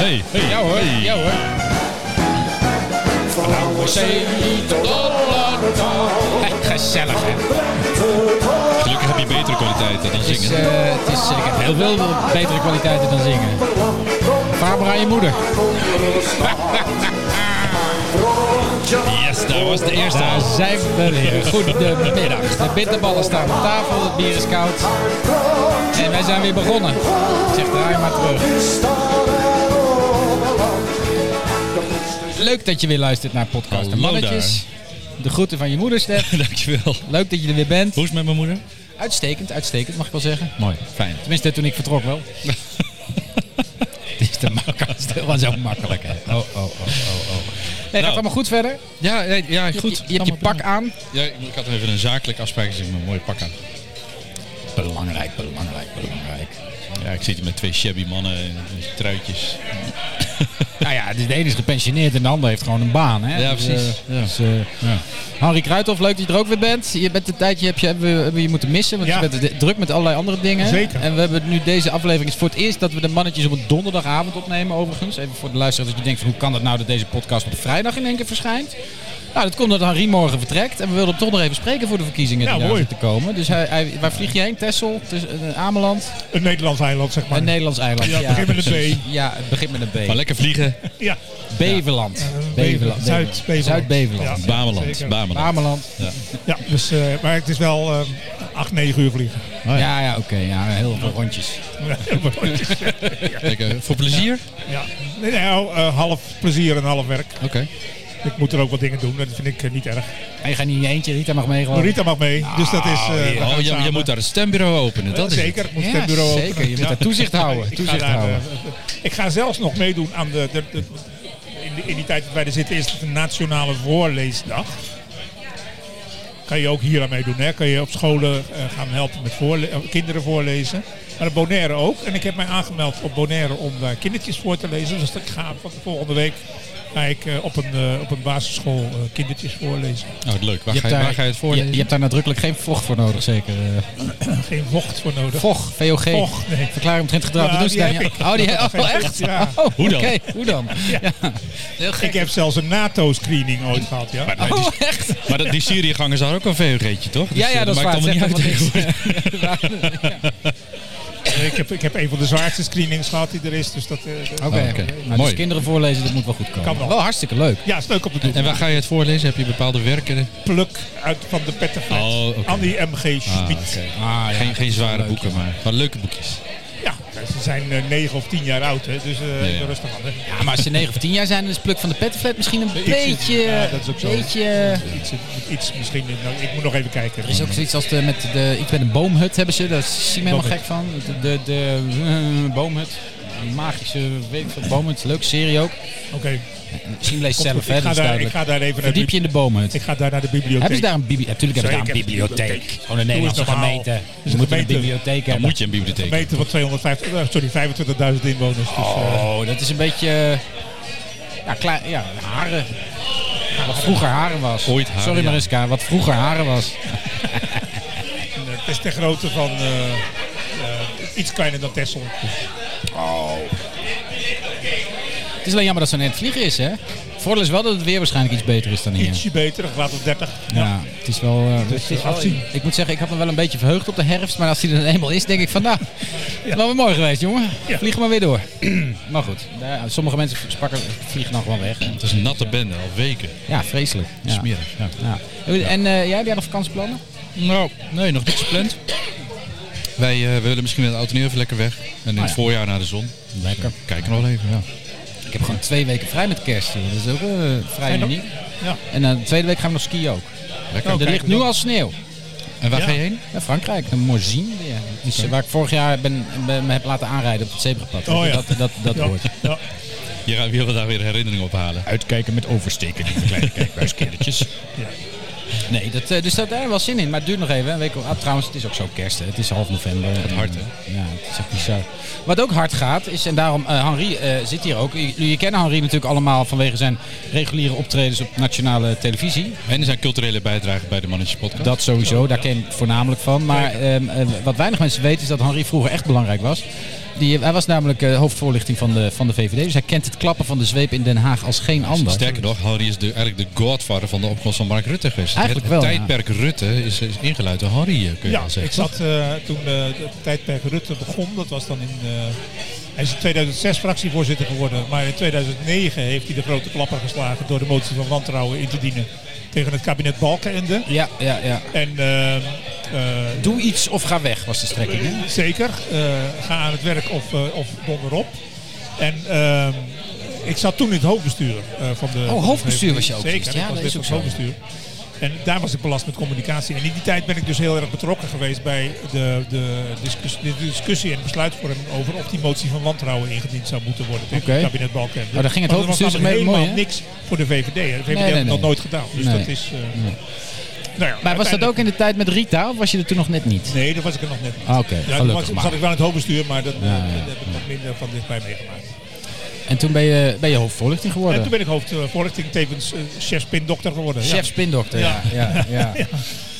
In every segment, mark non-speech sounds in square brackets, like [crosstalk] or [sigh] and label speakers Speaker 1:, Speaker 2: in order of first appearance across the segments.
Speaker 1: Hey, hey,
Speaker 2: Ja hoor,
Speaker 1: hey.
Speaker 2: ja hoor.
Speaker 3: Van
Speaker 2: We zijn niet tot Rotterdam. Echt Gezellig, hè?
Speaker 1: Gelukkig heb je betere kwaliteiten dan
Speaker 2: Het is,
Speaker 1: zingen.
Speaker 2: eh, het is, ik heb heel veel betere kwaliteiten dan zingen. Barbara, je moeder.
Speaker 1: Yes, daar was de eerste.
Speaker 2: Daar zijn we weer. Goedemiddag. De bitterballen staan op tafel, het bier is koud. En wij zijn weer begonnen. Zeg, draai maar terug. Leuk dat je weer luistert naar Podcast en
Speaker 1: Hallo
Speaker 2: Mannetjes. De groeten van je moeder, Stef.
Speaker 1: [laughs] Dankjewel.
Speaker 2: Leuk dat je er weer bent.
Speaker 1: Hoe is het met mijn moeder?
Speaker 2: Uitstekend, uitstekend, mag ik wel zeggen.
Speaker 1: Mooi, fijn.
Speaker 2: Tenminste, toen ik vertrok wel. Het [laughs] is te makkelijk. Het was zo makkelijk, hè. Oh, oh, oh, oh, oh. Nee, gaat allemaal goed verder?
Speaker 1: Ja, nee, ja
Speaker 2: Je,
Speaker 1: goed.
Speaker 2: Je, je hebt je pak aan.
Speaker 1: Ja, ik- ik had even een zakelijk afspraak, dus ik heb mijn mooie pak aan.
Speaker 2: Belangrijk, belangrijk, belangrijk.
Speaker 1: Ja, ik zit hier met twee shabby mannen in truitjes.
Speaker 2: nou ja, dus de ene is gepensioneerd en de ander heeft gewoon een baan, hè.
Speaker 1: Ja,
Speaker 2: Dus,
Speaker 1: precies.
Speaker 2: eh, dus, eh, Henri Kruithof, leuk dat je er ook weer bent. Je bent een tijdje heb je, hebben, we, hebben we je moeten missen, want
Speaker 4: Ja.
Speaker 2: je bent de- druk met allerlei andere dingen.
Speaker 4: Zeker.
Speaker 2: En we hebben nu deze aflevering is voor het eerst dat we de mannetjes op een donderdagavond opnemen overigens. Even voor de luisteraar dat je denkt van hoe kan dat nou dat deze podcast op vrijdag in één keer verschijnt. Nou, dat komt omdat Henri morgen vertrekt en we wilden hem toch nog even spreken voor de verkiezingen
Speaker 4: Ja,
Speaker 2: die daar
Speaker 4: mooi.
Speaker 2: zitten komen. Dus hij, hij- waar vlieg je heen? Texel, tussen, eh, Ameland,
Speaker 4: Een Nederlands eiland, zeg maar.
Speaker 2: een Nederlands eiland.
Speaker 4: Ja, het begint met een B.
Speaker 2: Ja, het begint met een B.
Speaker 1: Maar lekker vliegen.
Speaker 4: Ja,
Speaker 2: Beveland.
Speaker 4: eh,
Speaker 2: Beveland.
Speaker 4: Zuid-Beveland.
Speaker 2: Zuid-Beveland.
Speaker 4: Ja,
Speaker 1: Bameland,
Speaker 4: zeker.
Speaker 1: Bameland.
Speaker 2: Ameland.
Speaker 4: ja dus, eh, maar het is wel eh, acht, negen uur vliegen. [laughs]
Speaker 2: Ja, ja, oké. ja, heel veel rondjes.
Speaker 1: Lekker. Voor plezier?
Speaker 4: ja. Nee, nou, eh, half plezier en half werk.
Speaker 1: Oké.
Speaker 4: Ik moet er ook wat dingen doen, dat vind ik eh, niet erg.
Speaker 2: En je gaat niet in je eentje. Rita mag mee gewoon.
Speaker 4: Maar Rita mag mee, dus dat is... eh, we gaan
Speaker 1: Oh, je,
Speaker 4: samen.
Speaker 1: je moet daar het stembureau openen.
Speaker 4: Ja,
Speaker 1: Dat is het.
Speaker 4: zeker, moet
Speaker 2: Ja,
Speaker 4: het bureau
Speaker 2: zeker.
Speaker 4: openen.
Speaker 2: Je moet daar toezicht houden,
Speaker 4: Ik,
Speaker 2: toezicht
Speaker 4: ga daar,
Speaker 2: houden.
Speaker 4: eh, ik ga zelfs nog meedoen aan de... de, de- in, die, in die tijd dat wij er zitten is het een nationale voorleesdag. Kan je ook hier aan meedoen. Hè? Kan je op scholen eh, gaan helpen met voorle- eh, kinderen voorlezen. Maar op Bonaire ook. En ik heb mij aangemeld op Bonaire om daar kindertjes voor te lezen. Dus ik ga van volgende week ga ik, eh, op, een, eh, op een basisschool eh, kindertjes voorlezen.
Speaker 1: Oh, wat leuk. Waar
Speaker 2: Je
Speaker 1: ga, je,
Speaker 2: hebt, daar,
Speaker 1: waar ga je het
Speaker 2: je,
Speaker 1: voorlezen?
Speaker 2: je hebt daar nadrukkelijk geen vocht voor nodig, zeker. eh.
Speaker 4: Geen vocht voor nodig.
Speaker 2: Vocht, VOG.
Speaker 4: Vocht, nee.
Speaker 2: Verklaring omtrent gedrag.
Speaker 4: Ja,
Speaker 2: dat doen ze
Speaker 4: die
Speaker 2: daar
Speaker 4: heb
Speaker 2: niet.
Speaker 4: ik.
Speaker 2: Oh, die
Speaker 4: Dat
Speaker 2: oh,
Speaker 4: was geen
Speaker 2: echt?
Speaker 4: vocht, ja.
Speaker 2: Oh,
Speaker 1: Hoe dan?
Speaker 2: Oké, hoe dan? Ja. Heel gek.
Speaker 4: Ik heb zelfs een NATO-screening ooit gehad. Ja.
Speaker 1: Maar,
Speaker 2: Oh,
Speaker 1: die,
Speaker 2: echt?
Speaker 1: maar dat- die Syriëgangers hadden ook een VOG'tje, toch? Dus,
Speaker 2: Ja,
Speaker 1: eh,
Speaker 2: ja, dat is waar.
Speaker 1: maakt allemaal niet uit.
Speaker 2: Zegt
Speaker 1: tegenwoordig.
Speaker 2: helemaal niks. Ja.
Speaker 4: Eh, ik, heb, ik heb een van de zwaarste screenings gehad die er is. Dus dat, eh,
Speaker 2: [laughs]
Speaker 4: dat-
Speaker 2: Oké,
Speaker 1: Oké,
Speaker 2: Nou,
Speaker 1: mooi.
Speaker 2: dus kinderen voorlezen, dat moet wel goed komen.
Speaker 4: Kan wel.
Speaker 2: hartstikke leuk.
Speaker 4: Ja, is leuk op de doen.
Speaker 1: En waar ga je het voorlezen? Heb je bepaalde werken?
Speaker 4: pluk uit van de pettenflat.
Speaker 1: Oh, oké.
Speaker 4: Annie M.G. Schmid.
Speaker 2: Ah, ja.
Speaker 1: Geen, geen zware
Speaker 2: Leuk,
Speaker 1: boeken, maar, maar leuke boekjes.
Speaker 4: Ja, ze zijn eh, 9 of 10 jaar oud, hè, dus eh,
Speaker 1: ja.
Speaker 4: rustig aan. Hè.
Speaker 2: Ja, maar als ze 9 of 10 jaar zijn, dan is Pluk van de Pettenflat misschien een
Speaker 4: Ik zit-
Speaker 2: beetje...
Speaker 4: ja, dat is ook zo.
Speaker 2: beetje
Speaker 4: Iets, iets misschien, nou, ik moet nog even kijken.
Speaker 2: Er is ook zoiets als de, met de Ik ben een boomhut hebben ze. Daar is Siem helemaal gek
Speaker 4: Boomhut.
Speaker 2: van. De, de, de eh, boomhut. Een Magische weet ik veel, boomhut. Leuke serie ook.
Speaker 4: Oké, komt
Speaker 2: Siem leest
Speaker 4: goed.
Speaker 2: zelf, hè, dat
Speaker 4: ik, ga
Speaker 2: is
Speaker 4: daar, ik
Speaker 2: duidelijk.
Speaker 4: ga daar even naar de,
Speaker 2: Verdiep je in de boomhut.
Speaker 4: bibli- ik ga daar naar de bibliotheek.
Speaker 2: Hebben ze daar een bibliotheek? Natuurlijk hebben ze daar een
Speaker 4: Zeker,
Speaker 2: bibliotheek. Oh,
Speaker 4: bibliotheek.
Speaker 2: Gewoon een Nederlandse
Speaker 4: Doe eens normaal.
Speaker 2: gemeente.
Speaker 4: Dus
Speaker 2: Ze moeten een
Speaker 4: gemeente-
Speaker 2: bibliotheek
Speaker 1: Dan
Speaker 2: hebben.
Speaker 1: moet je een bibliotheek.
Speaker 4: een meter van 250, eh, sorry, 25.000 inwoners. Dus, eh,
Speaker 2: Oh, dat is een beetje... eh, Ja, klein, ja, haren. Wat vroeger haren was.
Speaker 1: Ooit haren,
Speaker 2: Sorry
Speaker 1: ja.
Speaker 2: Mariska, wat vroeger haren was.
Speaker 4: en, eh, het is ter grootte van eh, eh, iets kleiner dan Texel.
Speaker 2: Het is alleen jammer dat ze net vliegen is, hè? Voordeel is wel dat het weer waarschijnlijk iets beter is dan hier.
Speaker 4: Ietsje beter, een graad of 30.
Speaker 2: Ja, het is wel. eh, het is wel-
Speaker 4: afzien.
Speaker 2: ik moet zeggen, ik had me wel een beetje verheugd op de herfst. Maar als die er dan eenmaal is, denk ik van nou, [laughs] ja. wel weer mooi geweest, jongen.
Speaker 4: Ja.
Speaker 2: Vlieg maar weer [clears throat] door. maar goed, daar- sommige mensen spakken, vliegen dan gewoon weg. En-
Speaker 1: Het is een natte bende, al weken.
Speaker 2: Ja, vreselijk. Ja.
Speaker 1: Smerig. Ja.
Speaker 2: Ja. En eh, jij, heb jij nog vakantieplannen?
Speaker 1: Nou, nee, nog niks gepland. Wij eh, willen misschien met de auto nu even lekker weg. En in het
Speaker 2: Oh, ja.
Speaker 1: voorjaar naar de zon. Dus, eh,
Speaker 2: Lekker.
Speaker 1: Kijken nog wel even, ja.
Speaker 2: Ik heb gewoon twee weken vrij met kerst. joh. Dat is ook eh, vrij
Speaker 4: En dan-
Speaker 2: uniek.
Speaker 4: Ja.
Speaker 2: En dan de tweede week gaan we nog skiën ook.
Speaker 1: Lekker.
Speaker 2: er ligt nu al sneeuw.
Speaker 1: En waar
Speaker 4: Ja.
Speaker 1: ga je heen?
Speaker 2: Ja, Frankrijk, een Morzine. Ja. Dus, eh, Waar ik vorig jaar ben, ben, me heb laten aanrijden op het zebrapad.
Speaker 4: Oh, ja.
Speaker 2: Dat, dat, dat
Speaker 4: Ja,
Speaker 2: hoort.
Speaker 4: ja.
Speaker 1: Je gaat- wil daar weer herinneringen ophalen.
Speaker 2: Uitkijken met oversteken, die kleine kijkbuiskindertjes. Nee, dat, eh, dus dat daar wel zin in. Maar het duurt nog even. Een week, of- ah, trouwens, het is ook zo kerst. Hè. Het is half november. Het
Speaker 1: hard, hè?
Speaker 2: Ja, het is echt bizar. Wat ook hard gaat is, en daarom, eh Henri eh, zit hier ook. Jullie je kennen Henri natuurlijk allemaal vanwege zijn reguliere optredens op nationale televisie.
Speaker 1: En er zijn culturele bijdragen bij de Mannetjes Podcast.
Speaker 2: Dat sowieso, daar ken ik voornamelijk van. Maar ehm, eh, wat weinig mensen weten is dat Henri vroeger echt belangrijk was. Die, hij was namelijk eh, hoofdvoorlichting van de, van de VVD. Dus hij kent het klappen van de zweep in Den Haag als geen ander.
Speaker 1: Sterker nog, Henry is de, eigenlijk de godfather van de opkomst van Mark Rutte geweest.
Speaker 2: Eigenlijk
Speaker 1: het
Speaker 2: wel, ja.
Speaker 1: tijdperk Rutte is, is ingeluid door Henry, eh, kun je
Speaker 4: Ja,
Speaker 1: wel
Speaker 4: ik
Speaker 1: zeggen.
Speaker 4: zat eh, toen eh, het tijdperk Rutte begon. Dat was dan in. eh, hij is in 2006 fractievoorzitter geworden. Maar in 2009 heeft hij de grote klapper geslagen door de motie van wantrouwen in te dienen tegen het kabinet Balkenende.
Speaker 2: Ja, ja, ja.
Speaker 4: En eh, eh,
Speaker 2: Doe iets of ga weg, was de strekking. Hè?
Speaker 4: zeker, eh, ga aan het werk of, eh, of donder op. En ehm, ik zat toen in het hoofdbestuur eh, van de. van de
Speaker 2: Oh, hoofdbestuur
Speaker 4: VVD.
Speaker 2: was je ook
Speaker 4: Zeker,
Speaker 2: geweest.
Speaker 4: ik
Speaker 2: Ja,
Speaker 4: was
Speaker 2: dat
Speaker 4: lid
Speaker 2: is ook
Speaker 4: van
Speaker 2: zo,
Speaker 4: het hoofdbestuur. En daar was ik belast met communicatie. En in die tijd ben ik dus heel erg betrokken geweest bij de, de, discussie, de discussie en besluitvorming over of die motie van wantrouwen ingediend zou moeten worden tegen
Speaker 2: Oké.
Speaker 4: het kabinet Balkenende.
Speaker 2: Maar daar ging het
Speaker 4: Want er was
Speaker 2: hoofdbestuur zich mee
Speaker 4: namelijk
Speaker 2: bemoeien,
Speaker 4: helemaal
Speaker 2: hè?
Speaker 4: niks voor de VVD. hè. De VVD
Speaker 2: nee,
Speaker 4: had
Speaker 2: nee.
Speaker 4: dat nooit gedaan. Dus
Speaker 2: Nee.
Speaker 4: dat is... eh, nou ja,
Speaker 2: Maar was dat
Speaker 4: uiteindelijk-
Speaker 2: ook in de tijd met Rita of was je er toen nog net niet?
Speaker 4: Nee, dat was ik er nog net niet.
Speaker 2: Ah, Oké,
Speaker 4: Ja, toen was,
Speaker 2: gelukkig
Speaker 4: toen
Speaker 2: maar.
Speaker 4: zat ik wel in het hoofdbestuur, maar dat, eh,
Speaker 2: ja.
Speaker 4: dat heb ik wat minder van dichtbij meegemaakt.
Speaker 2: En toen ben je, ben je hoofdvoorlichting
Speaker 4: En
Speaker 2: geworden.
Speaker 4: toen ben ik hoofdvoorlichting, tevens eh, chef spindokter geworden. ja.
Speaker 2: Chef spindokter, ja. ja, [laughs] ja, Een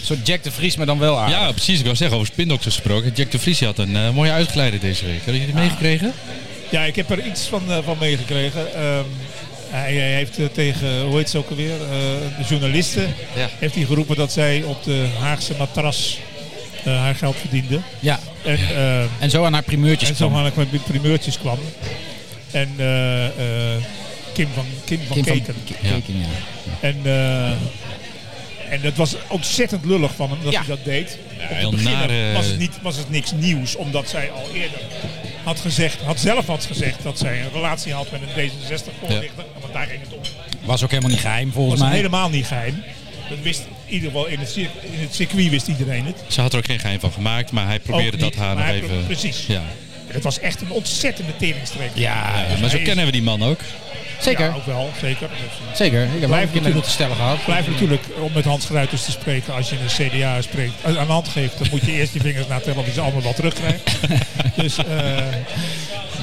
Speaker 2: soort Jack de Vries, maar dan wel aan.
Speaker 1: Ja, precies. Ik wou zeggen, over spindokters gesproken. Jack de Vries had een eh, mooie uitgeleide deze week. Hebben jullie die meegekregen?
Speaker 4: Ja, ik heb er iets van, eh, van meegekregen. Ehm, hij, hij heeft eh, tegen, hoe heet ze ook alweer, eh, de journalisten,
Speaker 1: Ja.
Speaker 4: heeft hij geroepen dat zij op de Haagse matras eh, haar geld verdiende.
Speaker 2: Ja,
Speaker 4: En, ehm,
Speaker 2: en zo aan haar primeurtjes
Speaker 4: en zo
Speaker 2: kwam.
Speaker 4: maandag met primeurtjes kwam. En eh, eh, Kim van, Kim van
Speaker 2: Kim van
Speaker 4: Keken.
Speaker 2: Ke-
Speaker 1: Ja.
Speaker 2: Keken, ja.
Speaker 4: En, eh, en dat was ontzettend lullig van hem dat
Speaker 2: Ja.
Speaker 4: hij dat deed. Om te
Speaker 1: heel eh,
Speaker 4: beginnen
Speaker 1: nare-
Speaker 4: was, het niet, was het niks nieuws, omdat zij al eerder had gezegd, had zelf had gezegd dat zij een relatie had met een D66-voorlichter. Want daar ging het om. Het
Speaker 2: Was ook helemaal niet geheim, volgens
Speaker 4: was
Speaker 2: mij.
Speaker 4: helemaal niet geheim. Dat wist in ieder geval in het, cir- in het circuit wist iedereen het.
Speaker 1: Ze had er ook geen geheim van gemaakt, maar hij probeerde
Speaker 4: Ook
Speaker 1: dat
Speaker 4: niet,
Speaker 1: haar nog
Speaker 4: maar hij pro-
Speaker 1: even...
Speaker 4: precies.
Speaker 1: Ja.
Speaker 4: Het was echt een ontzettende teringstrekker.
Speaker 2: Ja,
Speaker 1: Ja, maar zo
Speaker 4: hij is-
Speaker 1: kennen we die man ook.
Speaker 2: Zeker,
Speaker 4: Ja, ook wel, zeker. Dus, eh,
Speaker 2: zeker. Ik heb ook
Speaker 4: Blijft
Speaker 2: een keer
Speaker 4: natuurlijk-
Speaker 2: moeten stellen gehad.
Speaker 4: Blijf natuurlijk, om met Hans Gruiters te spreken, als je een CDA spreekt, eh, aan de hand geeft, dan moet je eerst die vingers natellen of je ze allemaal wel terugkrijgt. dus eh,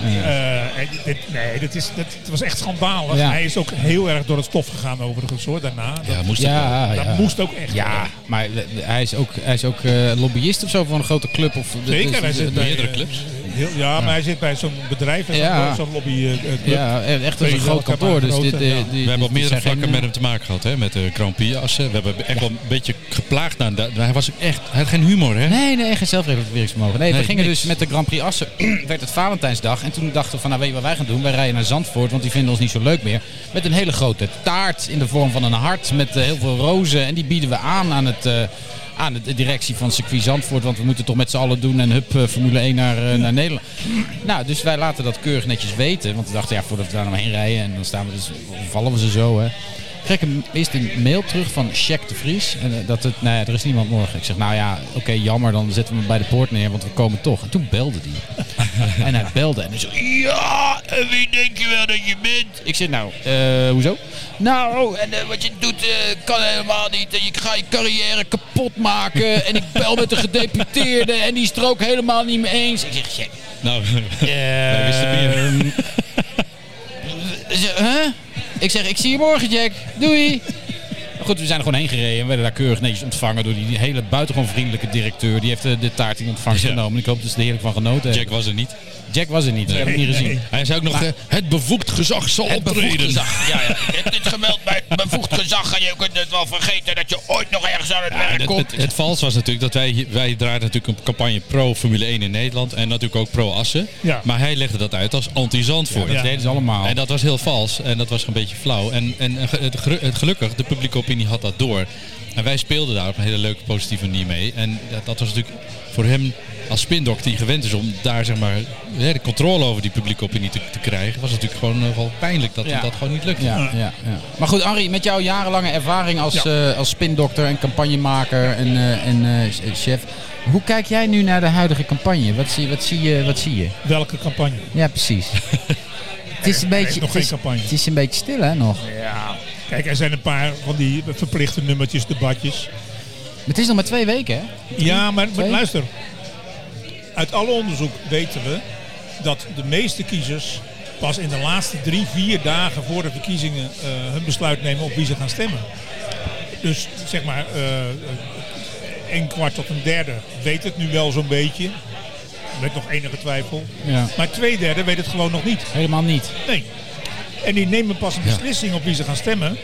Speaker 4: eh, en dit, nee, dit is, dit, het was echt schandalig.
Speaker 2: Ja.
Speaker 4: Hij is ook heel erg door het stof gegaan overigens hoor, daarna. Dat,
Speaker 1: Ja, moest ook wel.
Speaker 2: Ja,
Speaker 4: dat
Speaker 2: ja.
Speaker 4: moest ook echt.
Speaker 2: Ja, maar hij is ook, hij is ook eh, lobbyist of zo voor een grote club. Of
Speaker 4: Zeker,
Speaker 2: dus
Speaker 4: hij zit bij
Speaker 1: meerdere
Speaker 4: eh,
Speaker 1: clubs.
Speaker 4: heel- ja, maar hij zit bij zo'n bedrijf, en zo'n-
Speaker 2: Ja.
Speaker 4: zo'n lobby. eh, club.
Speaker 2: ja, echt als een
Speaker 4: Weet je
Speaker 2: groot
Speaker 4: wel,
Speaker 2: kantoor. Dus
Speaker 4: grote,
Speaker 2: dit, eh,
Speaker 4: ja.
Speaker 2: die- die-
Speaker 1: We hebben op
Speaker 2: die
Speaker 1: meerdere
Speaker 2: zijn
Speaker 1: vlakken
Speaker 2: geen-
Speaker 1: met hem te maken gehad, hè? met de Grand Prix-assen. We hebben echt wel een beetje geplaagd aan. dat- Hij was ook echt, hij had geen humor, hè?
Speaker 2: Nee, nee, geen zelfreguleringsvermogen. Nee, we
Speaker 1: Nee,
Speaker 2: gingen
Speaker 1: niks.
Speaker 2: dus met de Grand Prix Assen, [clears throat] werd het Valentijnsdag. En toen dachten we van, nou weet je wat wij gaan doen? Wij rijden naar Zandvoort, want die vinden ons niet zo leuk meer. Met een hele grote taart in de vorm van een hart met eh, heel veel rozen. En die bieden we aan aan het... eh, aan de directie van circuit Zandvoort, want we moeten toch met z'n allen doen en hup, eh, Formule 1 naar, eh, naar Nederland. Nou, dus wij laten dat keurig netjes weten, want we dachten ja, voordat we daar nou heen rijden en dan staan we dus, vallen we ze zo hè kreeg ik een, eerst een mail terug van Jack de Vries. En, eh, dat het, nou ja, er is niemand morgen. Ik zeg, nou ja, oké, jammer, dan zetten we hem bij de poort neer, want we komen toch. En toen belde die. en hij belde en hij zo, ja, en wie denk je wel dat je bent? Ik zeg, nou, eh, hoezo? Nou, en eh, wat je doet eh, kan helemaal niet. En ik ga je carrière kapot maken. en ik bel met de gedeputeerde en die is het er ook helemaal niet mee eens. Ik zeg, Jack,
Speaker 1: [laughs] Nou,
Speaker 2: eh,
Speaker 1: wisten meer.
Speaker 2: ze- Huh? Ik zeg, ik zie je morgen, Jack. Doei. Maar Goed, we zijn er gewoon heen gereden en werden daar keurig netjes ontvangen door die hele buitengewoon vriendelijke directeur. Die heeft eh, de taart in ontvangst
Speaker 1: Ja.
Speaker 2: genomen. Ik hoop dat ze er heerlijk van genoten
Speaker 1: Jack
Speaker 2: hebben.
Speaker 1: was er niet.
Speaker 2: Jack, was er niet, ik heb hem niet
Speaker 4: Nee,
Speaker 2: gezien.
Speaker 4: nee.
Speaker 1: Hij zei ook nog, eh, het bevoegd gezag zal
Speaker 2: bevoegd
Speaker 1: optreden.
Speaker 2: gezag. Ja, ja. Ik heb dit gemeld bij het bevoegd gezag en je kunt het wel vergeten dat je ooit nog ergens aan het
Speaker 1: Ja, het, het, het vals was natuurlijk dat wij, hier- wij draaiden natuurlijk een campagne pro Formule 1 in Nederland en natuurlijk ook pro Assen.
Speaker 4: Ja.
Speaker 1: Maar hij legde dat uit als anti-Zandvoort.
Speaker 2: dat
Speaker 4: Ja.
Speaker 2: deden ze allemaal.
Speaker 1: En dat was heel vals en dat was een beetje flauw. En, en eh, ge- het, gelu- het gelukkig, de publieke opinie had dat door. En wij speelden daar op een hele leuke, positieve manier mee. En dat, dat was natuurlijk voor hem als spindok die gewend is om daar zeg maar hè, de controle over die publieke opinie te, te krijgen, was het natuurlijk gewoon eh, wel pijnlijk dat
Speaker 2: Ja.
Speaker 1: dat gewoon niet lukte.
Speaker 2: Ja, ja, ja. Maar goed, Arie, met jouw jarenlange ervaring als, eh, als spindokter en campagnemaker en, eh, en eh, chef. Hoe kijk jij nu naar de huidige campagne? Wat zie, wat zie, je, wat zie je?
Speaker 4: Welke campagne?
Speaker 2: Ja, precies. [laughs] het is een
Speaker 4: Er is
Speaker 2: beetje,
Speaker 4: nog
Speaker 2: het is-
Speaker 4: geen campagne.
Speaker 2: Het is een beetje stil, hè, nog.
Speaker 4: Ja. Kijk, er zijn een paar van die verplichte nummertjes, debatjes.
Speaker 2: Het is nog maar twee weken, hè?
Speaker 4: Ja, maar, maar
Speaker 2: twee?
Speaker 4: luister. Uit alle onderzoek weten we dat de meeste kiezers pas in de laatste drie, vier dagen voor de verkiezingen eh, hun besluit nemen op wie ze gaan stemmen. Dus zeg maar, eh, een kwart tot een derde weet het nu wel zo'n beetje. met nog enige twijfel.
Speaker 2: Ja.
Speaker 4: Maar twee derde weet het gewoon nog niet.
Speaker 2: Helemaal niet.
Speaker 4: Nee. En die nemen pas een
Speaker 1: Ja.
Speaker 4: beslissing op wie ze gaan stemmen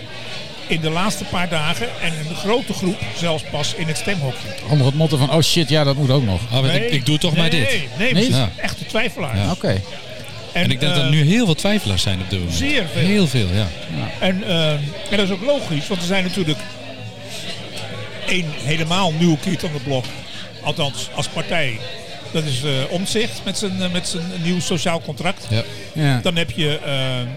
Speaker 4: in de laatste paar dagen. En een grote groep zelfs pas in het stemhokje.
Speaker 2: Onder het motto van, oh shit, ja, dat moet ook nog.
Speaker 1: Ah, want ik, ik doe toch
Speaker 4: nee,
Speaker 1: maar dit.
Speaker 4: Nee, nee,
Speaker 2: Nee?
Speaker 4: precies.
Speaker 1: Ja.
Speaker 4: Echte twijfelaars.
Speaker 1: Ja.
Speaker 2: Oké.
Speaker 1: En ik denk dat er
Speaker 4: eh,
Speaker 1: nu heel veel twijfelaars zijn op dit moment.
Speaker 4: zeer veel.
Speaker 1: Heel veel, ja.
Speaker 4: En, eh, en dat is ook logisch, want er zijn natuurlijk één helemaal nieuwe kiet aan de blok. Althans, als partij. Dat is eh Omzicht met zijn, eh, met zijn nieuw sociaal contract.
Speaker 1: ja.
Speaker 2: Ja.
Speaker 4: Dan heb je eh, eh,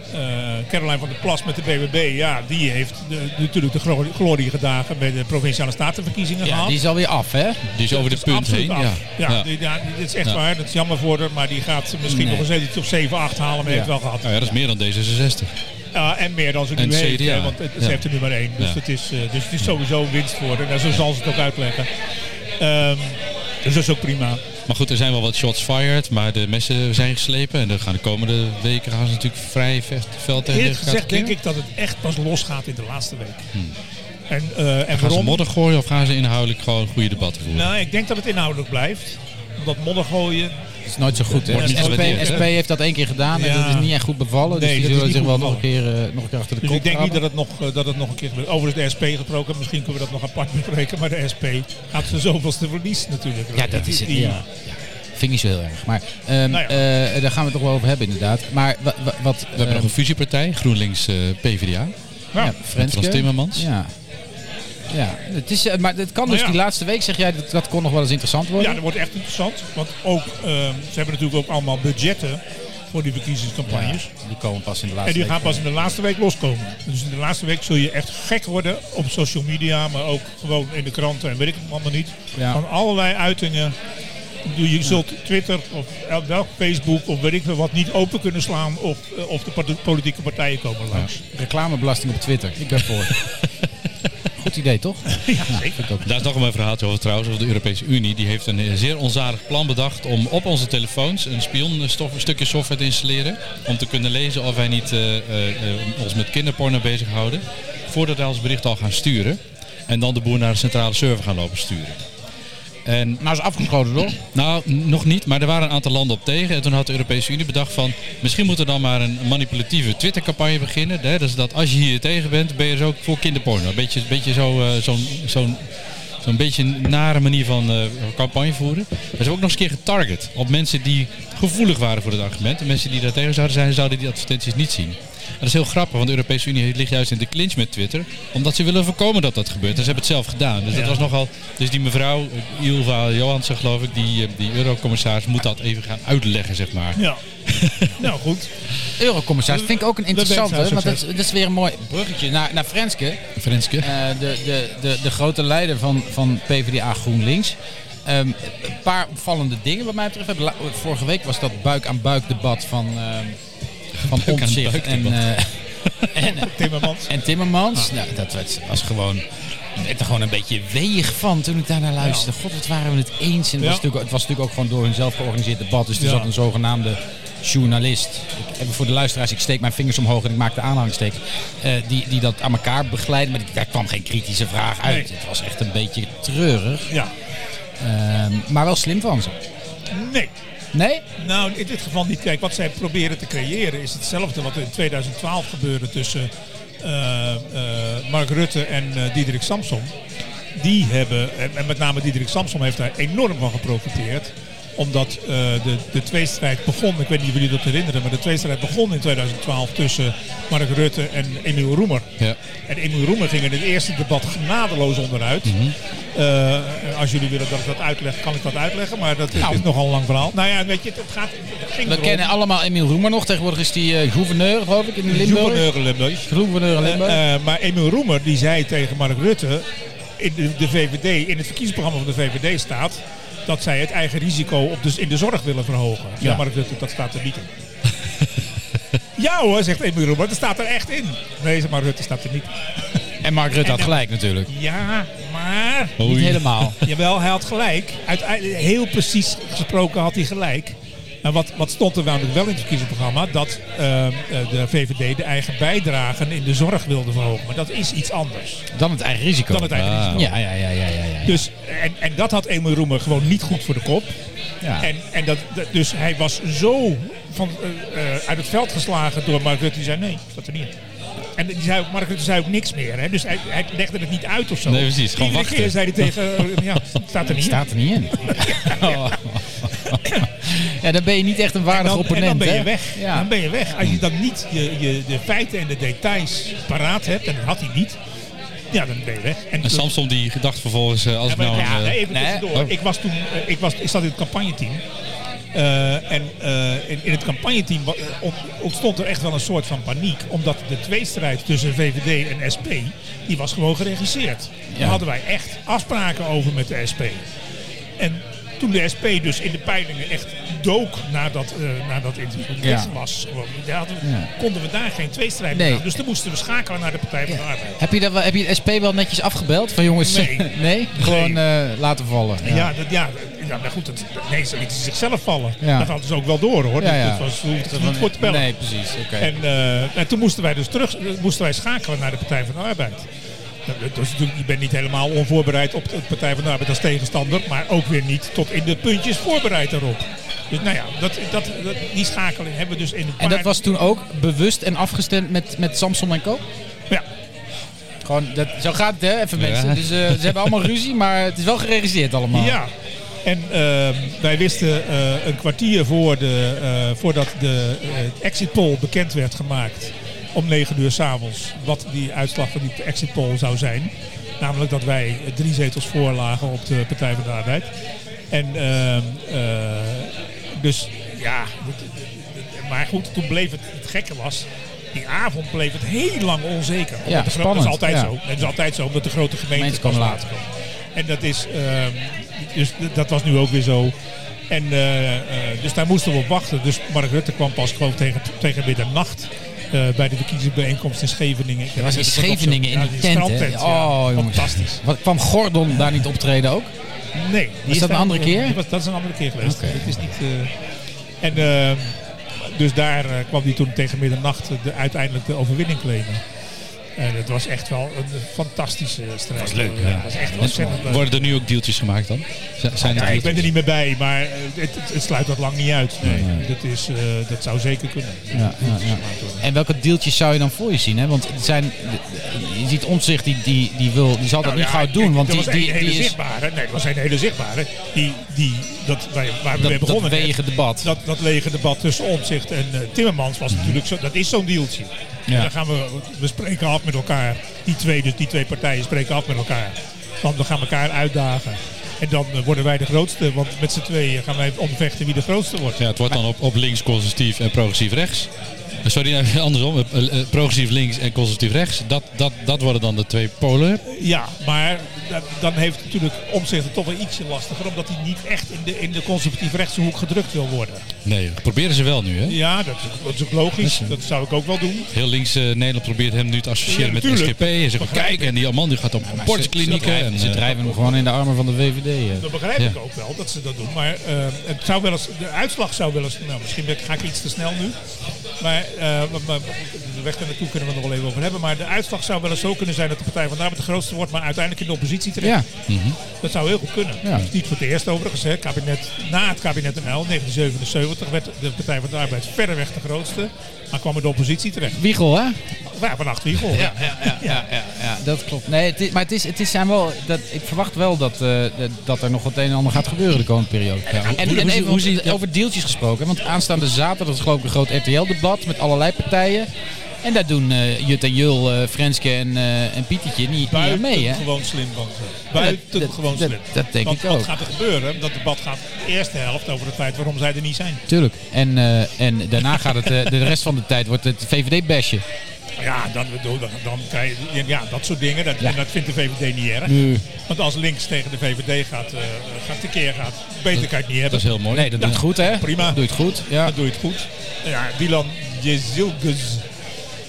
Speaker 4: Caroline van der Plas met de BBB. Ja, die heeft de- natuurlijk de glo- gloriegedagen dagen bij de provinciale statenverkiezingen
Speaker 2: Ja,
Speaker 4: gehad.
Speaker 2: die is alweer af, hè?
Speaker 1: Die is over de
Speaker 4: Dat is
Speaker 1: punt
Speaker 4: absoluut
Speaker 1: heen. Ja.
Speaker 4: af. Ja,
Speaker 1: Ja.
Speaker 4: die- ja, dit is echt
Speaker 1: Ja.
Speaker 4: waar. Dat is jammer voor haar. Maar die gaat misschien
Speaker 2: Nee.
Speaker 4: nog een zeteltje of 7, 8 halen. Maar heeft wel gehad.
Speaker 1: Nou ja, dat is meer dan D66.
Speaker 4: Ja, en meer dan ze nu
Speaker 1: En
Speaker 4: heeft.
Speaker 1: CDA.
Speaker 4: hè, want het- ze
Speaker 1: Ja.
Speaker 4: heeft er nu maar één. Dus,
Speaker 1: Ja.
Speaker 4: het is, eh, dus het is sowieso een winst voor haar. En zo zal ze het ook uitleggen. Ehm, dus dat is ook prima.
Speaker 1: Maar goed, er zijn wel wat shots fired, maar de messen zijn geslepen. En er gaan de komende weken gaan ze natuurlijk vrij vecht, veld tegen
Speaker 4: Eerlijk
Speaker 1: elkaar
Speaker 4: gezegd
Speaker 1: keren.
Speaker 4: denk ik dat het echt pas losgaat in de laatste week. En, eh, en
Speaker 1: Gaan ze
Speaker 4: waarom?
Speaker 1: modder gooien of gaan ze inhoudelijk gewoon goede debatten voeren?
Speaker 4: Nou, ik denk dat het inhoudelijk blijft. Dus Dat modder gooien.
Speaker 2: Dat is nooit zo goed, hè?
Speaker 1: Wordt niet
Speaker 2: SP,
Speaker 1: gewaardeerd, hè?
Speaker 2: SP heeft dat één keer gedaan en
Speaker 4: Ja.
Speaker 2: dat is niet echt goed bevallen.
Speaker 4: Nee,
Speaker 2: dus die
Speaker 4: dat is
Speaker 2: zullen
Speaker 4: niet
Speaker 2: zich wel
Speaker 4: goed
Speaker 2: nog een, keer, eh, nog een keer achter de
Speaker 4: Dus
Speaker 2: kop
Speaker 4: ik denk niet dat
Speaker 2: krabben.
Speaker 4: het, nog, eh, dat het nog een keer gebeurt. Overigens de SP gesproken. Misschien kunnen we dat nog apart [laughs] bespreken. Maar de SP gaat zijn zoveelste verlies natuurlijk.
Speaker 2: Ja, dat is het.
Speaker 4: Die-
Speaker 2: Ja. Ja. Vind ik niet zo heel erg. Maar ehm,
Speaker 4: Nou ja.
Speaker 2: eh, daar gaan we het toch wel over hebben, inderdaad. Maar wa- wa- wat... ehm,
Speaker 1: We hebben nog
Speaker 4: eh,
Speaker 1: een fusiepartij, GroenLinks eh, PvdA.
Speaker 4: Nou,
Speaker 2: ja, Frenske.
Speaker 1: Frans Timmermans.
Speaker 2: Ja. Ja, het is, eh, maar het kan
Speaker 4: Nou
Speaker 2: dus
Speaker 4: ja.
Speaker 2: die laatste week, zeg jij, dat, dat kon nog wel eens interessant worden.
Speaker 4: Ja, dat wordt echt interessant. Want ook, ehm, ze hebben natuurlijk ook allemaal budgetten voor die verkiezingscampagnes.
Speaker 2: Ja, die komen pas in de
Speaker 4: En
Speaker 2: laatste
Speaker 4: die
Speaker 2: week.
Speaker 4: gaan pas in de laatste week loskomen. Dus in de laatste week zul je echt gek worden op social media, maar ook gewoon in de kranten en weet ik het allemaal niet.
Speaker 2: Ja.
Speaker 4: Van allerlei uitingen. Ik bedoel, Je zult Twitter of el- welk Facebook of weet ik veel wat niet open kunnen slaan of, eh, of de part- politieke partijen komen langs.
Speaker 2: Reclamebelasting op Twitter. Ik ben
Speaker 1: [laughs]
Speaker 2: voor. Goed idee, toch? Ja, vind ik ook.
Speaker 1: Daar is nog een verhaaltje over trouwens, over de Europese Unie. Die heeft een eh, zeer onzalig plan bedacht om op onze telefoons een spionstof, een stukje software te installeren. Om te kunnen lezen of wij niet eh, eh, eh, ons met kinderporno bezighouden. Voordat wij ons bericht al gaan sturen. En dan de boer naar de centrale server gaan lopen sturen. En
Speaker 2: Nou is afgeschoten, toch?
Speaker 1: Nou, n- nog niet, maar er waren een aantal landen op tegen. En toen had de Europese Unie bedacht van... misschien moet er dan maar een manipulatieve Twitter-campagne beginnen. Hè? Dus dat als je hier tegen bent, ben je dus ook voor kinderporno. Een beetje, beetje zo, eh, zo'n... zo'n Zo'n beetje een nare manier van eh, campagne voeren. Maar ze hebben ook nog eens een keer getarget op mensen die gevoelig waren voor het argument. En mensen die daar tegen zouden zijn, zouden die advertenties niet zien. En dat is heel grappig, want de Europese Unie ligt juist in de clinch met Twitter. Omdat ze willen voorkomen dat dat gebeurt. En ze hebben het zelf gedaan. Dus dat was nogal. Dus die mevrouw, eh, Ilva Johansen geloof ik, die, eh, die eurocommissaris, moet dat even gaan uitleggen, zeg maar.
Speaker 4: Ja. [laughs] nou goed.
Speaker 2: Eurocommissaris vind ik ook een
Speaker 4: Dat werkt
Speaker 2: interessante.
Speaker 4: nou
Speaker 2: Want dat,
Speaker 4: succes.
Speaker 2: is- dat is weer een mooi bruggetje naar, naar Frenske.
Speaker 1: Frenske.
Speaker 2: Eh, de, de, de, de grote leider van, van PvdA GroenLinks. Ehm, een paar opvallende dingen wat mij betreft. We hebben la- Vorige week was dat buik-aan-buik debat van, ehm van
Speaker 1: Buik aan
Speaker 2: Omtzigt
Speaker 1: buik
Speaker 2: en,
Speaker 1: debat. Ah.
Speaker 2: eh, en,
Speaker 4: Timmermans.
Speaker 2: en Timmermans. Nou, dat was, was gewoon... Ik werd er gewoon een beetje weeg van toen ik daarnaar luisterde. God, wat waren we het eens. En het, was
Speaker 4: Ja.
Speaker 2: natuurlijk, het was natuurlijk ook gewoon door hun zelf georganiseerd debat. Dus er
Speaker 4: Ja.
Speaker 2: zat een zogenaamde journalist. Ik, even voor de luisteraars, ik steek mijn vingers omhoog en ik maak de aanhangsteek. eh, die, die dat aan elkaar begeleidt. Maar die- daar kwam geen kritische vraag uit.
Speaker 4: Nee.
Speaker 2: Het was echt een beetje treurig.
Speaker 4: Ja.
Speaker 2: Ehm, maar wel slim van ze.
Speaker 4: Nee.
Speaker 2: Nee?
Speaker 4: Nou, in dit geval niet. Kijk, wat zij proberen te creëren is hetzelfde wat er in 2012 gebeurde tussen eh, eh, Mark Rutte en eh, Diederik Samsom. Die hebben, en en met name Diederik Samsom heeft daar enorm van geprofiteerd. Omdat eh, de, de tweestrijd begon, ik weet niet of jullie dat herinneren, maar de tweestrijd begon in 2012 tussen Mark Rutte en Emiel Roemer.
Speaker 1: Ja.
Speaker 4: En Emiel Roemer ging in het eerste debat genadeloos onderuit. Eh, als jullie willen dat ik dat uitleg, kan ik dat uitleggen. Maar dat
Speaker 2: Nou.
Speaker 4: is nogal een lang verhaal. Nou ja, weet je, het gaat... Het ging
Speaker 2: We
Speaker 4: erom.
Speaker 2: kennen allemaal Emiel Roemer nog. Tegenwoordig is die eh, gouverneur, geloof ik, in Limburg.
Speaker 4: Gouverneur Limburg.
Speaker 2: Gouverneur in Limburg.
Speaker 4: Eh, eh, maar Emiel Roemer die zei tegen Mark Rutte... In de, de VVD, in het verkiezingsprogramma van de VVD staat... dat zij het eigen risico op de, in de zorg willen verhogen. Ja,
Speaker 2: Ja.
Speaker 4: Mark Rutte, dat staat er niet in. [laughs] ja hoor, zegt Emiel Roemer, dat staat er echt in. Nee, zegt Mark Rutte, staat er niet.
Speaker 2: eh, en Mark Rutte had
Speaker 4: en-
Speaker 2: gelijk natuurlijk.
Speaker 4: Ja, maar...
Speaker 1: Oei.
Speaker 2: Niet helemaal.
Speaker 4: Jawel, hij had gelijk. Uiteindelijk, heel precies gesproken had hij gelijk. En wat, wat stond er namelijk wel in het verkiezingsprogramma? Dat ehm, eh, de VVD de eigen bijdragen in de zorg wilde verhogen. Maar dat is iets anders
Speaker 2: Dan het eigen risico.
Speaker 4: dan het eigen
Speaker 1: Ah.
Speaker 4: risico.
Speaker 2: Ja, ja, ja, ja, ja. ja.
Speaker 4: Dus, en, en dat had Emil Roemer gewoon niet goed voor de kop.
Speaker 2: Ja.
Speaker 4: En, en dat, dat- dus hij was zo van, eh, eh, uit het veld geslagen door Mark Rutte. Die zei, nee, dat er niet. in. En die zei, ook- Mark Rutte zei ook niks meer. Hè? Dus hij, hij legde het niet uit of zo.
Speaker 1: Nee, precies. Gewoon
Speaker 4: Iedere keer
Speaker 1: wachten.
Speaker 4: zei hij tegen, eh, ja, staat er niet in.
Speaker 2: Staat er
Speaker 4: [laughs]
Speaker 2: niet in. Oh. ja, dan ben je niet echt een
Speaker 4: En
Speaker 2: waardig
Speaker 4: dan, en
Speaker 2: opponent.
Speaker 4: dan ben je
Speaker 2: hè?
Speaker 4: weg.
Speaker 2: Ja.
Speaker 4: Dan ben je weg. Als je dan niet je, je, de feiten en de details paraat hebt, en dat had hij niet, ja, dan ben je weg. En,
Speaker 1: En Samson die gedacht vervolgens, eh, als
Speaker 4: Ja,
Speaker 1: ik
Speaker 4: maar-
Speaker 1: nou...
Speaker 4: ja,
Speaker 1: een, eh,
Speaker 4: even
Speaker 2: nee.
Speaker 4: tussendoor.
Speaker 2: Oh.
Speaker 4: Ik was toen, eh, ik, was, ik zat in het campagneteam. Eh, en eh, in, in het campagneteam wa- eh, ont- ontstond er echt wel een soort van paniek. Omdat de tweestrijd tussen VVD en SP, die was gewoon geregisseerd. Daar hadden wij echt afspraken over met de SP. En toen de SP dus in de peilingen echt dook naar dat, eh naar dat interview.
Speaker 2: Ja.
Speaker 4: Dat was gewoon, daar hadden we-
Speaker 2: Ja.
Speaker 4: konden we daar geen tweestrijd
Speaker 2: Nee.
Speaker 4: mee aan. Dus dan moesten we schakelen naar de Partij van de Arbeid.
Speaker 2: Heb je, dat wel, heb je het SP wel netjes afgebeld? Van jongens, [laughs]
Speaker 4: Nee.
Speaker 2: Gewoon eh, laten vallen.
Speaker 4: Ja, dat, ja, ja maar goed, het, nee, ze lieten zichzelf vallen.
Speaker 2: Ja.
Speaker 4: Dat hadden ze ook wel door hoor.
Speaker 2: Ja,
Speaker 4: Dus
Speaker 2: ja.
Speaker 4: Dat was hoe het niet voor te bellen.
Speaker 2: Nee, precies. Oké.
Speaker 4: En, eh, en toen moesten wij dus terug, moesten wij schakelen naar de Partij van de Arbeid. Dat- dat- Dus natuurlijk, je bent niet helemaal onvoorbereid op de Partij van de Arbeid als tegenstander, maar ook weer niet tot in de puntjes voorbereid daarop. Dus nou ja, dat, dat, dat- die schakeling hebben we dus in een paar...
Speaker 2: En dat was toen ook bewust en afgestemd met, met Samson en Co?
Speaker 4: Ja,
Speaker 2: Gewoon, dat, zo gaat het hè, even
Speaker 1: Ja.
Speaker 2: mensen. Dus eh, ze hebben allemaal ruzie, maar het is wel geregisseerd allemaal.
Speaker 4: Ja. En ehm, wij wisten eh, een kwartier voor de, eh, voordat de eh, exit poll bekend werd gemaakt. Om 9 uur s'avonds. Wat die uitslag van die exit poll zou zijn. Namelijk dat wij eh, drie zetels voor lagen op de Partij van de Arbeid. En ehm, eh, dus ja. dat- dat- dat- Maar goed, toen bleef het, het gekke was. Die avond bleef het heel lang onzeker. Omdat de gro-
Speaker 2: spannend,
Speaker 4: Dat is altijd
Speaker 2: ja.
Speaker 4: zo. Dat is altijd zo, omdat de grote gemeente
Speaker 2: Mensen komen
Speaker 4: pas
Speaker 2: later.
Speaker 4: en dat is, ehm, dus d- dat was nu ook weer zo. En, eh, eh, dus daar moesten we op wachten. Dus Mark Rutte kwam pas gewoon tegen, tegen middernacht. eh bij de verkiezingsbijeenkomst in Scheveningen. Ik
Speaker 2: Dat was in
Speaker 4: weet het ook nog zo.
Speaker 2: Scheveningen in
Speaker 4: Ja,
Speaker 2: die tent. hè?
Speaker 4: strandtent, ja.
Speaker 2: Oh jongens.
Speaker 4: Fantastisch.
Speaker 2: Wat, kwam Gordon daar niet optreden ook?
Speaker 4: Nee. die
Speaker 2: dat een
Speaker 4: daar-
Speaker 2: andere keer?
Speaker 4: die was- dat is een andere keer geweest.
Speaker 2: Oké.
Speaker 4: Het is niet, eh, en ehm, dus daar eh, kwam hij toen tegen middernacht eh, de, uiteindelijk de overwinning claimen. En het was echt wel een fantastische eh, strijd. Dat was leuk. Het was echt ontzettend leuk.
Speaker 1: Worden er nu ook deeltjes gemaakt dan? Z- Zijn er
Speaker 4: Ja, ik ben er
Speaker 1: deeltjes?
Speaker 4: niet meer bij, maar eh, het, het, het sluit dat lang niet uit. Nee, Dat, is, eh, dat zou zeker kunnen.
Speaker 2: Ja, ja, ja. En welke deeltjes zou je dan voor je zien? Hè? Want het zijn, je ziet omzicht die, die, die, wil, die
Speaker 4: Nou
Speaker 2: zal dat niet gauw doen. Want
Speaker 4: dat
Speaker 2: die,
Speaker 4: was een
Speaker 2: die,
Speaker 4: hele
Speaker 2: die is
Speaker 4: zichtbare. Nee, dat was een hele zichtbare. Die, die, dat, wij- waar we
Speaker 2: dat,
Speaker 4: mee
Speaker 2: dat
Speaker 4: begonnen.
Speaker 2: wege debat.
Speaker 4: dat, dat lege debat tussen Omzicht en eh, Timmermans was natuurlijk zo. Dat is zo'n dealtje.
Speaker 2: Ja.
Speaker 4: Dan gaan we, we spreken af met elkaar. Die twee, dus die twee partijen spreken af met elkaar. Want we gaan elkaar uitdagen. En dan eh, worden wij de grootste. Want met z'n tweeën gaan wij omvechten wie de grootste wordt.
Speaker 1: Ja, het wordt dan op, op links conservatief en progressief rechts. Eh, Sorry, nou, [laughs] andersom. Eh, eh, Progressief links en conservatief rechts. Dat, dat, dat worden dan de twee polen.
Speaker 4: Ja, maar da- dan heeft natuurlijk Omtzigt het toch wel ietsje lastiger. Omdat hij niet echt in de, in de conservatief rechtse hoek gedrukt wil worden.
Speaker 1: Nee, dat proberen ze wel nu. Hè?
Speaker 4: Ja, dat is, dat is ook logisch. Dat zou ik ook wel doen.
Speaker 1: Heel links eh, Nederland probeert hem nu te associëren
Speaker 4: Ja,
Speaker 1: met
Speaker 4: natuurlijk.
Speaker 1: SGP. En zeggen,
Speaker 4: Begrijp
Speaker 1: kijk, en die man die gaat op borstklinieken.
Speaker 2: Ze,
Speaker 1: En,
Speaker 2: ze
Speaker 1: eh,
Speaker 2: drijven hem gewoon in de armen van de VVD. hè.
Speaker 4: Dat begrijp ik ook wel dat ze dat doen. Maar eh, het zou wel eens, de uitslag zou wel eens. Nou, misschien ben ik- ga ik iets te snel nu. Maar eh, maar- maar de weg daar naartoe kunnen we nog wel even over hebben. Maar de uitslag zou wel eens zo kunnen zijn dat de Partij van de Arbeid de grootste wordt. Maar uiteindelijk in de oppositie terecht.
Speaker 2: Ja,
Speaker 4: Dat zou heel goed kunnen.
Speaker 2: Ja.
Speaker 4: Het is Niet voor het eerst overigens. Hè. Kabinet, na het kabinet NL, 1977, werd de Partij van de Arbeid verreweg de grootste. Maar kwam er de oppositie terecht.
Speaker 2: Wiegel hè?
Speaker 4: Ja, vannacht wie voor. Ja.
Speaker 2: ja, ja, ja, dat klopt. Nee, het is, maar het is, het is zijn wel, dat, ik verwacht wel dat, eh, dat er nog wat een en ander gaat gebeuren de komende periode. en en
Speaker 1: hoe-
Speaker 2: even
Speaker 1: hoe zie je-
Speaker 2: over, over deeltjes gesproken. Want aanstaande zaterdag is geloof ik een groot RTL-debat met allerlei partijen. En daar doen eh, Jut en Jul, eh, Frenske en, eh en Pietertje niet, niet aan mee. Hè?
Speaker 4: Buitengewoon slim van ze.
Speaker 2: Ja, dat-
Speaker 4: Buitengewoon
Speaker 2: dat-
Speaker 4: slim.
Speaker 2: dat denk
Speaker 4: Want
Speaker 2: ik ook.
Speaker 4: wat gaat er gebeuren? Dat debat gaat de eerste helft over het feit waarom zij er niet zijn.
Speaker 2: Tuurlijk. En, eh, en daarna gaat het, eh, de rest van de tijd wordt het VVD-basje.
Speaker 4: Ja, dan, dan, dan krijg je ja, dat soort dingen. Dat,
Speaker 2: Ja.
Speaker 4: En dat vindt de VVD niet erg.
Speaker 2: Nee.
Speaker 4: Want als links tegen de VVD gaat, eh gaat tekeer gaat, beter kan je het niet
Speaker 1: dat
Speaker 4: hebben.
Speaker 1: is heel mooi.
Speaker 2: Nee, dat doet het goed hè?
Speaker 4: prima.
Speaker 2: Dat doet het goed. Ja.
Speaker 4: Dan doe je het goed. Ja, Wilan Jezilgus.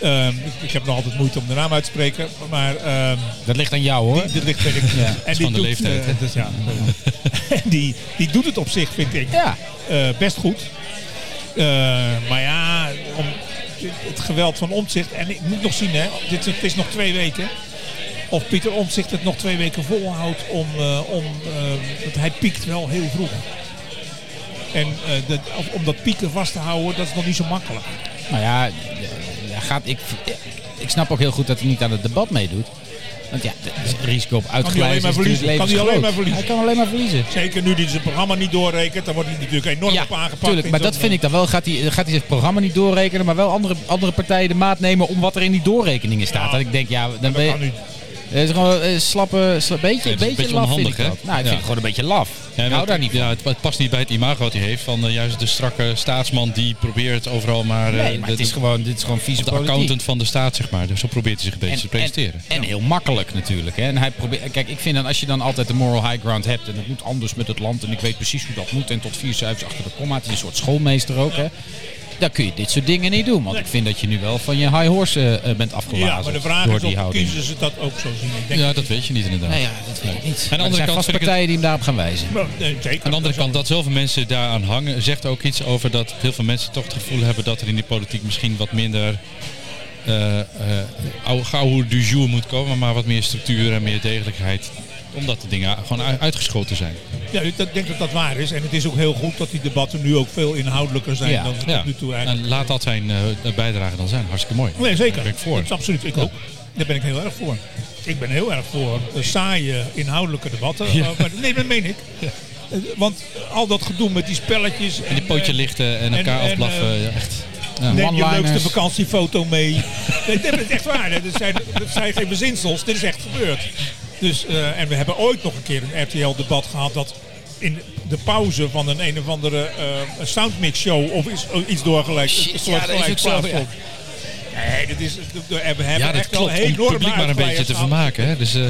Speaker 4: Ehm, ik, ik heb nog altijd moeite om de naam uit te spreken. Maar ehm,
Speaker 2: Dat ligt aan jou hoor.
Speaker 4: die- dit ligt weet ik.
Speaker 2: Ja,
Speaker 4: en
Speaker 1: van de leeftijd,
Speaker 4: eh,
Speaker 1: hè?
Speaker 2: [laughs]
Speaker 4: dus ja. En die, die doet het op zich, vind ik,
Speaker 2: Ja.
Speaker 4: eh, best goed. Eh, maar ja, om het geweld van Omtzigt. En ik moet nog zien, hè, dit, is- het is nog twee weken. Of Pieter Omtzigt het nog twee weken volhoudt om... eh, om eh, want hij piekt wel heel vroeg. En eh, dat, of- om dat pieken vast te houden, dat is nog niet zo makkelijk.
Speaker 2: Nou ja, ja, gaat, ik, ik snap ook heel goed dat hij niet aan het debat meedoet. Want ja, het risico op uitglijden is
Speaker 4: alleen maar
Speaker 2: natuurlijk
Speaker 4: verliezen. Kan hij
Speaker 2: levensgroot.
Speaker 4: alleen maar verliezen.
Speaker 2: Hij kan alleen maar verliezen.
Speaker 4: Zeker nu die zijn programma niet doorrekent, dan wordt hij natuurlijk enorm op aangepakt.
Speaker 2: tuurlijk,
Speaker 4: in
Speaker 2: maar
Speaker 4: zo'n-
Speaker 2: dat vind ik dan wel. Gaat hij, gaat hij het programma niet doorrekenen, maar wel andere, andere partijen de maat nemen om wat er in die doorrekeningen staat.
Speaker 4: Ja.
Speaker 2: Dat ik denk, ja, dan ben
Speaker 4: Nou, Dat
Speaker 2: je...
Speaker 4: kan niet.
Speaker 2: Het is gewoon een slappe, sla- beetje,
Speaker 1: Ja, het is
Speaker 2: beetje,
Speaker 1: een beetje
Speaker 2: laf
Speaker 1: onhandig,
Speaker 2: vind ik
Speaker 1: hè?
Speaker 2: dat. Nou,
Speaker 1: Ja.
Speaker 2: ik vind het gewoon een beetje laf.
Speaker 1: Ja,
Speaker 2: ik
Speaker 1: maar
Speaker 2: hou
Speaker 1: het-
Speaker 2: daar niet van.
Speaker 1: ja, het, het past niet bij het imago wat hij heeft van eh, juist de strakke staatsman die probeert overal maar, eh,
Speaker 2: Nee, maar
Speaker 1: de,
Speaker 2: het is gewoon, dit is gewoon vieze
Speaker 1: de
Speaker 2: politiek.
Speaker 1: accountant van de staat, zeg maar. Dus zo probeert hij zich een beetje te presenteren.
Speaker 2: En, en heel makkelijk natuurlijk. Hè. En hij probeert, kijk, ik vind dan als je dan altijd de moral high ground hebt en het moet anders met het land en ik weet precies hoe dat moet en tot vier cijfers achter de komma, het is een soort schoolmeester ook. Hè. Dan kun je dit soort dingen niet doen, want ik vind dat je nu wel van je high horse eh, eh, bent afgeladen
Speaker 4: Ja, maar de vraag
Speaker 2: door
Speaker 4: is
Speaker 2: die
Speaker 4: of
Speaker 2: houding.
Speaker 4: kiezen ze dat ook zo zien. Ik denk,
Speaker 1: ja, dat weet je niet inderdaad.
Speaker 2: Nou ja, dat weet ik
Speaker 1: Aan
Speaker 2: niet.
Speaker 1: de
Speaker 2: Maar er
Speaker 1: andere
Speaker 2: zijn
Speaker 1: kant
Speaker 2: vast
Speaker 1: vind ik het-
Speaker 2: partijen die hem daarop gaan wijzen.
Speaker 4: Nou, nee, zeker.
Speaker 1: Aan de andere
Speaker 4: Dat
Speaker 1: kant, dat zoveel mensen daaraan hangen, zegt ook iets over dat heel veel mensen toch het gevoel hebben dat er in die politiek misschien wat minder eh eh oude gauw du jour moet komen, maar wat meer structuur en meer degelijkheid. Omdat de dingen gewoon u- uitgeschoten zijn.
Speaker 4: is- Ja, ik dat- denk dat dat waar is. En het is ook heel goed dat die debatten nu ook veel inhoudelijker zijn
Speaker 2: Ja,
Speaker 4: dan ze
Speaker 1: Ja.
Speaker 4: tot nu toe eigenlijk.
Speaker 1: En laat dat zijn eh, bijdrage dan zijn. Hartstikke mooi.
Speaker 4: Nee, zeker.
Speaker 1: Daar ben ik voor.
Speaker 4: Dat is absoluut. Ik ook. Daar ben ik heel erg voor. Ik ben heel erg voor eh, saaie inhoudelijke debatten. Eh, maar- nee, dat meen ik. Eh, Want al dat gedoe met die spelletjes.
Speaker 1: En die pootje lichten en
Speaker 4: en- eh,
Speaker 1: elkaar
Speaker 4: en,
Speaker 1: afblaffen.
Speaker 4: eh,
Speaker 1: ja, echt.
Speaker 4: Neem je
Speaker 2: one-liners.
Speaker 4: leukste vakantiefoto mee. [laughs] nee, dit is echt waar. hè. Dat zijn, dat zijn geen bezinsels. Dit is echt gebeurd. Dus, eh, en we hebben ooit nog een keer een RTL-debat gehad dat in de pauze van een een of andere eh soundmix-show of is, of iets doorgelijks.
Speaker 2: Shit,
Speaker 4: een
Speaker 2: ja,
Speaker 4: soort
Speaker 2: dat is
Speaker 4: gelijk
Speaker 2: ook zo, ja.
Speaker 4: plaatsvond. Nee, dat is, dat- we hebben
Speaker 1: Ja, dat
Speaker 4: echt wel
Speaker 1: klopt. Om het
Speaker 4: enorme
Speaker 1: publiek maar een beetje
Speaker 4: uitglijers
Speaker 1: te
Speaker 4: gehad.
Speaker 1: vermaken. Hè? Dus, eh,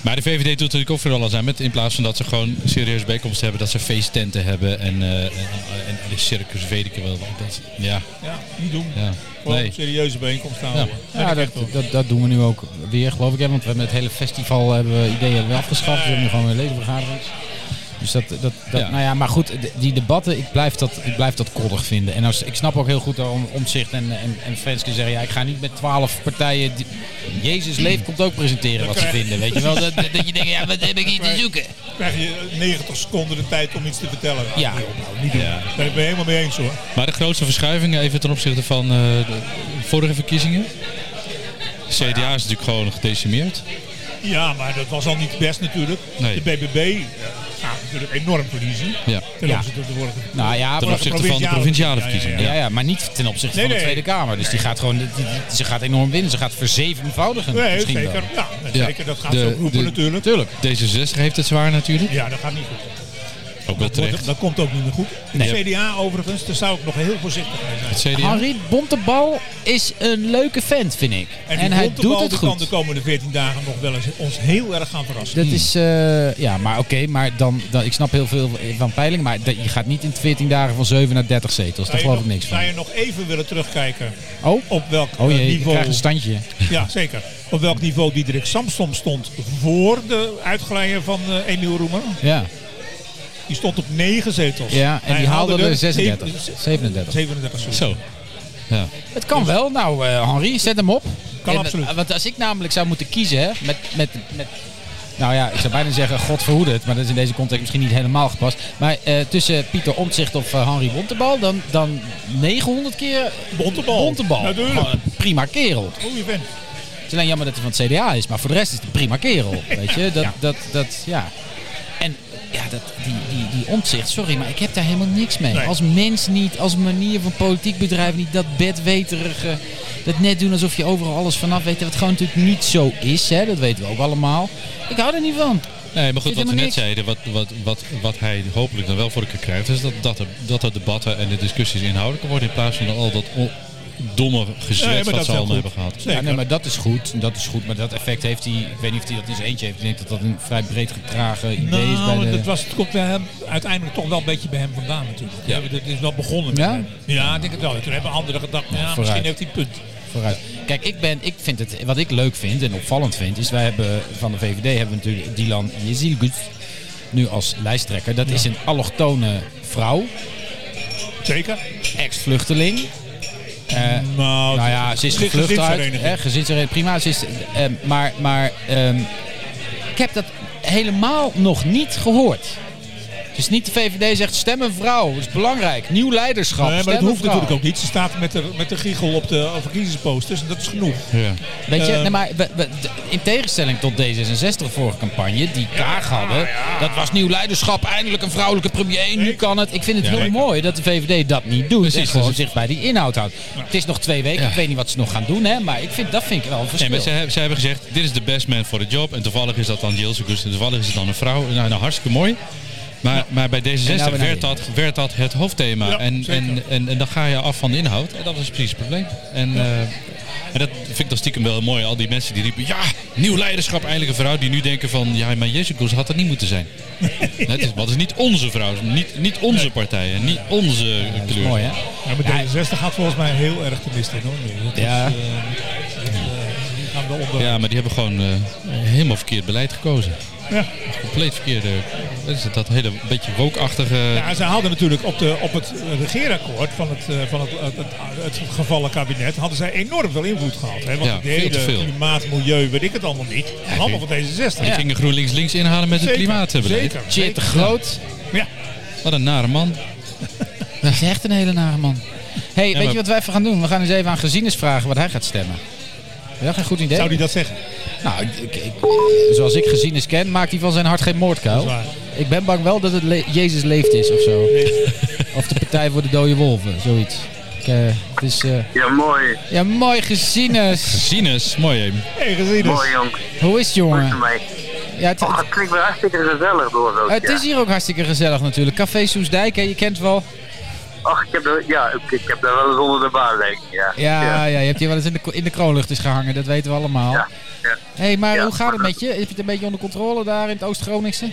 Speaker 1: maar de VVD doet natuurlijk ook voor alles aan met. In plaats van dat ze gewoon serieus bijkomst hebben. Dat ze feesttenten hebben. En, eh en, en de circus weet ik wel. Dat, ja,
Speaker 4: Ja, niet doen.
Speaker 1: ja.
Speaker 4: Gewoon
Speaker 1: Nee.
Speaker 4: een serieuze bijeenkomst
Speaker 1: Ja.
Speaker 4: houden.
Speaker 2: Ja, dat, dat, dat doen we nu ook weer, geloof ik. Hè? Want we hebben het hele festival eh, hebben we ideeën hebben we afgeschaft. We hebben nu gewoon weer ledenvergaderingen. Dus dat, dat, dat
Speaker 1: Ja.
Speaker 2: nou ja, maar goed, d- die debatten, ik blijf dat, ik blijf dat koddig vinden. En als, ik snap ook heel goed om omzicht en, en, en fans die zeggen, ja, ik ga niet met twaalf partijen, die, Jezus leeft komt ook presenteren wat ze
Speaker 4: krijg-
Speaker 2: vinden. Weet je wel, dat, dat je denkt, ja, wat heb ik hier te zoeken?
Speaker 4: Dan krijg je 90 seconden de tijd om iets te vertellen.
Speaker 2: Ja.
Speaker 4: Nou, niet doen.
Speaker 1: Ja.
Speaker 4: Daar ben ik helemaal mee eens hoor.
Speaker 1: Maar de grootste verschuiving even ten opzichte van eh, de vorige verkiezingen. CDA is natuurlijk gewoon gedecimeerd.
Speaker 4: Ja, maar dat was al niet best natuurlijk.
Speaker 1: Nee.
Speaker 4: De BBB eh, gaat natuurlijk enorm verliezen.
Speaker 1: Ja.
Speaker 4: Ten
Speaker 2: Ja.
Speaker 4: opzichte van de vorige.
Speaker 2: Nou ja,
Speaker 1: Ten
Speaker 2: maar-
Speaker 1: opzichte van de provinciale verkiezingen.
Speaker 2: ja, ja, maar niet ten opzichte
Speaker 4: Nee,
Speaker 2: van de
Speaker 4: nee.
Speaker 2: Tweede Kamer. Dus die gaat gewoon, die- die- die- ze gaat enorm winnen. Ze gaat verzevenvoudigen.
Speaker 4: Nee,
Speaker 2: misschien wel.
Speaker 4: zeker. Ja,
Speaker 1: Ja.
Speaker 4: zeker. Dat gaat
Speaker 1: De-
Speaker 4: ze ook roepen
Speaker 1: de-
Speaker 4: natuurlijk.
Speaker 1: D66 heeft het zwaar natuurlijk.
Speaker 4: Ja, dat gaat niet goed.
Speaker 1: Ook wel
Speaker 4: Dat,
Speaker 1: terecht.
Speaker 4: dat komt ook niet meer goed.
Speaker 2: Nee.
Speaker 4: De CDA overigens, daar zou ik nog heel voorzichtig mee zijn.
Speaker 1: Het CDA.
Speaker 2: Henri Bontebal is een leuke vent, vind ik. En, hij
Speaker 4: die Bontebal,
Speaker 2: doet het
Speaker 4: die
Speaker 2: goed.
Speaker 4: kan de komende 14 dagen nog wel eens ons heel erg gaan verrassen.
Speaker 2: Dat is, eh, ja, maar oké, maar dan, dan, ik snap heel veel van peiling, maar dat, je gaat niet in 14 dagen van 7 naar 30 zetels. Daar
Speaker 4: Zou je
Speaker 2: geloof ik
Speaker 4: nog-
Speaker 2: niks van.
Speaker 4: Zou je nog even willen terugkijken
Speaker 2: Oh,
Speaker 4: op welk
Speaker 2: oh
Speaker 4: eh,
Speaker 2: jee, ik
Speaker 4: niveau...
Speaker 2: krijg een standje.
Speaker 4: Ja, zeker. Op welk niveau Diederik Samsom stond voor de uitglijden van eh, Emiel Roemer?
Speaker 2: Ja,
Speaker 4: Die stond op 9 zetels.
Speaker 2: ja en
Speaker 4: Hij
Speaker 2: die haalde er 36,
Speaker 4: 37.
Speaker 2: 37.
Speaker 4: 37, sorry.
Speaker 1: Zo. Ja.
Speaker 2: Het kan wel. Nou, eh Henri, zet hem op.
Speaker 4: Kan
Speaker 2: En,
Speaker 4: absoluut.
Speaker 2: eh, want als ik namelijk zou moeten kiezen hè, met, met, met... Nou ja, ik zou bijna zeggen, god verhoede het. Maar dat is in deze context misschien niet helemaal gepast. Maar eh, tussen Pieter Omtzigt of eh, Henri Bontebal, dan, dan 900 keer
Speaker 4: Bontebal.
Speaker 2: Bontebal.
Speaker 4: Natuurlijk.
Speaker 2: Gewoon een prima kerel.
Speaker 4: Goeie vent.
Speaker 2: Het is alleen jammer dat hij van het CDA is. Maar voor de rest is het een prima
Speaker 4: [laughs]
Speaker 2: kerel. Weet je, dat, dat, dat, ja. En ja, dat, die, die, die Omtzigt, sorry, maar ik heb daar helemaal niks mee.
Speaker 4: Nee.
Speaker 2: Als mens niet, als manier van politiek bedrijven niet, dat bedweterige, dat net doen alsof je overal alles vanaf weet. Wat gewoon natuurlijk niet zo is, hè, dat weten we ook allemaal. Ik hou er niet van.
Speaker 1: Nee, maar goed,
Speaker 2: Zit
Speaker 1: wat we
Speaker 2: helemaal
Speaker 1: net
Speaker 2: niks.
Speaker 1: zeiden, wat, wat, wat, wat hij hopelijk dan wel voor elkaar krijgt, is dat, dat, er, dat er debatten en de discussies inhoudelijker worden in plaats van al dat on- domme
Speaker 4: Nee,
Speaker 1: gezwets
Speaker 4: maar dat
Speaker 1: wat
Speaker 4: is
Speaker 1: ze
Speaker 4: wel
Speaker 1: allemaal hebben
Speaker 4: goed.
Speaker 1: gehad.
Speaker 4: Zeker.
Speaker 2: Ja, nee, maar dat is goed. Dat is goed. Maar dat effect heeft hij, ik weet niet of hij dat in zijn eentje heeft. Ik denk dat dat een vrij breed gedragen idee is bij
Speaker 4: Nou,
Speaker 2: de...
Speaker 4: dat was, het komt bij hem uiteindelijk toch wel een beetje bij hem vandaan natuurlijk. Ja. Het is wel begonnen met
Speaker 2: Ja?
Speaker 4: hem. Ja, ik denk het wel. Toen hebben anderen gedacht, nou ja,
Speaker 2: vooruit.
Speaker 4: misschien heeft hij een punt.
Speaker 2: vooruit. Kijk, ik ben, ik vind het, wat ik leuk vind en opvallend vind, is wij hebben van de VVD hebben we natuurlijk Dylan Jezilgut nu als lijsttrekker. Dat is een allochtone vrouw,
Speaker 4: Zeker.
Speaker 2: ex-vluchteling. Eh,
Speaker 4: Nou,
Speaker 2: nou ja, ze is gevlucht uit.
Speaker 4: gezinsvereniging.
Speaker 2: Hè, gezinshereniging, prima. Ze is, ehm, maar maar ehm, ik heb dat helemaal nog niet gehoord. Dus niet de VVD zegt stem een vrouw. Dat is belangrijk. Nieuw leiderschap.
Speaker 4: Nee, maar
Speaker 2: stem
Speaker 4: dat
Speaker 2: een
Speaker 4: hoeft
Speaker 2: vrouw.
Speaker 4: natuurlijk ook niet. Ze staat met de, met de giegel op de verkiezingsposters en dat is genoeg.
Speaker 1: Ja.
Speaker 2: Weet je,
Speaker 4: Ehm.
Speaker 2: nee, maar we- we- de- in tegenstelling tot D66 vorige campagne, die Kaag hadden, dat was nieuw leiderschap, eindelijk een vrouwelijke premier, nu kan het. Ik vind het heel
Speaker 4: zeker.
Speaker 2: mooi dat de VVD dat niet doet
Speaker 1: Precies,
Speaker 2: en gewoon
Speaker 1: dat is-
Speaker 2: zich bij die inhoud houdt. Het is nog twee weken,
Speaker 1: Ja.
Speaker 2: ik weet niet wat ze nog gaan doen, hè, maar ik vind, dat vind ik wel een
Speaker 1: Nee,
Speaker 2: verschil.
Speaker 1: maar ze, hebben- ze hebben gezegd, dit is de best man voor de job. En toevallig is dat dan Jill Segus. En toevallig is het dan een vrouw. Nou, nou hartstikke mooi. Maar, maar bij
Speaker 2: En
Speaker 1: D66
Speaker 2: nou weer naar
Speaker 1: werd, dat, werd dat het hoofdthema.
Speaker 4: Ja,
Speaker 1: en,
Speaker 4: zeker.
Speaker 1: en, en, en dan ga je af van de inhoud. En dat is precies het probleem. En, eh, en dat vind ik dan stiekem wel mooi. Al die mensen die riepen, ja, nieuw leiderschap, eindelijk een vrouw. Die nu denken van, ja, maar Jezus had dat niet moeten zijn. het, is, want het is niet onze vrouw. Niet, niet onze partij. En niet onze
Speaker 2: dat
Speaker 1: kleur.
Speaker 2: is mooi, hè?
Speaker 4: Ja, maar D66 gaat volgens mij heel erg de mist in hoor. nu. Dat is,
Speaker 2: Ja.
Speaker 4: eh, dat is, eh, die gaan we onder.
Speaker 1: Ja, maar die hebben gewoon eh, helemaal verkeerd beleid gekozen.
Speaker 4: Ja.
Speaker 1: compleet verkeerde. Dat is het, dat hele beetje wookachtige. Ja,
Speaker 4: Ja, ze hadden natuurlijk op, de, op het eh, regeerakkoord van het, eh, van het, het, het, het gevallen kabinet hadden zij enorm veel invloed gehad. Hè? Want
Speaker 1: Ja,
Speaker 4: de
Speaker 1: veel te
Speaker 4: hele
Speaker 1: veel.
Speaker 4: klimaat, milieu, weet ik het allemaal niet. allemaal van D66.
Speaker 1: Die gingen GroenLinks links inhalen met het
Speaker 4: Zeker,
Speaker 1: klimaatbeleid.
Speaker 4: zeker.
Speaker 2: Shit, de groot.
Speaker 4: Ja.
Speaker 1: Wat een nare man.
Speaker 2: Dat is echt een hele nare man. hey, weet
Speaker 1: maar-
Speaker 2: je wat wij even gaan doen? We gaan eens even aan Gezienis vragen wat hij gaat stemmen. Is dat geen goed idee?
Speaker 4: Zou die dat zeggen?
Speaker 2: Nou, ik- ik- ik- zoals ik gezien is ken, maakt hij van zijn hart geen moordkuil.
Speaker 4: Dat is waar.
Speaker 2: Ik ben bang wel dat het le- Jezus leeft is of
Speaker 1: [laughs]
Speaker 2: zo. Of de Partij voor de Dode Wolven, zoiets. Ik, eh, het is, eh,
Speaker 3: Ja, mooi.
Speaker 2: ja, mooi gezien is.
Speaker 1: Sinus, mooi hè.
Speaker 4: Hey, gezien dus.
Speaker 3: Mooi, jongens.
Speaker 2: Hoe is het, jongen?
Speaker 3: Mij.
Speaker 2: Ja, het,
Speaker 3: Oh,
Speaker 2: het-
Speaker 3: het klinkt weer hartstikke gezellig door zo.
Speaker 2: het is hier ook hartstikke gezellig natuurlijk. Café Soesdijk, hè, je kent wel.
Speaker 3: Ach, ik heb, er, ja, ik, ik heb daar wel eens onder de baan, denk ik. Ja,
Speaker 2: Ja, ja. je hebt hier wel eens in de, ko- in de kroonlucht is gehangen, dat weten we allemaal.
Speaker 3: Ja, ja.
Speaker 2: hey, maar
Speaker 3: Ja,
Speaker 2: hoe gaat het
Speaker 3: maar
Speaker 2: met je? Heb je het een beetje onder controle daar in het Oost-Groningse?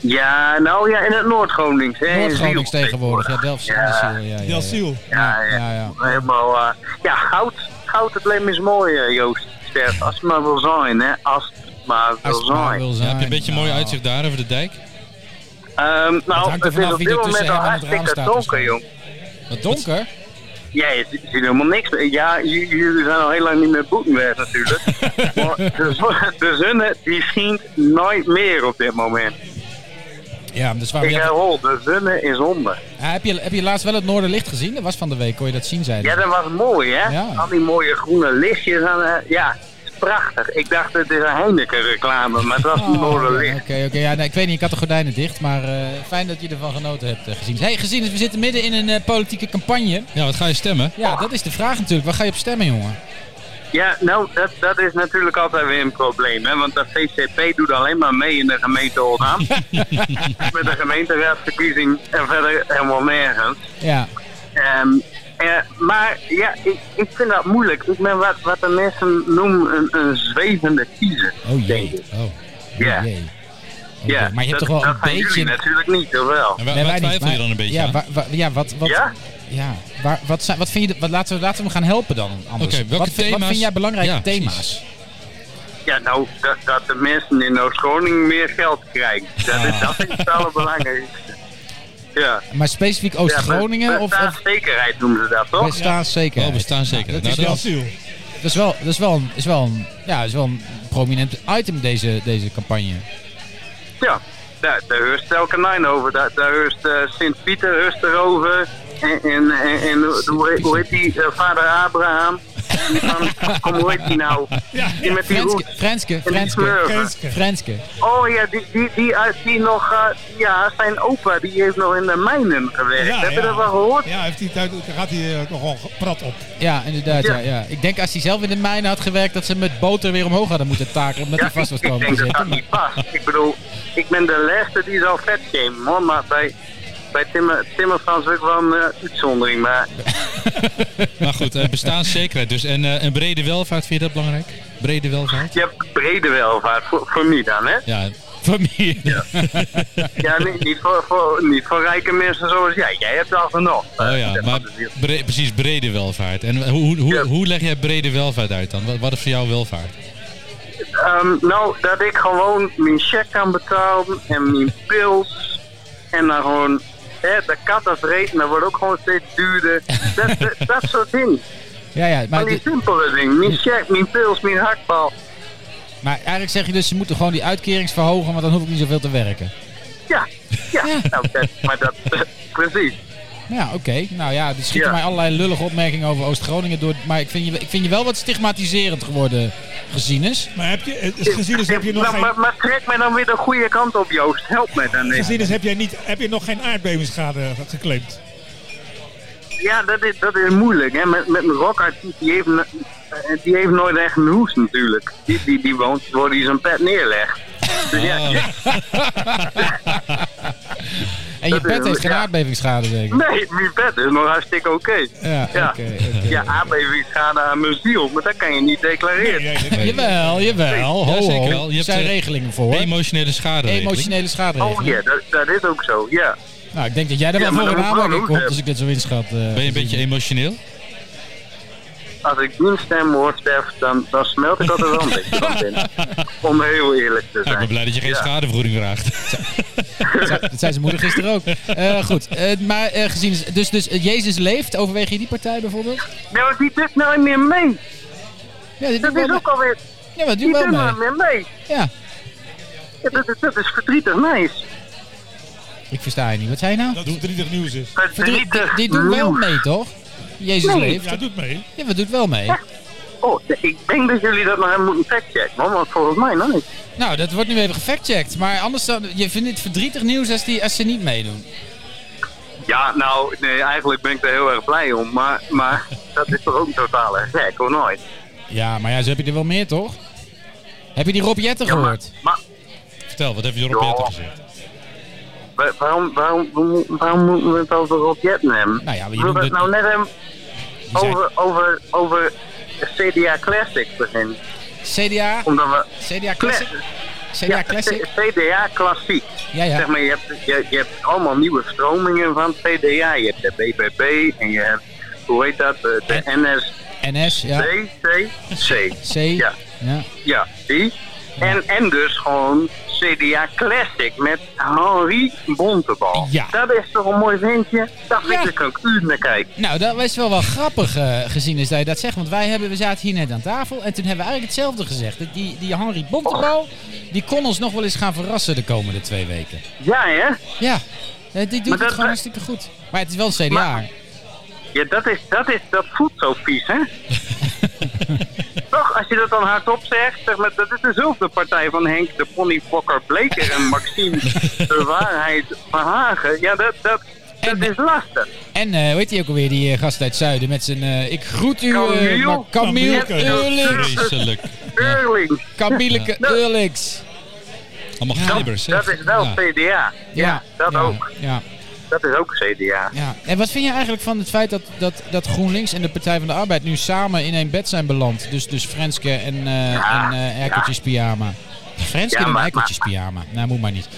Speaker 3: Ja, nou ja, in het Noord-Gronings. hè, in Ziel.
Speaker 2: Noord-Gronings tegenwoordig, ja, Delft.
Speaker 3: Ja.
Speaker 2: Ja, ja, ja, ja.
Speaker 4: Delziel.
Speaker 3: Ja, ja.
Speaker 2: Ja, ja.
Speaker 3: Helemaal, eh, ja, goud. Goud, het leven is mooi, eh, Joost. Sterk. Als het maar wil zijn, hè. Als het maar wil
Speaker 2: Als het maar
Speaker 3: zijn.
Speaker 2: wil
Speaker 1: Ja,
Speaker 2: zijn.
Speaker 1: heb je een beetje mooi
Speaker 2: Nou.
Speaker 1: uitzicht daar over de dijk?
Speaker 3: Ehm, nou,
Speaker 2: hangt
Speaker 3: het,
Speaker 2: er
Speaker 3: is
Speaker 2: vanaf
Speaker 3: op
Speaker 2: wie
Speaker 3: dit
Speaker 2: er dus, eh. tussen
Speaker 3: moment al
Speaker 2: hem en het raam
Speaker 3: hartstikke
Speaker 2: staat
Speaker 3: donker,
Speaker 2: waarschijnlijk.
Speaker 3: jong.
Speaker 2: Wat donker?
Speaker 3: Ja, je ziet ziet helemaal niks meer. Ja, j- jullie zijn al heel lang niet meer Boetenweg
Speaker 2: [laughs]
Speaker 3: natuurlijk. maar de, zon- de zon die schijnt nooit meer op dit moment.
Speaker 2: Ja, dus waarom
Speaker 3: Ik eh,
Speaker 2: ja,
Speaker 3: herhaal, de zon is onder.
Speaker 2: Eh, heb, je, heb je laatst wel het Noorderlicht gezien? Dat was van de week, kon je dat zien, zei
Speaker 3: Ja, dat was mooi, hè?
Speaker 2: Ja.
Speaker 3: Al die mooie groene lichtjes. En, eh, ja, het is prachtig. Ik dacht, het is een Heineken-reclame, maar het was een mooie
Speaker 2: Oké,
Speaker 3: licht.
Speaker 2: oké, oké. Oh, Ja, nee, ik weet niet, ik had de gordijnen dicht, maar eh, fijn dat je ervan genoten hebt eh, gezien. Hey, gezien is, we zitten midden in een eh, politieke campagne.
Speaker 1: Ja, wat ga je stemmen?
Speaker 2: Ja, dat is de vraag natuurlijk. Waar ga je op stemmen, jongen?
Speaker 3: Ja, nou, dat, dat is natuurlijk altijd weer een probleem, hè? Want dat VCP doet alleen maar mee in de gemeente
Speaker 2: [laughs]
Speaker 3: Oldham. Met de gemeenteraadsverkiezing en verder helemaal nergens.
Speaker 2: Ja,
Speaker 3: Ehm, eh, maar ja, ik, ik vind dat moeilijk. Ik ben wat, wat de mensen noemen een, een zwevende kiezer.
Speaker 2: oh
Speaker 3: denk
Speaker 2: jee.
Speaker 3: ik.
Speaker 2: Oh, oh,
Speaker 3: Ja.
Speaker 2: jee. Oké,
Speaker 3: Ja,
Speaker 2: maar je hebt
Speaker 3: dat-
Speaker 2: toch wel
Speaker 3: dat
Speaker 2: een
Speaker 3: zijn
Speaker 2: beetje...
Speaker 3: jullie natuurlijk niet, of wel?
Speaker 1: En waar,
Speaker 2: Nee,
Speaker 1: waar
Speaker 2: wij niet,
Speaker 1: twijfel je
Speaker 2: maar-
Speaker 1: dan een beetje
Speaker 2: ja,
Speaker 1: aan?
Speaker 2: waar- waar- ja, wat, wat,
Speaker 3: Ja?
Speaker 2: ja, waar, wat, zijn, wat vind je, de- wat, laten, we, laten we hem gaan helpen dan anders.
Speaker 1: Oké, welke
Speaker 2: wat, vind- wat
Speaker 1: thema's-
Speaker 2: vind jij belangrijke
Speaker 1: Ja, precies.
Speaker 2: thema's?
Speaker 3: Ja, nou, dat, dat de mensen in Oost-Groningen meer geld krijgen. Dat is,
Speaker 2: Ah.
Speaker 3: dat is het allerbelangrijkste. Ja.
Speaker 2: Maar specifiek Oost-Groningen
Speaker 3: ja, be-
Speaker 2: of, of
Speaker 3: bestaanszekerheid noemen ze dat, toch?
Speaker 2: bestaanszekerheid?
Speaker 1: Oh, bestaanszekerheid.
Speaker 2: Ja, dat, is wel,
Speaker 4: Delziel.
Speaker 2: dat, is wel, dat, is wel een, is wel een, ja, is wel een prominent item deze, deze campagne.
Speaker 3: Ja, daar, daar heurst elke nijn over. Daar, daar heurst eh, Sint-Pieter heurst erover. En, en, en, en hoe, hoe heet die? eh, vader Abraham. Die van, kom, hoe heet die nou? Die met die
Speaker 2: Frenske,
Speaker 3: hoed.
Speaker 2: Frenske,
Speaker 3: En die
Speaker 2: Frenske.
Speaker 3: smurfen.
Speaker 4: Kenske.
Speaker 2: Frenske.
Speaker 3: Oh ja, die, die, die, eh, die nog... eh, ja, zijn opa die heeft nog in de mijnen gewerkt.
Speaker 4: Ja,
Speaker 3: Heb je
Speaker 4: ja.
Speaker 3: dat wel gehoord?
Speaker 4: Ja, heeft hij het uit- daar gaat hij eh, nogal prat op.
Speaker 2: Ja, inderdaad. Ja.
Speaker 3: Ja.
Speaker 2: Ja, Ik denk als hij zelf in de mijnen had gewerkt, dat ze hem met boter weer omhoog hadden moeten takelen. Omdat hij vast was
Speaker 3: ik
Speaker 2: komen te
Speaker 3: denk dat dat
Speaker 2: zitten. Maar-
Speaker 3: niet past. Ik bedoel, ik ben de laatste die zal vet gamen, hoor. Maar bij, bij Timmer, Timmermans is ook wel een eh, uitzondering. Maar
Speaker 1: Maar goed, eh,
Speaker 2: [laughs]
Speaker 1: bestaanszekerheid dus. En, eh, en brede welvaart, vind je dat belangrijk? Brede welvaart?
Speaker 3: je hebt brede welvaart, voor, voor mij dan, hè?
Speaker 1: Ja, familie.
Speaker 3: Ja, niet, niet, voor, voor, niet voor rijke mensen zoals jij. Jij hebt al genoeg.
Speaker 1: [laughs] Oh ja, maar bre- precies brede welvaart. En hoe, hoe, hoe,
Speaker 3: Ja.
Speaker 1: hoe leg jij brede welvaart uit dan? Wat, wat is voor jou welvaart?
Speaker 3: Ehm, nou, dat ik gewoon mijn check kan betalen en mijn pils. En dan gewoon, hè, de kat dat vreet, dat wordt ook gewoon steeds
Speaker 1: [laughs]
Speaker 3: duurder. Dat, dat, dat soort dingen.
Speaker 2: Ja, ja,
Speaker 1: Ah,
Speaker 2: maar,
Speaker 3: Van die
Speaker 2: dit-
Speaker 3: simpele dingen. Mijn check, mijn pils, mijn hakbal.
Speaker 2: maar eigenlijk zeg je dus, ze moeten gewoon die uitkerings verhogen, want dan hoef ik niet zoveel te werken.
Speaker 3: Ja, ja.
Speaker 2: Ja.
Speaker 3: Nou, dat, maar dat, [laughs] precies.
Speaker 2: Ja, oké. Nou ja, er schieten
Speaker 3: Ja.
Speaker 2: mij allerlei lullige opmerkingen over Oost-Groningen door. Maar ik vind, je, ik vind je wel wat stigmatiserend geworden gezien is.
Speaker 4: Maar heb je, eh, gezien is, heb je nog
Speaker 3: Nou,
Speaker 4: geen...
Speaker 3: maar, maar trek mij dan weer de goede kant op, Joost. Help mij dan eens.
Speaker 4: Gezien is, heb, jij niet, heb je nog geen aardbevingsschade geclaimd?
Speaker 3: Ja, dat is, dat is moeilijk. Hè. Met, met een rockartiest, die heeft, no- eh, die heeft nooit echt een hoes natuurlijk. Die, die, die woont waar hij zijn pet neerlegt. Dus ja,
Speaker 2: En je
Speaker 3: Dat is-
Speaker 2: pet heeft geen
Speaker 3: ja.
Speaker 2: aardbevingsschade zeker.
Speaker 3: [laughs] nee, mijn pet is nog hartstikke oké.
Speaker 2: Ja, oké.
Speaker 3: Ja.
Speaker 2: oké.
Speaker 3: Ja, aardbevingsschade aan mijn ziel, maar dat kan je niet declareren. [laughs]
Speaker 4: Nee, nee, nee.
Speaker 2: Jawel, jawel.
Speaker 1: Ja,
Speaker 2: Ho,
Speaker 1: zeker
Speaker 2: ho.
Speaker 1: wel. Je
Speaker 2: Er
Speaker 1: hebt,
Speaker 2: zijn
Speaker 1: eh,
Speaker 2: regelingen voor.
Speaker 1: Emotionele schade.
Speaker 2: Emotionele
Speaker 3: Oh
Speaker 2: schaderegeling.
Speaker 3: ja, dat, dat is ook zo, ja.
Speaker 2: Nou, ik denk dat jij er wel
Speaker 3: Ja, maar
Speaker 2: voor
Speaker 3: dan
Speaker 2: een
Speaker 3: moet ik wel
Speaker 2: aanmerking
Speaker 3: een
Speaker 2: komt
Speaker 3: hoed
Speaker 2: als ik dit zo inschat. eh,
Speaker 1: Ben je een
Speaker 2: gezien.
Speaker 1: beetje emotioneel?
Speaker 3: Als ik die stem hoor, Stef, dan, dan smelt ik altijd wel een beetje van binnen. Om heel eerlijk te
Speaker 1: Nou, ik ben
Speaker 3: zijn.
Speaker 1: blij dat je geen
Speaker 3: Ja.
Speaker 1: schadevergoeding
Speaker 3: [laughs]
Speaker 1: vraagt.
Speaker 2: Dat zei- [laughs] Dat zei zijn moeder gisteren ook. Eh, goed, Eh, maar eh, gezien... is- Dus, dus eh, Jezus leeft, overweeg je die partij bijvoorbeeld?
Speaker 3: Nee, want die doet nou niet meer mee.
Speaker 2: Ja, die doet
Speaker 3: Dat is
Speaker 2: wel,
Speaker 3: ook alweer...
Speaker 2: ja, maar
Speaker 3: Die
Speaker 2: doe wel
Speaker 3: doet
Speaker 2: mee.
Speaker 3: nou niet meer mee.
Speaker 2: Ja,
Speaker 3: Ja, dat, is- dat is verdrietig nice.
Speaker 2: ik versta je niet. Wat zei je nou?
Speaker 4: Dat het verdrietig nieuws is.
Speaker 2: Die,
Speaker 3: Verdrietig
Speaker 2: die doen wel
Speaker 3: nieuws.
Speaker 2: mee, toch? Jezus
Speaker 3: eh, Nee.
Speaker 2: leeft.
Speaker 4: Ja, doet mee.
Speaker 2: Ja, we doet wel mee.
Speaker 3: Oh, ik denk dat jullie dat nog even moeten factchecken, man, want volgens mij nog niet.
Speaker 2: Nou, dat wordt nu even gefactcheckt. Maar anders, dan, je vindt het verdrietig nieuws als, die, als ze niet meedoen.
Speaker 3: Ja, nou, nee, eigenlijk ben ik er heel erg blij om, maar, maar dat is toch ook een totale gek, of nooit?
Speaker 2: Ja, maar ja, zo heb je er wel meer, toch? Heb je die Rob Jetten
Speaker 3: Ja, maar,
Speaker 2: gehoord?
Speaker 3: maar
Speaker 1: Vertel, wat heb je erop
Speaker 3: Ja.
Speaker 1: Jetten gezegd?
Speaker 3: wa- waarom, waarom, waarom moeten we het over Rob Jetten hebben?
Speaker 2: Nou ja, maar je
Speaker 3: Wil
Speaker 2: noemde
Speaker 3: dat
Speaker 2: het-
Speaker 3: nou net hem
Speaker 2: zei-
Speaker 3: over, over, over CDA Classic beginnen?
Speaker 2: CDA,
Speaker 3: Omdat we...
Speaker 2: CDA Classic?
Speaker 3: Cla-
Speaker 2: CDA
Speaker 3: ja,
Speaker 2: Classic?
Speaker 3: C- CDA Klassiek.
Speaker 2: Ja, ja.
Speaker 3: Zeg maar, je hebt, je, je hebt allemaal nieuwe stromingen van CDA. Je hebt de BBB en je hebt, hoe heet dat, de, de
Speaker 2: NS, ja.
Speaker 3: NSCCC.
Speaker 2: C.
Speaker 3: Ja.
Speaker 2: ja.
Speaker 3: Ja, die. En, en dus gewoon CDA Classic met Henri Bontebal.
Speaker 2: Ja.
Speaker 3: Dat is toch een mooi ventje? Daar vind
Speaker 2: Ja.
Speaker 3: ik dus ook u naar kijken.
Speaker 2: Nou, dat is wel wel grappig eh, gezien is dat je dat zegt. Want wij hebben, we zaten hier net aan tafel en toen hebben we eigenlijk hetzelfde gezegd. Dat Die, die Henry Bontebal, die kon ons nog wel eens gaan verrassen de komende twee weken.
Speaker 3: Ja, hè?
Speaker 2: Ja, eh, die doet
Speaker 3: dat-
Speaker 2: het gewoon hartstikke goed. Maar het is wel een CDA.
Speaker 3: Maar- Ja, dat, is, dat, is, dat voelt zo vies, hè? Toch, als je dat dan hardop zegt, zeg maar, dat is dezelfde partij van Henk de Pony Fokker Bleker en Maxime de Waarheid Verhagen. Ja, dat, dat, dat
Speaker 2: En-
Speaker 3: is lastig.
Speaker 2: En weet hoe heet die ook alweer, die eh, gast uit Zuiden met zijn... eh, ik groet u,
Speaker 3: Camille.
Speaker 2: Camille, Camille
Speaker 4: Camille.
Speaker 2: Eurlings.
Speaker 1: Vreselijk. Ja.
Speaker 3: Eurling,
Speaker 2: Camille Eurlings.
Speaker 1: Allemaal
Speaker 2: Ja.
Speaker 1: glibbers. hè?
Speaker 3: dat is wel
Speaker 1: Ja.
Speaker 3: CDA. Ja, dat
Speaker 2: ja,
Speaker 3: ook.
Speaker 2: Ja,
Speaker 3: Dat is ook CDA.
Speaker 2: ja. En wat vind je eigenlijk van het feit dat, dat, dat GroenLinks en de Partij van de Arbeid nu samen in één bed zijn beland? Dus, dus Frenske en, eh
Speaker 3: Ja,
Speaker 2: en eh Erkeltjes pyjama. Frenske
Speaker 3: Ja,
Speaker 2: en
Speaker 3: maar-
Speaker 2: Erkeltjes pyjama. Nou, moet maar niet.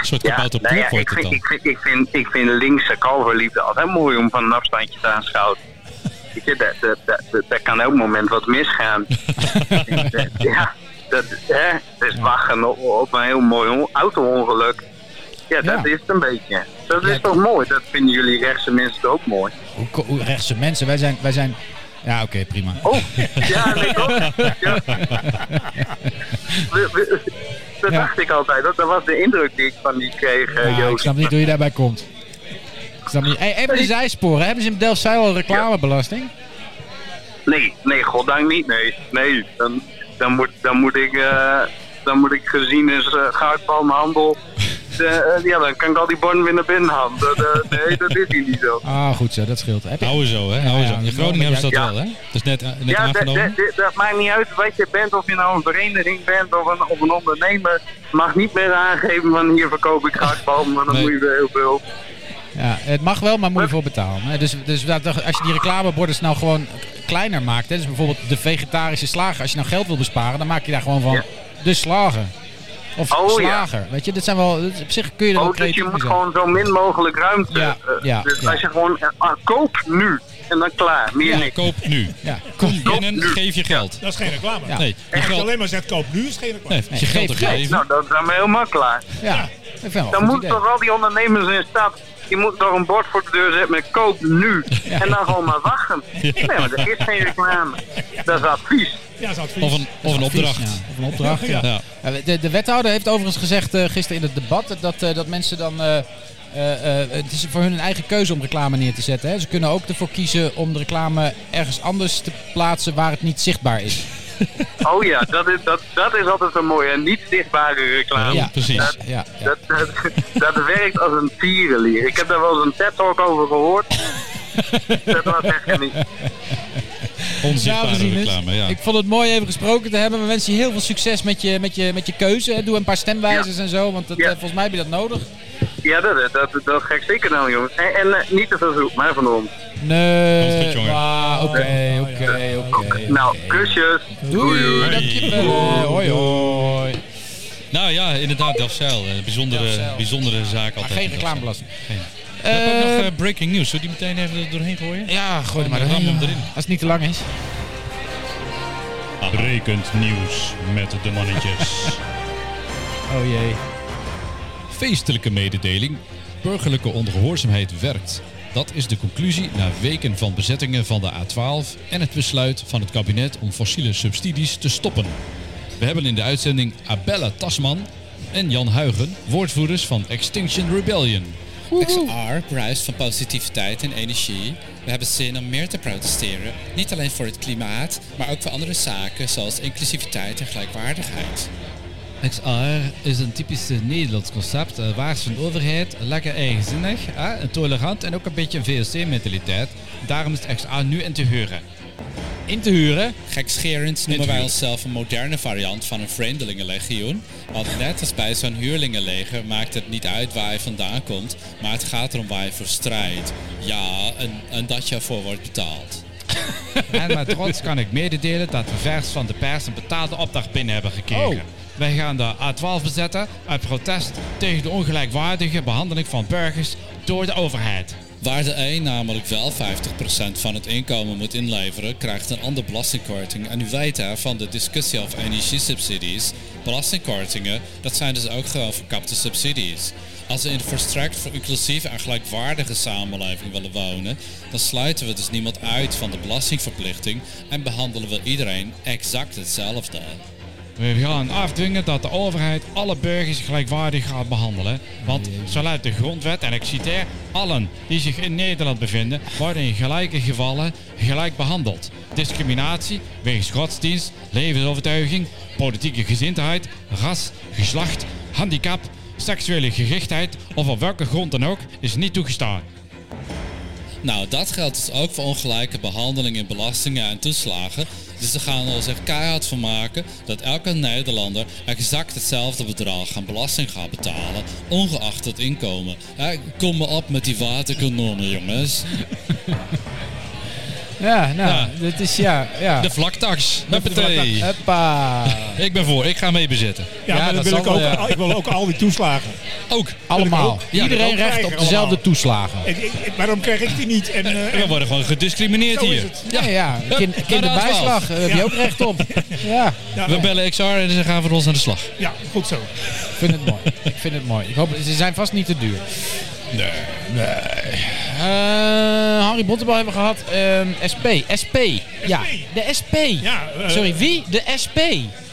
Speaker 1: Een soort kabouterploeg
Speaker 3: nou ja,
Speaker 1: wordt
Speaker 3: ik,
Speaker 1: het
Speaker 3: vind,
Speaker 1: dan.
Speaker 3: ik, vind, ik, vind, ik vind linkse kalverliefde altijd mooi om van een afstandje te aanschouwen.
Speaker 2: [laughs]
Speaker 3: Weet je, daar, daar, daar, daar- daar kan elk moment wat
Speaker 2: [laughs]
Speaker 3: misgaan. ja, dat hè, het is wachten op, op een heel mooi on- auto-ongeluk. Ja, dat
Speaker 2: Ja.
Speaker 3: is het een beetje. Dat
Speaker 2: Ja.
Speaker 3: is toch mooi? Dat vinden jullie rechtse mensen toch ook mooi.
Speaker 2: Hoe, ko- hoe rechtse mensen, wij zijn... Wij zijn ja, oké, prima. [laughs]
Speaker 3: Oh, ja, nee, toch? Ja. We- we- Dat
Speaker 2: Ja.
Speaker 3: dacht ik altijd. Dat, dat was de indruk die ik van die kreeg, eh,
Speaker 2: Ja, ik
Speaker 3: Joost.
Speaker 2: snap niet hoe je daarbij komt. Ik snap niet. Hey, even de zijsporen. Hebben ze in delft al reclamebelasting?
Speaker 3: Nee, nee, goddank niet. Nee, nee. Dan, dan, moet, dan, moet, ik, eh, dan moet ik gezien als uh, goudpalmhandel. eh, eh, ja, dan kan ik al die bon weer naar binnen halen. Dat, eh, nee, dat is hier niet zo.
Speaker 2: Ah, goed zo. Dat scheelt. Heb je...
Speaker 3: Nou.
Speaker 1: Houden zo, hè? Houden
Speaker 2: ja,
Speaker 1: zo. In
Speaker 2: ja,
Speaker 1: Groningen hebben ze dat
Speaker 3: ja.
Speaker 1: wel, hè? Dat is net, eh, net
Speaker 3: Ja, dat-
Speaker 1: aangenomen.
Speaker 3: dat- dat- dat maakt niet uit wat je bent, of je nou een vereniging bent of een, of een ondernemer. mag niet meer aangeven van hier verkoop ik goudpalm, want dan
Speaker 1: Nee.
Speaker 3: moet je weer heel veel.
Speaker 2: Ja, het mag wel, maar moet je voor betalen. hè. Dus, dus dat- dat- als je die reclameborden nou gewoon kleiner maakt, hè, dus bijvoorbeeld de vegetarische slager, als je nou geld wil besparen, dan maak je daar gewoon van
Speaker 3: Ja.
Speaker 2: de slager. Of
Speaker 3: Oh, ja.
Speaker 2: slager. Weet je, dat zijn wel, dat- op zich kun je er wel
Speaker 3: Oh, dus je
Speaker 2: creatief mee
Speaker 3: moet
Speaker 2: zijn.
Speaker 3: gewoon zo min mogelijk ruimte.
Speaker 2: Ja,
Speaker 3: eh,
Speaker 2: ja,
Speaker 3: dus
Speaker 2: ja.
Speaker 3: als je gewoon eh, ah, koop nu en dan klaar, meer
Speaker 1: Ja,
Speaker 3: niks.
Speaker 1: koop nu.
Speaker 2: Ja,
Speaker 1: Kom
Speaker 2: kom.
Speaker 1: binnen, geef je geld.
Speaker 4: Dat is geen reclame.
Speaker 2: Ja.
Speaker 1: Nee, je
Speaker 4: Als je
Speaker 1: geld...
Speaker 4: alleen maar zegt koop nu, is geen reclame.
Speaker 1: Nee, je geld
Speaker 2: geef
Speaker 1: te
Speaker 2: geld.
Speaker 1: geven.
Speaker 3: Nou, dan zijn we helemaal klaar.
Speaker 2: Ja. vind het wel
Speaker 3: Dan
Speaker 2: een goed
Speaker 3: moeten
Speaker 2: idee.
Speaker 3: toch al die ondernemers in staat. Die moeten toch een bord voor de deur zetten met koop
Speaker 2: [laughs]
Speaker 3: nu. En dan gewoon maar wachten. Nee, maar er is geen reclame. Dat is advies.
Speaker 4: Ja, dat is advies.
Speaker 1: Of een, of een
Speaker 2: Advies,
Speaker 1: opdracht.
Speaker 2: ja. Of een
Speaker 1: [laughs]
Speaker 2: opdracht, ja.
Speaker 1: Ja.
Speaker 2: Ja, De, de wethouder heeft overigens gezegd eh, gisteren in het debat dat, eh, dat mensen dan. eh, eh, eh, het is voor hun een eigen keuze om reclame neer te zetten. Hè. Ze kunnen ook ervoor kiezen om de reclame ergens anders te plaatsen waar het niet zichtbaar is.
Speaker 3: Oh ja, dat is, dat, dat is altijd een mooie en niet zichtbare reclame.
Speaker 1: Ja, precies.
Speaker 2: Ja, ja, ja.
Speaker 3: Dat, dat, dat werkt als een tierenlier. Ik heb daar wel eens een TED-talk over gehoord. dat was echt niet.
Speaker 1: Onzichtbare
Speaker 2: Dames en heren,
Speaker 1: reclame, ja.
Speaker 2: Ik vond het mooi even gesproken te hebben. We wensen je heel veel succes met je, met je, met je keuze. hè. Doe een paar stemwijzers en zo, want dat,
Speaker 3: Ja.
Speaker 2: eh, volgens mij heb je dat nodig.
Speaker 3: Ja, dat, dat, dat ga ik zeker doen, jongens. En, en eh, niet te veel zoek, maar van ons.
Speaker 1: Komt
Speaker 2: Nee.
Speaker 1: goed, jongen.
Speaker 2: Ah, Oké, oké, oké.
Speaker 3: Nou, kusjes.
Speaker 2: Doei, dankjewel. Hoi, hoi.
Speaker 1: Nou ja, inderdaad, Delfzijl. eh, Bijzondere,
Speaker 2: Delfzijl.
Speaker 1: bijzondere zaak altijd.
Speaker 2: Maar geen
Speaker 1: in Delfzijl.
Speaker 2: reclamebelasting.
Speaker 1: Geen.
Speaker 2: Eh,
Speaker 1: We hebben ook nog eh, breaking news. Zullen we die meteen even er doorheen gooien?
Speaker 2: ja, gooi er maar
Speaker 1: Ram
Speaker 2: doorheen,
Speaker 1: hem
Speaker 2: ja.
Speaker 1: erin.
Speaker 2: Als het niet te lang is.
Speaker 1: Rekend nieuws met de [laughs] mannetjes.
Speaker 2: Oh jee.
Speaker 1: Feestelijke mededeling. Burgerlijke ongehoorzaamheid werkt. Dat is de conclusie na weken van bezettingen van de A12 en het besluit van het kabinet om fossiele subsidies te stoppen. We hebben in de uitzending Abella Tasman en Jan Huigen, woordvoerders van Extinction Rebellion.
Speaker 5: XR bruist van positiviteit en energie. We hebben zin om meer te protesteren. Niet alleen voor het klimaat, maar ook voor andere zaken zoals inclusiviteit en gelijkwaardigheid.
Speaker 6: XR is een typisch eh, Nederlands concept. eh, Waars van de overheid, lekker eigenzinnig, hè, en tolerant en ook een beetje een VOC-mentaliteit. Daarom is XR nu in te huren.
Speaker 2: In te huren.
Speaker 5: Gekscherend noemen wij onszelf een moderne variant van een vreemdelingenlegioen. Want net als bij zo'n huurlingenleger maakt het niet uit waar je vandaan komt, maar het gaat erom waar je voor strijdt. Ja, en, en dat je ervoor wordt betaald.
Speaker 6: En met trots kan ik mededelen dat we vers van de pers een betaalde opdracht binnen hebben gekregen. Wij gaan de A12 bezetten uit protest tegen de ongelijkwaardige behandeling van burgers door de overheid.
Speaker 5: Waar de een namelijk wel 50% van het inkomen moet inleveren, krijgt een ander belastingkorting. En u weet hè, van de discussie over energiesubsidies, belastingkortingen, dat zijn dus ook gewoon verkapte subsidies. Als we in een verstrekt voor inclusieve en gelijkwaardige samenleving willen wonen, dan sluiten we dus niemand uit van de belastingverplichting en behandelen we iedereen exact hetzelfde.
Speaker 6: We gaan afdwingen dat de overheid alle burgers gelijkwaardig gaat behandelen. Want zo luidt de grondwet, en ik citeer, allen die zich in Nederland bevinden, worden in gelijke gevallen gelijk behandeld. Discriminatie wegens godsdienst, levensovertuiging, politieke gezindheid, ras, geslacht, handicap, seksuele gerichtheid of op welke grond dan ook is niet toegestaan.
Speaker 5: Nou, dat geldt dus ook voor ongelijke behandeling in belastingen en toeslagen. Dus we gaan er ons echt keihard van maken dat elke Nederlander exact hetzelfde bedrag aan belasting gaat betalen, ongeacht het inkomen. Hè, Kom me op met die waterkanonnen, jongens.
Speaker 2: Ja, nou, dit is ja. ja.
Speaker 1: De vlaktax. Huppatee.
Speaker 2: Hoppa.
Speaker 1: Ik ben voor. Ik ga mee bezetten.
Speaker 4: ja,
Speaker 2: Ja,
Speaker 4: maar
Speaker 2: dat
Speaker 4: dan wil
Speaker 2: zal
Speaker 4: ik, ook,
Speaker 2: wel, ja.
Speaker 4: al- ik wil ook al die toeslagen.
Speaker 1: Ook.
Speaker 2: Allemaal.
Speaker 4: ook-
Speaker 1: Ja,
Speaker 2: Iedereen
Speaker 4: ook
Speaker 2: recht op
Speaker 4: krijgen
Speaker 2: dezelfde
Speaker 4: allemaal.
Speaker 2: toeslagen.
Speaker 4: Ik, ik- ik- waarom krijg ik die niet? En, eh,
Speaker 1: We
Speaker 4: en-
Speaker 1: worden gewoon gediscrimineerd
Speaker 4: Zo is
Speaker 1: hier.
Speaker 4: het.
Speaker 2: Ja, [laughs] ja.
Speaker 1: Hup,
Speaker 2: Kin-
Speaker 1: naar de
Speaker 2: kinderbijslag.
Speaker 1: A12.
Speaker 2: Daar heb je ook recht [laughs] op. Ja,
Speaker 4: ja,
Speaker 1: We bellen XR en ze gaan voor ons aan de slag.
Speaker 4: ja, goed zo.
Speaker 2: ik vind het mooi. Ik vind het mooi. Ik hoop, ze zijn vast niet te duur.
Speaker 1: Nee.
Speaker 2: Eh, Harry Bontebal hebben we gehad. Ehm, SP. SP. Ja, de SP.
Speaker 4: Ja, eh,
Speaker 2: Sorry, wie? De SP.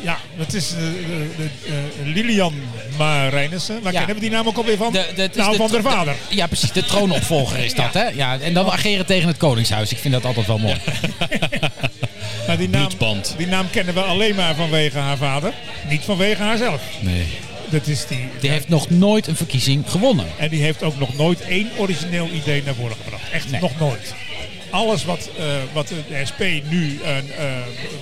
Speaker 4: Ja, dat is eh, de- de- eh, Lilian Marijnissen. Waar
Speaker 2: Ja.
Speaker 4: kennen we die naam ook alweer van?
Speaker 2: De- de- het is
Speaker 4: nou,
Speaker 2: de-
Speaker 4: van haar vader.
Speaker 2: Ja, precies. De troonopvolger is dat, hè? Ja, en dan ageren tegen het Koningshuis. Ik vind dat altijd wel mooi.
Speaker 4: Maar die naam,
Speaker 1: Bloedband.
Speaker 4: die naam kennen we alleen maar vanwege haar vader. Niet vanwege haarzelf.
Speaker 1: Nee.
Speaker 4: Dat is die.
Speaker 2: Die heeft nog nooit een verkiezing gewonnen.
Speaker 4: En die heeft ook nog nooit één origineel idee naar voren gebracht. Echt
Speaker 2: Nee.
Speaker 4: nog nooit. Alles wat, eh, wat de SP nu eh, eh,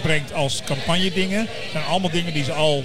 Speaker 4: brengt als campagnedingen... zijn allemaal dingen die ze al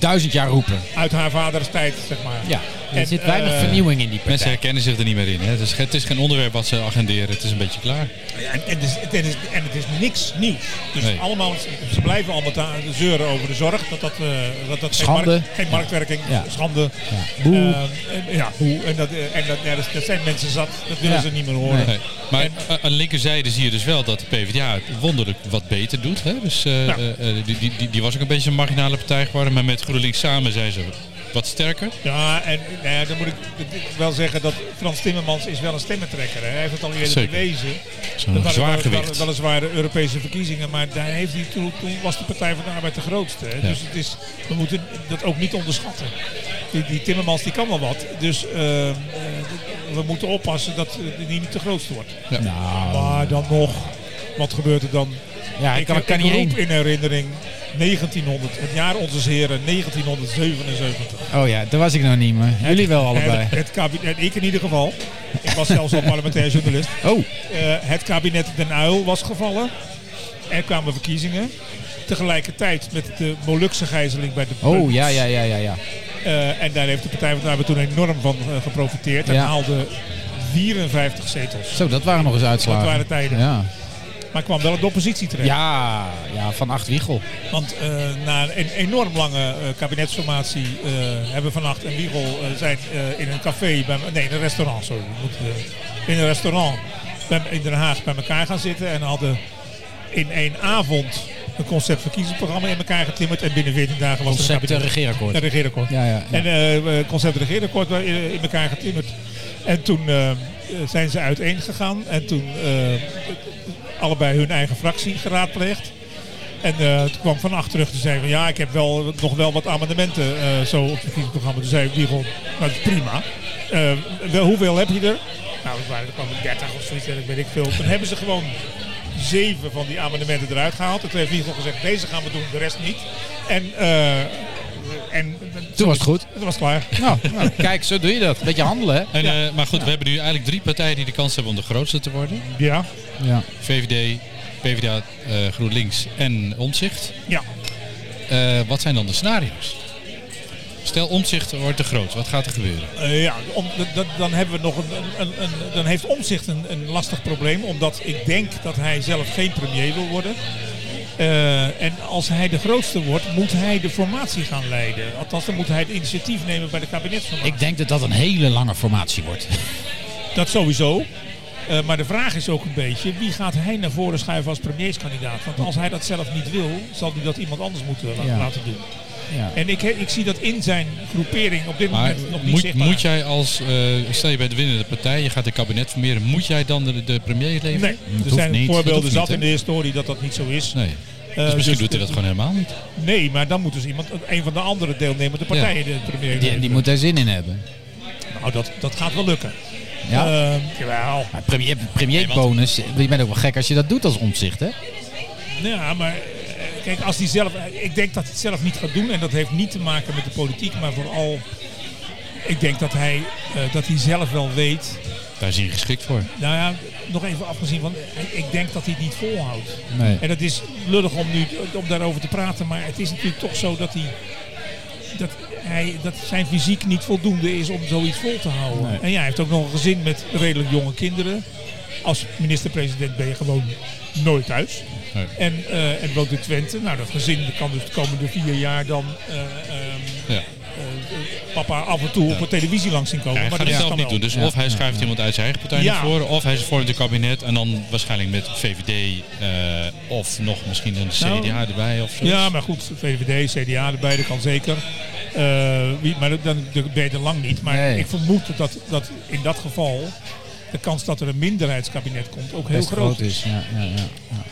Speaker 2: Duizend jaar roepen.
Speaker 4: uit haar vaders tijd, zeg maar.
Speaker 2: Ja, er
Speaker 4: En,
Speaker 2: zit weinig
Speaker 4: eh,
Speaker 2: vernieuwing in die
Speaker 1: Mensen
Speaker 2: partij.
Speaker 1: herkennen zich er niet meer in. Hè? Het, is, het is geen onderwerp wat ze agenderen. Het is een beetje klaar.
Speaker 4: En, en, het is, het is, en het is niks nieuws. Dus
Speaker 1: Nee.
Speaker 4: allemaal, ze blijven allemaal ta- zeuren over de zorg. Dat dat, eh, dat, dat
Speaker 2: Schande.
Speaker 4: Geen, markt- geen marktwerking,
Speaker 2: Ja.
Speaker 4: schande.
Speaker 2: Ja. Boe.
Speaker 4: Eh, en, ja, boe. En, dat, eh, en dat, ja, dat, dat zijn mensen zat. Dat willen
Speaker 2: Ja.
Speaker 4: ze niet meer horen.
Speaker 1: Nee. Maar a- aan de linkerzijde zie je dus wel dat de PvdA het wonderlijk wat beter doet. Hè? Dus, eh,
Speaker 4: Ja.
Speaker 1: eh, eh, die, die, die, die was ook een beetje een marginale partij geworden. Maar met GroenLinks samen zijn ze wat sterker.
Speaker 4: Ja, en nou ja, dan moet ik wel zeggen dat Frans Timmermans is wel een stemmentrekker. Hè. Hij heeft het al eerder
Speaker 1: Zeker.
Speaker 4: bewezen.
Speaker 1: Zo'n
Speaker 4: Dat waren
Speaker 1: zwaargewicht.
Speaker 4: wel- wel- weliswaar de Europese verkiezingen, maar daar heeft hij toen, toen was de Partij van de Arbeid de grootste. Hè. Dus het is, we moeten dat ook niet onderschatten. Die, die Timmermans die kan wel wat. Dus ehm, eh, we moeten oppassen dat eh, die niet de grootste wordt.
Speaker 2: Nou,
Speaker 4: Maar dan nog, wat gebeurt er dan?
Speaker 2: ja, ik kan, ik kan niet
Speaker 4: roep
Speaker 2: één.
Speaker 4: in herinnering 1900, het jaar onze heren 1977.
Speaker 2: Oh ja, daar was ik nog niet, maar jullie wel allebei.
Speaker 4: Het, het kabinet, ik in ieder geval. Ik was zelfs al parlementair journalist.
Speaker 2: Oh,
Speaker 4: Eh, het kabinet Den Uyl was gevallen. Er kwamen verkiezingen. Tegelijkertijd met de Molukse gijzeling bij de
Speaker 2: oh
Speaker 4: Beuk.
Speaker 2: ja, ja, ja, ja, ja.
Speaker 4: Eh, en daar heeft de Partij van de Arbeid toen enorm van eh, geprofiteerd. En
Speaker 2: Ja.
Speaker 4: haalde 54 zetels.
Speaker 2: Zo, dat waren nog eens uitslagen.
Speaker 4: Dat waren tijden.
Speaker 2: Ja,
Speaker 4: Maar kwam wel in de oppositie terecht.
Speaker 2: ja, ja van Acht Wiegel.
Speaker 4: Want eh, na een enorm lange eh, kabinetsformatie eh, hebben Vannacht en Wiegel eh, zijn eh, in een café, bij, nee in een restaurant, sorry. We moeten, eh, in een restaurant bij- in Den Haag bij elkaar gaan zitten en hadden in één avond een concept verkiezingsprogramma in elkaar getimmerd en binnen 14 dagen was er een
Speaker 2: Concept eh,
Speaker 4: kabinet.
Speaker 2: regeerakkoord.
Speaker 4: Een regeerakkoord.
Speaker 2: Ja, ja, ja.
Speaker 4: En eh concept regeerakkoord wa- in in elkaar getimmerd. En toen eh, zijn ze uiteen gegaan en toen eh, allebei hun eigen fractie geraadpleegd. En eh, toen kwam Van Acht terug te zeggen van ja, ik heb wel, nog wel wat amendementen eh, zo op het verkiezingsprogramma. Toen zei Wiegel, nou dat is prima. Eh, wel, hoeveel heb je er? Nou, dat waren er kwam er 30 of zoiets, en ik weet ik veel. Toen hebben ze gewoon zeven van die amendementen eruit gehaald. En toen heeft Wiegel gezegd, deze gaan we doen, de rest niet. En, eh, en
Speaker 2: Toen was het goed.
Speaker 4: dat was klaar.
Speaker 2: Nou, nou, kijk, zo doe je dat. Beetje handelen, hè?
Speaker 1: En, eh, maar goed, we hebben nu eigenlijk drie partijen die de kans hebben om de grootste te worden.
Speaker 4: Ja.
Speaker 2: Ja.
Speaker 1: VVD, PvdA, eh, GroenLinks en Omzicht.
Speaker 4: Ja.
Speaker 1: wat zijn dan de scenario's? Stel Omzicht wordt te groot, wat gaat er gebeuren?
Speaker 4: Eh, ja, om, d- d- dan, hebben we nog een, een, een, dan heeft Omzicht een, een lastig probleem, omdat ik denk dat hij zelf geen premier wil worden. Eh, en als hij de grootste wordt, moet hij de formatie gaan leiden. Althans, dan moet hij het initiatief nemen bij de kabinetsformatie.
Speaker 2: Ik denk dat dat een hele lange formatie wordt.
Speaker 4: Dat sowieso. Eh, maar de vraag is ook een beetje, wie gaat hij naar voren schuiven als premierskandidaat? Want als hij dat zelf niet wil, zal hij dat iemand anders moeten la-
Speaker 2: Ja.
Speaker 4: laten doen.
Speaker 2: Ja.
Speaker 4: En ik, he- ik zie dat in zijn groepering op dit
Speaker 1: Maar
Speaker 4: moment nog niet
Speaker 1: moet,
Speaker 4: zichtbaar.
Speaker 1: moet jij als, eh, stel je bent de winnende partij, je gaat de kabinet formeren, moet jij dan de, de premier leveren?
Speaker 4: Nee, er
Speaker 1: hoeft
Speaker 4: zijn
Speaker 1: niet. Dat
Speaker 4: voorbeelden
Speaker 1: hoeft
Speaker 4: zat
Speaker 1: niet,
Speaker 4: in
Speaker 1: hè?
Speaker 4: de historie dat dat niet zo is.
Speaker 1: Nee. Dus
Speaker 4: Eh,
Speaker 1: misschien
Speaker 4: dus-
Speaker 1: doet hij dat gewoon helemaal niet.
Speaker 4: Nee, maar dan moet dus iemand, een van de andere deelnemende partijen de premier
Speaker 2: Die, die moet daar zin in hebben.
Speaker 4: Nou, dat, dat gaat wel lukken.
Speaker 2: Ja.
Speaker 4: Ehm, jawel.
Speaker 2: Maar premier, premierbonus, je bent ook wel gek als je dat doet als omzicht, hè?
Speaker 4: Nou Ja, maar eh, kijk, als die zelf, ik denk dat hij het zelf niet gaat doen. En dat heeft niet te maken met de politiek, maar vooral... Ik denk dat hij, eh, dat hij zelf wel weet...
Speaker 1: Daar is hij geschikt voor.
Speaker 4: Nou ja, nog even afgezien, want ik- ik denk dat hij het niet volhoudt.
Speaker 2: Nee.
Speaker 4: En het is lullig om nu om daarover te praten, maar het is natuurlijk toch zo dat hij. Dat, hij, dat zijn fysiek niet voldoende is om zoiets vol te houden. En ja, hij heeft ook nog een gezin met redelijk jonge kinderen. Als minister-president ben je gewoon nooit thuis.
Speaker 1: Nee.
Speaker 4: En, eh, en woont in Twente. Nou, dat gezin kan dus de komende vier jaar dan eh, ehm,
Speaker 1: Ja.
Speaker 4: eh, papa af en toe op de televisie langs zien komen.
Speaker 1: hij
Speaker 4: maar
Speaker 1: gaat
Speaker 4: dat
Speaker 1: het
Speaker 4: is
Speaker 1: zelf
Speaker 4: dan
Speaker 1: niet
Speaker 4: wel.
Speaker 1: doen. Dus of hij schuift iemand uit zijn eigen partij
Speaker 4: Ja.
Speaker 1: naar voren, of hij vormt een kabinet en dan waarschijnlijk met VVD eh, of nog misschien een
Speaker 4: Nou,
Speaker 1: CDA erbij of zo.
Speaker 4: Ja, maar goed, VVD, CDA, de beide kan zeker. Eh, wie, maar dan dan ben je er lang niet. Maar
Speaker 2: Nee.
Speaker 4: ik vermoed dat, dat in dat geval de kans dat er een minderheidskabinet komt ook heel
Speaker 2: Best
Speaker 4: groot, is.
Speaker 2: is. Ja, ja, ja, ja.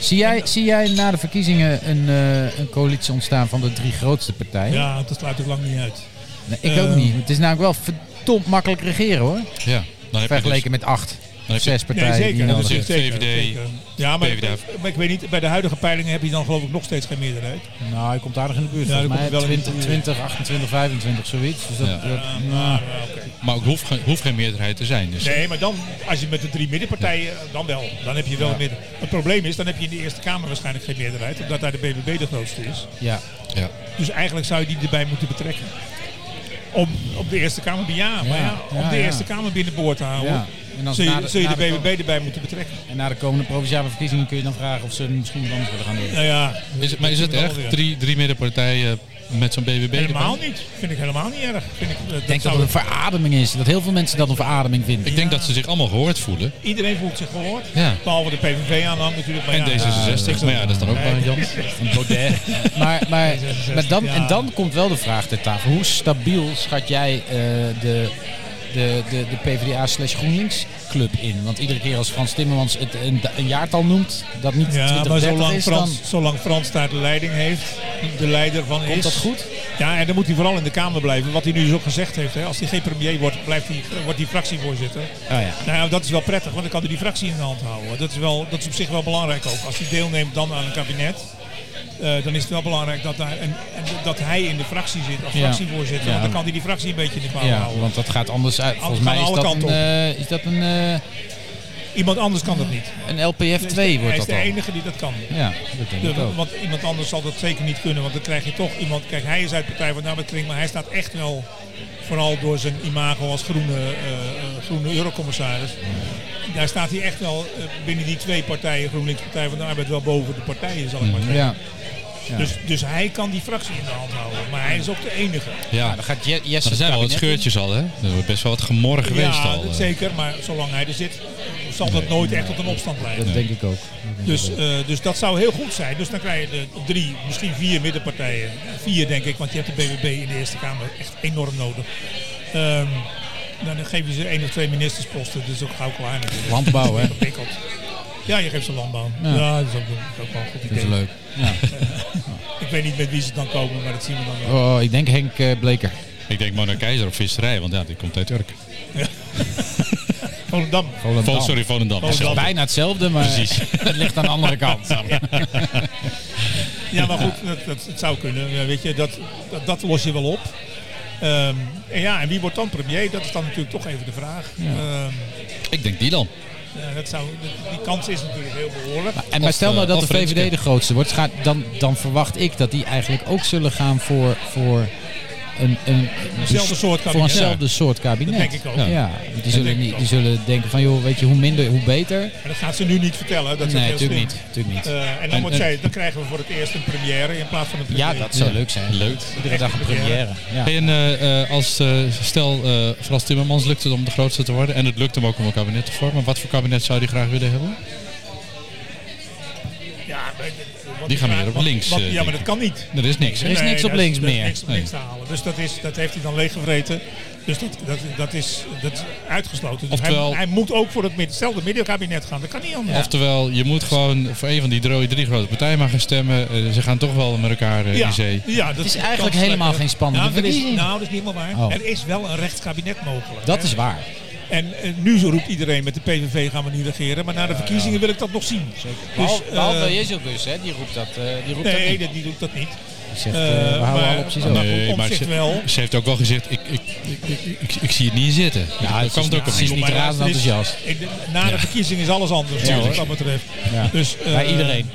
Speaker 2: Zie, jij, zie jij na de verkiezingen een, eh, een coalitie ontstaan van de drie grootste partijen?
Speaker 4: Ja, dat sluit ook lang niet uit.
Speaker 2: Nee, ik ook
Speaker 4: Eh.
Speaker 2: niet. Het is namelijk wel verdomd makkelijk regeren, hoor.
Speaker 1: Ja. Dan heb je dus
Speaker 2: Vergeleken met acht,
Speaker 1: heb je-
Speaker 2: zes partijen die
Speaker 4: dat
Speaker 2: nodig
Speaker 4: is
Speaker 1: zegt
Speaker 2: hebben.
Speaker 1: het VVD,
Speaker 4: Ja, maar,
Speaker 1: PvdA.
Speaker 4: maar ik weet niet, bij de huidige peilingen heb je dan geloof ik nog steeds geen meerderheid.
Speaker 2: Nou, hij komt aardig in de buurt.
Speaker 4: Ja,
Speaker 2: volgens
Speaker 4: daar
Speaker 2: mij
Speaker 4: komt hij wel in de
Speaker 2: 20,
Speaker 4: buurt.
Speaker 2: 20, 28, 25, zoiets. Dus dat,
Speaker 1: Ja.
Speaker 2: dat- nou,
Speaker 4: Ah, ja, oké.
Speaker 1: Maar ook hoeft geen, hoeft geen meerderheid te zijn. Dus
Speaker 4: Nee, maar dan, als je met de drie middenpartijen, eh, dan wel. Dan heb je wel midden. Het probleem is, dan heb je in de Eerste Kamer waarschijnlijk geen meerderheid, omdat daar de BBB de grootste is.
Speaker 2: ja.
Speaker 1: ja.
Speaker 4: Dus eigenlijk zou je die erbij moeten betrekken. Om op de Eerste Kamer, ja, maar ja, om
Speaker 2: ja,
Speaker 4: de
Speaker 2: ja.
Speaker 4: Eerste Kamer binnenboord te houden,
Speaker 2: Ja. En dan
Speaker 4: zul je,
Speaker 2: na de-
Speaker 4: zul je
Speaker 2: na
Speaker 4: de
Speaker 2: de
Speaker 4: BBB erbij moeten betrekken.
Speaker 2: En na de komende provinciale verkiezingen kun je dan vragen of ze misschien wat anders willen gaan doen.
Speaker 4: Nou ja,
Speaker 1: Is het, maar is het
Speaker 4: wel
Speaker 1: echt
Speaker 4: weer.
Speaker 1: drie, drie middenpartijen met zo'n BBB.
Speaker 4: Helemaal niet. Vind ik helemaal niet erg. Vind ik, eh, dat
Speaker 2: Ik denk dat
Speaker 4: zou
Speaker 2: het een verademing is. Dat heel veel mensen dat een verademing vinden.
Speaker 1: Ik denk dat ze zich allemaal gehoord voelen.
Speaker 4: Iedereen voelt zich gehoord.
Speaker 1: Ja.
Speaker 4: Behalve de PVV-aanhang natuurlijk. Maar
Speaker 1: En
Speaker 4: ja,
Speaker 1: D66. Maar ja, dat is dan ook waar,
Speaker 4: [laughs]
Speaker 1: Jan.
Speaker 2: Maar, maar,
Speaker 4: D66,
Speaker 2: maar dan,
Speaker 4: ja.
Speaker 2: en dan komt wel de vraag ter tafel. Hoe stabiel schat jij eh, de, de, de, de PvdA slash GroenLinks club in? Want iedere keer als Frans Timmermans het een, een jaartal noemt, dat niet
Speaker 4: Ja, maar
Speaker 2: 2030
Speaker 4: zolang
Speaker 2: is,
Speaker 4: Frans,
Speaker 2: dan
Speaker 4: zolang Frans daar de leiding heeft, de leider van is.
Speaker 2: komt dat goed.
Speaker 4: Ja, en dan moet hij vooral in de Kamer blijven. Wat hij nu dus ook gezegd heeft. Hè. Als hij geen premier wordt, blijft hij, wordt hij fractievoorzitter.
Speaker 2: Oh ja.
Speaker 4: Nou ja, dat is wel prettig, want dan kan hij die fractie in de hand houden. Dat is, wel, dat is op zich wel belangrijk ook. Als hij deelneemt dan aan een kabinet, eh, dan is het wel belangrijk dat, daar, en, en dat hij in de fractie zit als
Speaker 2: Ja.
Speaker 4: fractievoorzitter.
Speaker 2: Ja.
Speaker 4: Want dan kan hij die fractie een beetje in de klauwen
Speaker 2: Ja,
Speaker 4: houden.
Speaker 2: want dat gaat anders uit. Volgens
Speaker 4: gaan
Speaker 2: mij is
Speaker 4: alle
Speaker 2: dat een,
Speaker 4: kanten
Speaker 2: eh, is dat een, eh,
Speaker 4: Iemand anders kan dat niet.
Speaker 2: een LPF 2
Speaker 4: hij
Speaker 2: wordt
Speaker 4: is
Speaker 2: dat
Speaker 4: de
Speaker 2: dan.
Speaker 4: enige die dat kan.
Speaker 2: Ja, dat denk ik
Speaker 4: De-
Speaker 2: ook.
Speaker 4: want iemand anders zal dat zeker niet kunnen, want dan krijg je toch iemand. Kijk, hij is uit Partij van de Arbeid kring, maar hij staat echt wel vooral door zijn imago als groene, eh, eh, groene eurocommissaris. Daar staat hij echt wel eh, binnen die twee partijen, GroenLinks Partij van de Arbeid, wel boven de partijen, zal ik maar zeggen.
Speaker 2: Mhm, Ja.
Speaker 4: Dus, dus hij kan die fractie in de hand houden, maar hij is ook de enige.
Speaker 1: Ja,
Speaker 2: Ja, Ah, dan gaat Je- Jesse
Speaker 1: er zijn wel wat
Speaker 2: het kabinet in.
Speaker 1: scheurtjes al, hè? Er wordt best wel wat gemorren geweest
Speaker 4: ja,
Speaker 1: al.
Speaker 4: dat
Speaker 1: eh.
Speaker 4: zeker, maar zolang hij er zit, zal dat nooit echt tot een opstand leiden.
Speaker 2: Dat denk ik ook.
Speaker 4: Dus, eh, dus dat zou heel goed zijn. Dus dan krijg je de drie, misschien vier middenpartijen. Vier denk ik, want je hebt de BBB in de Eerste Kamer echt enorm nodig. Ehm, nou, dan geef je ze één of twee ministersposten, dus ook gauw klaar natuurlijk. [laughs]
Speaker 2: Landbouw, hè?
Speaker 4: Ingewikkeld. Ja, je geeft ze landbouw. Ja,
Speaker 2: Ja.
Speaker 4: dat is ook, dat is ook wel een goed
Speaker 2: Dat
Speaker 4: idee.
Speaker 2: is leuk. Ja.
Speaker 4: Ik weet niet met wie ze dan komen, maar dat zien we dan wel.
Speaker 2: Oh, ik denk Henk eh, Bleker.
Speaker 1: Ik denk Mona Keizer op visserij, want ja, die komt uit Urk.
Speaker 2: Oh.
Speaker 4: Volendam.
Speaker 2: Volendam.
Speaker 1: Vol, sorry, Volendam.
Speaker 4: Volendam.
Speaker 2: Bijna hetzelfde, maar
Speaker 1: Precies.
Speaker 2: [laughs] het ligt aan de andere kant.
Speaker 4: Ja, maar goed, dat, dat, het zou kunnen. Ja, Weet je, dat, dat, dat los je wel op. Ehm, en ja, en wie wordt dan premier? Dat is dan natuurlijk toch even de vraag. Ehm,
Speaker 1: Ik denk die dan.
Speaker 4: ja, dat zou, die- die kans is natuurlijk heel behoorlijk.
Speaker 2: En maar
Speaker 1: Of,
Speaker 2: stel nou
Speaker 1: eh,
Speaker 2: dat de
Speaker 1: of
Speaker 2: VVD
Speaker 1: Renske.
Speaker 2: de grootste wordt, gaat, dan, dan verwacht ik dat die eigenlijk ook zullen gaan voor, voor een, een,
Speaker 4: Eenzelfde soort
Speaker 2: voor
Speaker 4: kabinet.
Speaker 2: eenzelfde soort kabinet.
Speaker 4: Dat denk ik ook.
Speaker 2: Ja,
Speaker 4: Ja,
Speaker 2: die, zullen
Speaker 4: denk ik
Speaker 2: niet,
Speaker 4: ook.
Speaker 2: die zullen denken van joh, weet je, hoe minder, hoe beter.
Speaker 4: Maar dat gaat ze nu niet vertellen. Dat is ook
Speaker 2: nee,
Speaker 4: heel
Speaker 2: natuurlijk
Speaker 4: slim.
Speaker 2: niet, natuurlijk niet.
Speaker 4: Eh, en
Speaker 1: En-
Speaker 4: dan, wordt
Speaker 1: en-
Speaker 4: zij, dan krijgen we voor het eerst een première in plaats van een
Speaker 2: ja,
Speaker 4: premier.
Speaker 2: dat zou leuk zijn.
Speaker 1: Leuk.
Speaker 2: Iedere dag een première. Ja.
Speaker 1: En eh, eh, als eh, stel, eh Frans Timmermans lukt het om de grootste te worden. En het lukt hem ook om een kabinet te vormen. Wat voor kabinet zou hij graag willen hebben?
Speaker 4: Ja, maar- want-
Speaker 1: Die gaan meer op
Speaker 4: want-
Speaker 1: links,
Speaker 4: want-
Speaker 1: eh,
Speaker 4: ja, maar dat kan niet.
Speaker 1: Er is niks.
Speaker 2: Er is
Speaker 4: Nee,
Speaker 2: niks op
Speaker 4: daar
Speaker 2: links
Speaker 4: daar is
Speaker 2: meer.
Speaker 4: niks op links te halen. Dus dat, is, dat heeft hij dan leeggevreten. Dus dat, dat, dat, is, dat is uitgesloten. Dus
Speaker 1: Oftewel-
Speaker 4: hij, hij moet ook voor het midden, hetzelfde middenkabinet gaan. Dat kan niet anders.
Speaker 1: Oftewel, je moet gewoon voor een van die drie, drie grote partijen maar gaan stemmen. Eh, ze gaan toch wel met elkaar eh, in zee.
Speaker 4: ja, dat
Speaker 2: is eigenlijk helemaal geen spannende
Speaker 4: nou, er is,
Speaker 2: verkiezing.
Speaker 4: nou, dat is niet helemaal waar.
Speaker 2: Oh.
Speaker 4: Er is wel een rechtskabinet mogelijk.
Speaker 2: Dat
Speaker 4: hè.
Speaker 2: is waar.
Speaker 4: En eh, nu zo roept iedereen met de PVV gaan we niet regeren. Maar na de verkiezingen wil ik dat nog zien. Dus, eh,
Speaker 2: Jezus, hè, die roept dat, eh, die roept
Speaker 4: nee, dat, die doet dat niet.
Speaker 2: Zegt,
Speaker 4: Eh,
Speaker 2: eh, we houden
Speaker 4: maar-
Speaker 2: alle opties
Speaker 4: maar-
Speaker 2: open.
Speaker 4: goed, op
Speaker 1: Eh, ze,
Speaker 4: zich wel.
Speaker 1: ze heeft ook wel gezegd, ik, ik, ik, ik, ik, ik zie het niet zitten.
Speaker 2: Ja,
Speaker 1: dat
Speaker 2: het
Speaker 1: kan
Speaker 2: is
Speaker 1: het ook
Speaker 2: niet-
Speaker 1: op
Speaker 2: het is
Speaker 1: niet.
Speaker 2: niet-
Speaker 4: Maar
Speaker 2: razend
Speaker 4: het is-
Speaker 2: enthousiast.
Speaker 4: in de- Na de verkiezing is alles anders natuurlijk,
Speaker 2: hoor.
Speaker 4: wat dat betreft.
Speaker 2: Ja.
Speaker 4: Dus, eh,
Speaker 2: Bij iedereen.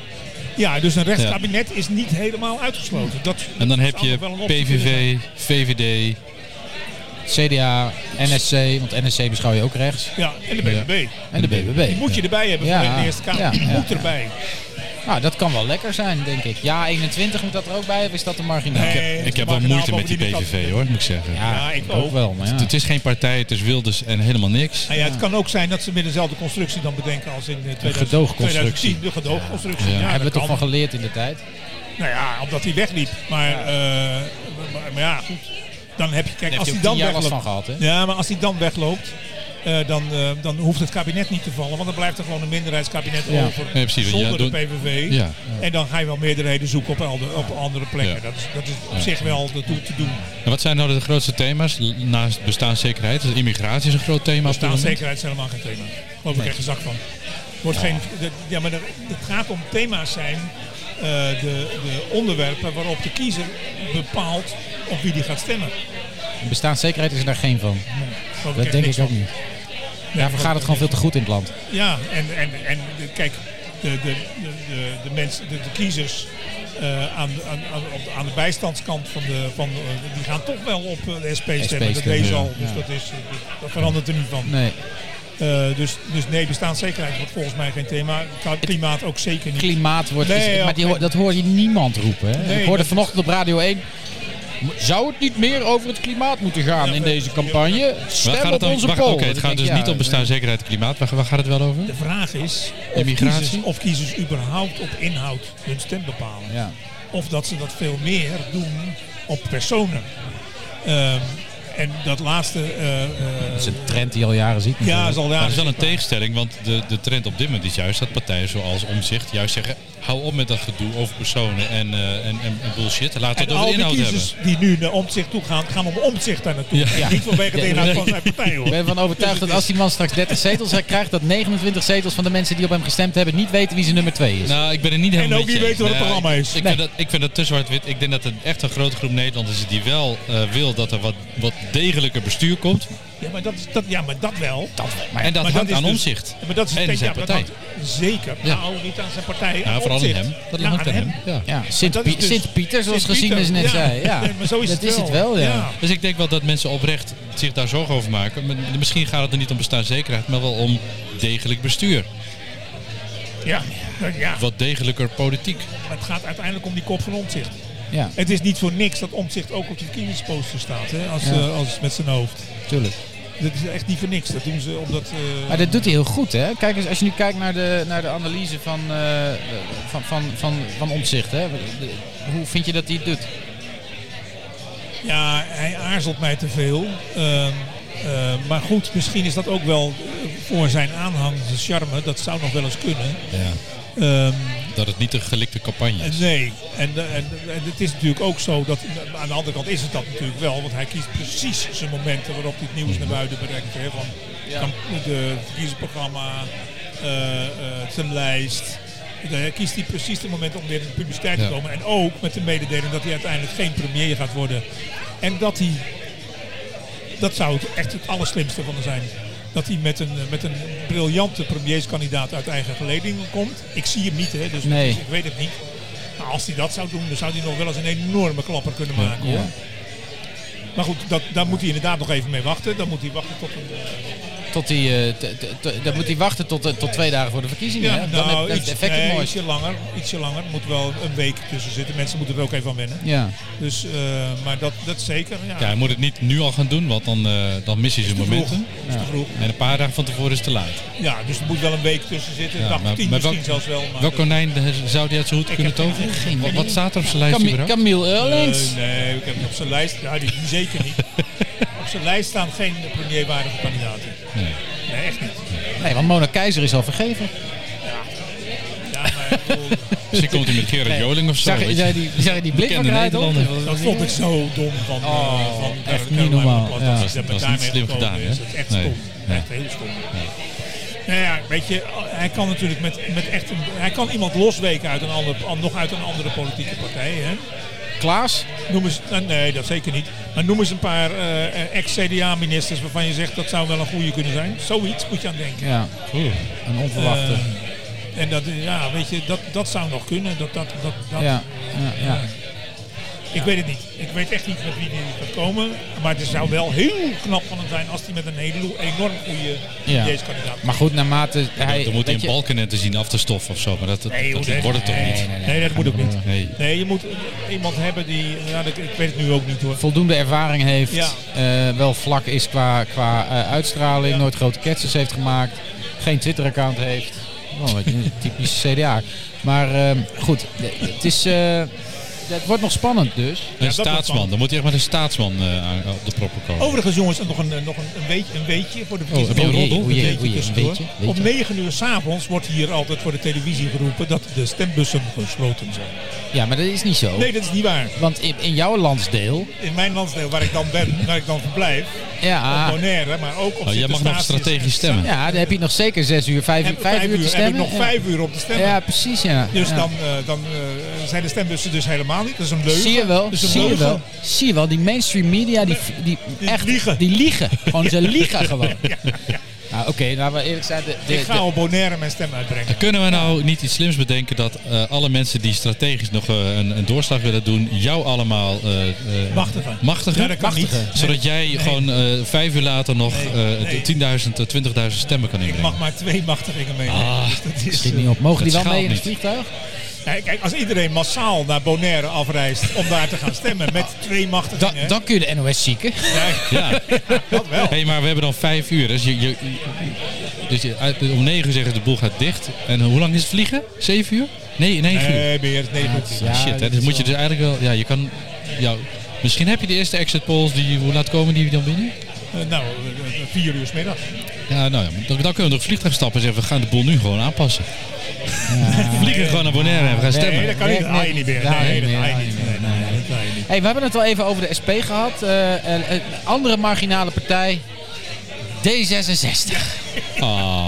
Speaker 4: Ja, dus een rechtskabinet is niet helemaal uitgesloten. Dat,
Speaker 1: En dan
Speaker 4: dat
Speaker 1: heb
Speaker 4: zou
Speaker 1: je
Speaker 4: nog wel een optie kunnen zijn.
Speaker 1: PVV, VVD,
Speaker 2: CDA, NSC, want NSC beschouw je ook rechts.
Speaker 4: Ja, en de BBB.
Speaker 2: En de BBB.
Speaker 4: Die moet je erbij hebben
Speaker 2: Ja.
Speaker 4: voor in de Eerste Kamer.
Speaker 2: Ja,
Speaker 4: Die
Speaker 2: ja.
Speaker 4: moet erbij.
Speaker 2: Nou, dat kan wel lekker zijn, denk ik. Ja, 21 moet dat er ook bij, of is dat een marginaal?
Speaker 4: Nee, dat
Speaker 1: Ik
Speaker 4: is
Speaker 1: heb wel
Speaker 4: marginaal,
Speaker 1: moeite met die
Speaker 4: bovendien is dat-
Speaker 1: PVV hoor, moet ik zeggen.
Speaker 2: Ja,
Speaker 4: Ja, ik
Speaker 2: ik
Speaker 4: ook.
Speaker 2: ook wel, maar ja.
Speaker 1: Het is geen partij, het is Wilders en helemaal niks.
Speaker 4: Nou ja, het kan ook zijn dat ze weer dezelfde constructie dan bedenken als in eh, 2000
Speaker 2: gedoogconstructie.
Speaker 4: 2010. De gedoogconstructie.
Speaker 1: Ja.
Speaker 4: Ja,
Speaker 2: Daar hebben we
Speaker 4: dat
Speaker 2: toch
Speaker 4: kan.
Speaker 2: van geleerd in de tijd.
Speaker 4: Nou ja, omdat hij wegliep. Maar ja, maar, maar ja goed. Dan heb je, kijk, als
Speaker 2: je
Speaker 4: hij
Speaker 2: ook
Speaker 4: dan
Speaker 2: tien jaar last
Speaker 4: wegloopt.
Speaker 2: van gehad, hè?
Speaker 4: Ja, maar als hij dan wegloopt. eh, dan, eh, dan hoeft het kabinet niet te vallen, want dan blijft er gewoon een minderheidskabinet
Speaker 2: Ja.
Speaker 4: over
Speaker 1: Nee, precies, want
Speaker 4: zonder
Speaker 1: ja,
Speaker 4: de
Speaker 1: doe-
Speaker 4: PVV.
Speaker 1: Ja.
Speaker 4: En dan ga je wel meerderheden zoeken op, elde- op andere plekken.
Speaker 1: Ja.
Speaker 4: Dat, is, dat is op zich wel de- toe te doen.
Speaker 1: En wat zijn nou de grootste thema's L- naast bestaanszekerheid? Dus immigratie is een groot thema. op dit moment.
Speaker 4: Staatszekerheid is helemaal geen thema. Daar geloof ik echt een zak van. Wordt geen, de- ja, maar er- het gaat om thema's zijn, eh, de, de onderwerpen waarop de kiezer bepaalt op wie die gaat stemmen.
Speaker 2: Bestaanszekerheid is er daar geen van.
Speaker 4: Daar geloof
Speaker 2: Dat
Speaker 4: echt
Speaker 2: denk
Speaker 4: niks
Speaker 2: ik ook
Speaker 4: van.
Speaker 2: niet.
Speaker 4: Nee,
Speaker 2: Daarvoor gaat het gewoon veel te goed in het land.
Speaker 4: Ja, en, en, en de- kijk, de, de, de, de, de, mensen, de, de kiezers eh, aan, aan, aan, op de- aan de bijstandskant van de, van, eh, die gaan toch wel op eh, de SP stemmen.
Speaker 2: stemmen,
Speaker 4: dat deed ze
Speaker 2: ja.
Speaker 4: al, dus
Speaker 2: Ja.
Speaker 4: dat, is, dat verandert er niet van.
Speaker 2: Nee.
Speaker 4: Eh, dus, dus nee, bestaanszekerheid wordt volgens mij geen thema. Ka- Klimaat ook zeker niet.
Speaker 2: Klimaat wordt...
Speaker 4: Nee,
Speaker 2: is-
Speaker 4: ja,
Speaker 2: maar die, ho-
Speaker 4: oké.
Speaker 2: dat hoor je niemand roepen, hè?
Speaker 4: Nee,
Speaker 2: Ik hoorde
Speaker 4: dat-
Speaker 2: vanochtend op Radio 1... Zou het niet meer over het klimaat moeten gaan in deze campagne? Stem
Speaker 1: Waar gaat het
Speaker 2: op
Speaker 1: dan?
Speaker 2: onze
Speaker 1: waar-
Speaker 2: poll.
Speaker 1: Oké, het
Speaker 2: Dan
Speaker 1: gaat
Speaker 2: denk ik,
Speaker 1: dus
Speaker 2: ja,
Speaker 4: eh,
Speaker 1: niet om bestaanszekerheid en klimaat. Waar, waar gaat het wel over?
Speaker 4: De vraag is of
Speaker 1: Immigratie?
Speaker 4: kiezers, of kiezers überhaupt op inhoud hun stem bepalen.
Speaker 2: Ja.
Speaker 4: Of dat ze dat veel meer doen op personen. Ehm, en dat laatste... eh, eh,
Speaker 2: Dat is een trend die je al jaren ziet.
Speaker 4: ja,
Speaker 2: natuurlijk.
Speaker 4: zal
Speaker 1: Maar
Speaker 4: daar...
Speaker 1: dat is wel een tegenstelling, want de, de trend op dit moment is juist dat partijen zoals Omzicht juist zeggen: hou op met dat gedoe over personen en, eh, en, en, en bullshit. Laat
Speaker 4: En
Speaker 1: het over
Speaker 4: al die
Speaker 1: inhoud hebben.
Speaker 4: kiezers die nu naar omzicht toe gaan, gaan om omzicht daar naartoe.
Speaker 1: Ja.
Speaker 4: Niet vanwege de
Speaker 2: Ja.
Speaker 4: inhoud van zijn partij hoor.
Speaker 2: Ik ben ervan overtuigd dat als die man straks 30 zetels krijgt, dat 29 zetels van de mensen die op hem gestemd hebben niet weten wie zijn nummer 2 is.
Speaker 1: Nou, ik ben er niet helemaal
Speaker 4: ook
Speaker 1: met je
Speaker 4: niet
Speaker 1: eens.
Speaker 4: weten wat het
Speaker 1: Nou,
Speaker 4: programma
Speaker 1: ik-
Speaker 4: is.
Speaker 1: Ik,
Speaker 2: Nee.
Speaker 1: vind dat, ik vind dat te zwart-wit. Ik denk dat er echt een grote groep Nederlanders is die wel eh, wil dat er wat, wat degelijker bestuur komt.
Speaker 4: Ja, maar dat, is- dat, ja, maar dat wel.
Speaker 1: en dat
Speaker 4: maar
Speaker 1: hangt
Speaker 4: is
Speaker 1: aan
Speaker 4: dus-
Speaker 1: omzicht.
Speaker 4: Ja, Maar dat is
Speaker 1: en
Speaker 4: het
Speaker 1: zijn
Speaker 4: ja, maar dat
Speaker 1: partij.
Speaker 4: hangt zeker.
Speaker 1: Ja.
Speaker 4: Nou, niet aan zijn partij.
Speaker 1: ja,
Speaker 4: aan
Speaker 1: vooral aan
Speaker 4: Omtzigt.
Speaker 1: hem. Dat
Speaker 4: Ja,
Speaker 1: hangt
Speaker 4: aan
Speaker 1: aan hem.
Speaker 4: hem.
Speaker 1: Ja.
Speaker 2: Ja,
Speaker 4: dat is
Speaker 2: Sint-Pieter,
Speaker 4: dus-
Speaker 2: Sint-Pieter zoals gezien is net
Speaker 4: ja.
Speaker 2: zei. Ja,
Speaker 4: [laughs] Nee, maar zo is
Speaker 2: dat
Speaker 4: het
Speaker 2: is
Speaker 4: wel.
Speaker 2: het wel, ja.
Speaker 4: Ja.
Speaker 1: Dus ik denk wel dat mensen oprecht zich daar zorgen over maken. Maar Misschien gaat het er niet om bestaanszekerheid, maar wel om degelijk bestuur.
Speaker 4: Ja, nou ja,
Speaker 1: Wat degelijker politiek.
Speaker 4: maar het gaat uiteindelijk om die kop van omzicht.
Speaker 2: Ja,
Speaker 4: Het is niet voor niks dat omzicht ook op de verkiezingsposter staat, hè, als,
Speaker 2: Ja.
Speaker 4: eh, als met zijn hoofd.
Speaker 2: tuurlijk.
Speaker 4: Dat is echt niet voor niks. Dat doen ze omdat. eh,
Speaker 2: Maar dat doet hij heel goed, hè? Kijk eens, als je nu kijkt naar de, naar de analyse van, eh, van, van, van, van Omtzigt, hè? De- Hoe vind je dat hij het doet?
Speaker 4: Ja, hij aarzelt mij te veel. Ehm, eh, maar goed, misschien is dat ook wel eh, voor zijn aanhang zijn charme. Dat zou nog wel eens kunnen.
Speaker 1: Ja.
Speaker 4: Ehm,
Speaker 1: Dat het niet een gelikte campagne is.
Speaker 4: en nee, en, eh, en, en het is natuurlijk ook zo dat eh, aan de andere kant is het dat natuurlijk wel, want hij kiest precies zijn momenten waarop hij het nieuws naar buiten brengt. Hè, van kan, de verkiezingsprogramma, eh, eh, zijn lijst. Daar kiest hij precies het moment om weer in de publiciteit
Speaker 1: Ja.
Speaker 4: te komen. En ook met de mededeling dat hij uiteindelijk geen premier gaat worden. En dat hij dat zou het echt het allerslimste van hem zijn. Dat hij met een, eh, met een briljante premierskandidaat uit eigen geleding komt. Ik zie hem niet, hè, dus
Speaker 2: Nee.
Speaker 4: ik weet het niet. Maar als hij dat zou doen, dan zou hij nog wel eens een enorme klapper kunnen maken. hoor. Maar goed, dat, daar moet hij inderdaad nog even mee wachten. Dan moet hij wachten tot een... eh,
Speaker 2: Tot die, eh, t- t- t- dan moet hij wachten tot, eh, tot twee dagen voor de verkiezingen. hè? Dan
Speaker 4: nou,
Speaker 2: heb je het
Speaker 4: iets-
Speaker 2: effect
Speaker 4: nee,
Speaker 2: het mooiste.
Speaker 4: ietsje langer. Ietsje langer. Moet wel een week tussen zitten. Mensen moeten er ook even aan wennen.
Speaker 2: Ja.
Speaker 4: Dus, eh, maar dat, dat zeker. Ja,
Speaker 1: Ja, hij moet het niet nu al gaan doen, want dan, eh, dan mis hij zijn
Speaker 4: te vroeg.
Speaker 1: momenten.
Speaker 4: Is te vroeg.
Speaker 1: En een paar dagen van tevoren is het te laat.
Speaker 4: Ja, dus er moet wel een week tussen zitten.
Speaker 1: Ja,
Speaker 4: een dag
Speaker 1: maar-
Speaker 4: of tien
Speaker 1: maar
Speaker 4: misschien
Speaker 1: welk-
Speaker 4: zelfs wel. Maar
Speaker 1: Welk
Speaker 4: dat-
Speaker 1: konijn eh, zou hij uit zijn hoed
Speaker 4: Ik
Speaker 1: kunnen
Speaker 4: heb geen-
Speaker 1: toveren?
Speaker 4: geen
Speaker 1: Wat, wat staat er op zijn lijst
Speaker 2: Cam-
Speaker 1: überhaupt?
Speaker 2: Camille Eurlings.
Speaker 4: Nee, Eh, nee, ik heb hem op zijn lijst. Ja, die, die zeker niet. op zijn lijst staan geen premierwaardige kandidaten.
Speaker 1: Nee.
Speaker 4: Nee, echt niet.
Speaker 2: Nee, want Mona Keizer is al vergeven.
Speaker 4: Ja, maar ik bedoel,
Speaker 1: Misschien komt hij met Gerard Joling of zo.
Speaker 2: Zag je
Speaker 1: weet je.
Speaker 2: zag je die, zag je die blik
Speaker 1: Bekende
Speaker 2: waar hij uit had?
Speaker 1: Nederlander.
Speaker 4: dat vond ik zo dom van, eh,
Speaker 2: Oh,
Speaker 4: van
Speaker 2: echt
Speaker 4: Caroline
Speaker 2: niet
Speaker 4: Caroline
Speaker 2: normaal.
Speaker 4: Plas,
Speaker 2: Ja. Dat
Speaker 4: Dat, ze
Speaker 1: is-
Speaker 4: met
Speaker 1: dat is
Speaker 4: daarmee
Speaker 1: niet slim
Speaker 4: gekomen
Speaker 1: gedaan, hè?
Speaker 4: is. Dat is echt
Speaker 1: Nee.
Speaker 4: stom.
Speaker 1: Nee.
Speaker 4: Echt heel stom. Nou ja, weet je, hij kan natuurlijk met, met echt een, hij kan iemand losweken uit een andere, nog uit een andere politieke partij. Hè?
Speaker 2: Klaas?
Speaker 4: Noem eens, nou, nee, dat zeker niet. Maar noem eens een paar eh, ex-CDA-ministers waarvan je zegt dat zou wel een goede kunnen zijn. Zoiets moet je aan denken.
Speaker 2: Ja, een onverwachte.
Speaker 4: Eh, en dat, eh, ja, weet je, dat, dat zou nog kunnen. Dat, dat, dat, dat.
Speaker 2: ja, ja, ja.
Speaker 4: Ik weet het niet. Ik weet echt niet met wie die gaat komen. Maar het zou wel heel knap van hem zijn als hij met een heleboel enorm goede
Speaker 2: Ja.
Speaker 4: deze kandidaat.
Speaker 2: Maar goed, naarmate hij...
Speaker 1: Dan moet hij
Speaker 2: weet
Speaker 1: een
Speaker 2: je-
Speaker 1: balkanetten zien af te stoffen of zo. Maar dat, dat,
Speaker 4: Nee,
Speaker 1: dat
Speaker 4: hoe-
Speaker 1: wordt het toch
Speaker 4: nee,
Speaker 1: niet?
Speaker 4: Nee, nee, dat moet ook niet.
Speaker 1: Nee.
Speaker 4: Nee, je moet eh, iemand hebben die... Ja, dat, ik weet het nu ook niet hoor.
Speaker 2: voldoende ervaring heeft,
Speaker 4: Ja.
Speaker 2: eh, wel vlak is qua, qua eh, uitstraling,
Speaker 4: Ja.
Speaker 2: nooit grote catches heeft gemaakt, geen Twitter-account heeft. Wel een
Speaker 4: [laughs]
Speaker 2: beetje een typisch CDA. Maar ehm, goed, de- het is... eh, het wordt nog spannend dus.
Speaker 1: Een
Speaker 4: dat Oh.
Speaker 1: staatsman.
Speaker 4: kan.
Speaker 1: Dan moet hij echt met een staatsman eh, aan- op de proppen komen.
Speaker 4: Overigens jongens, nog een, nog een, een, weetje, een weetje
Speaker 1: Oh,
Speaker 4: voor de verkiezingen.
Speaker 2: heb je een
Speaker 4: Een
Speaker 2: roddel? Oei, oei,
Speaker 4: weetje
Speaker 2: oei, een
Speaker 4: tussendoor.
Speaker 2: weetje, weetje.
Speaker 4: Om 9 uur s'avonds wordt hier altijd voor de televisie geroepen dat de stembussen gesloten zijn.
Speaker 1: Oh.
Speaker 2: Ja, maar dat is niet zo.
Speaker 4: Nee, dat is niet waar.
Speaker 2: Want in, in jouw landsdeel...
Speaker 4: In mijn landsdeel waar ik dan ben, waar ik dan verblijf, op
Speaker 2: Ja,
Speaker 4: Bonaire, maar ook op
Speaker 1: Ah. Oh, jij mag nog
Speaker 4: Sinterstaatjes.
Speaker 1: strategisch stemmen.
Speaker 2: ja, dan heb je nog zeker zes uur, vijf,
Speaker 4: Heb
Speaker 2: uur-
Speaker 4: ik
Speaker 2: vijf
Speaker 4: vijf
Speaker 2: uur te
Speaker 4: uur, heb ik
Speaker 2: stemmen.
Speaker 4: nog vijf uur op te
Speaker 2: ja.
Speaker 4: stemmen.
Speaker 2: Ja, precies ja.
Speaker 4: Dus
Speaker 2: Ja.
Speaker 4: dan, eh, dan eh, zijn de stembussen dus helemaal niet. Dat is een leugen.
Speaker 2: Zie je wel,
Speaker 4: Dat is een
Speaker 2: zie je
Speaker 4: leugen.
Speaker 2: wel, zie je wel, die mainstream media, die, die,
Speaker 4: Die
Speaker 2: echt,
Speaker 4: liegen.
Speaker 2: die liegen. Gewoon, ze liegen gewoon.
Speaker 4: Ja, ja.
Speaker 2: Nou, oké, nou, maar eerlijk zijn, de, de,
Speaker 4: Ik ga
Speaker 2: de-
Speaker 4: op Bonaire mijn stem uitbrengen.
Speaker 1: Kunnen we nou niet iets slims bedenken dat eh, alle mensen die strategisch nog eh, een, een doorslag willen doen, jou allemaal eh, eh,
Speaker 4: Machtigen.
Speaker 1: machtigen?
Speaker 4: Ja, dat kan niet.
Speaker 1: Machtigen. Zodat jij gewoon eh, vijf uur later nog
Speaker 4: Nee.
Speaker 1: eh,
Speaker 4: Nee.
Speaker 1: 10.000 tot 20.000 stemmen kan
Speaker 4: Ik
Speaker 1: inbrengen.
Speaker 4: mag maar twee machtigingen meenemen. Dus
Speaker 1: Ah,
Speaker 4: dat is,
Speaker 2: Schiet niet op. Mogen die
Speaker 1: Dat
Speaker 2: wel mee in het
Speaker 1: schaalt
Speaker 2: vliegtuig?
Speaker 4: Ja, kijk, als iedereen massaal naar Bonaire afreist om daar te gaan stemmen met twee
Speaker 2: Da-
Speaker 4: machtigingen.
Speaker 2: dan kun je de NOS zieken.
Speaker 4: [laughs]
Speaker 1: Ja.
Speaker 4: dat
Speaker 2: [laughs]
Speaker 4: wel.
Speaker 1: Hé, maar we hebben dan vijf uur. Dus, je, je, dus je, uit- om negen uur zeggen ze de boel gaat dicht. En hoe lang is het vliegen? Zeven uur? Nee, negen uur.
Speaker 4: Nee, meer. Eh, Nee, goed.
Speaker 2: Ja,
Speaker 1: [laughs] Shit, hè.
Speaker 2: dat
Speaker 1: Dus
Speaker 2: is
Speaker 1: moet je
Speaker 2: wel-
Speaker 1: dus eigenlijk wel... Ja, je kan... Ja, misschien heb je de eerste exit polls die... Hoe laat komen die dan binnen?
Speaker 4: Eh, nou, eh, eh, vier uur 's middags.
Speaker 1: Ja, nou ja. Dan, dan kunnen we nog het vliegtuig stappen en zeggen... We gaan de boel nu gewoon aanpassen. we [laughs] vliegen gewoon naar Bonaire en we gaan stemmen.
Speaker 4: Nee, dat kan niet.
Speaker 2: Nee,
Speaker 4: Dat haal
Speaker 2: nee,
Speaker 4: je niet meer.
Speaker 2: dat haal je
Speaker 4: Nee, dat
Speaker 2: niet
Speaker 4: haal
Speaker 2: meer,
Speaker 4: je
Speaker 2: dat
Speaker 4: niet.
Speaker 2: haal je
Speaker 4: Nee, nee, nee, dat haal je niet.
Speaker 2: Hey, we hebben het al even over de SP gehad. Eh, eh, eh, andere marginale partij. D66.
Speaker 1: Ah.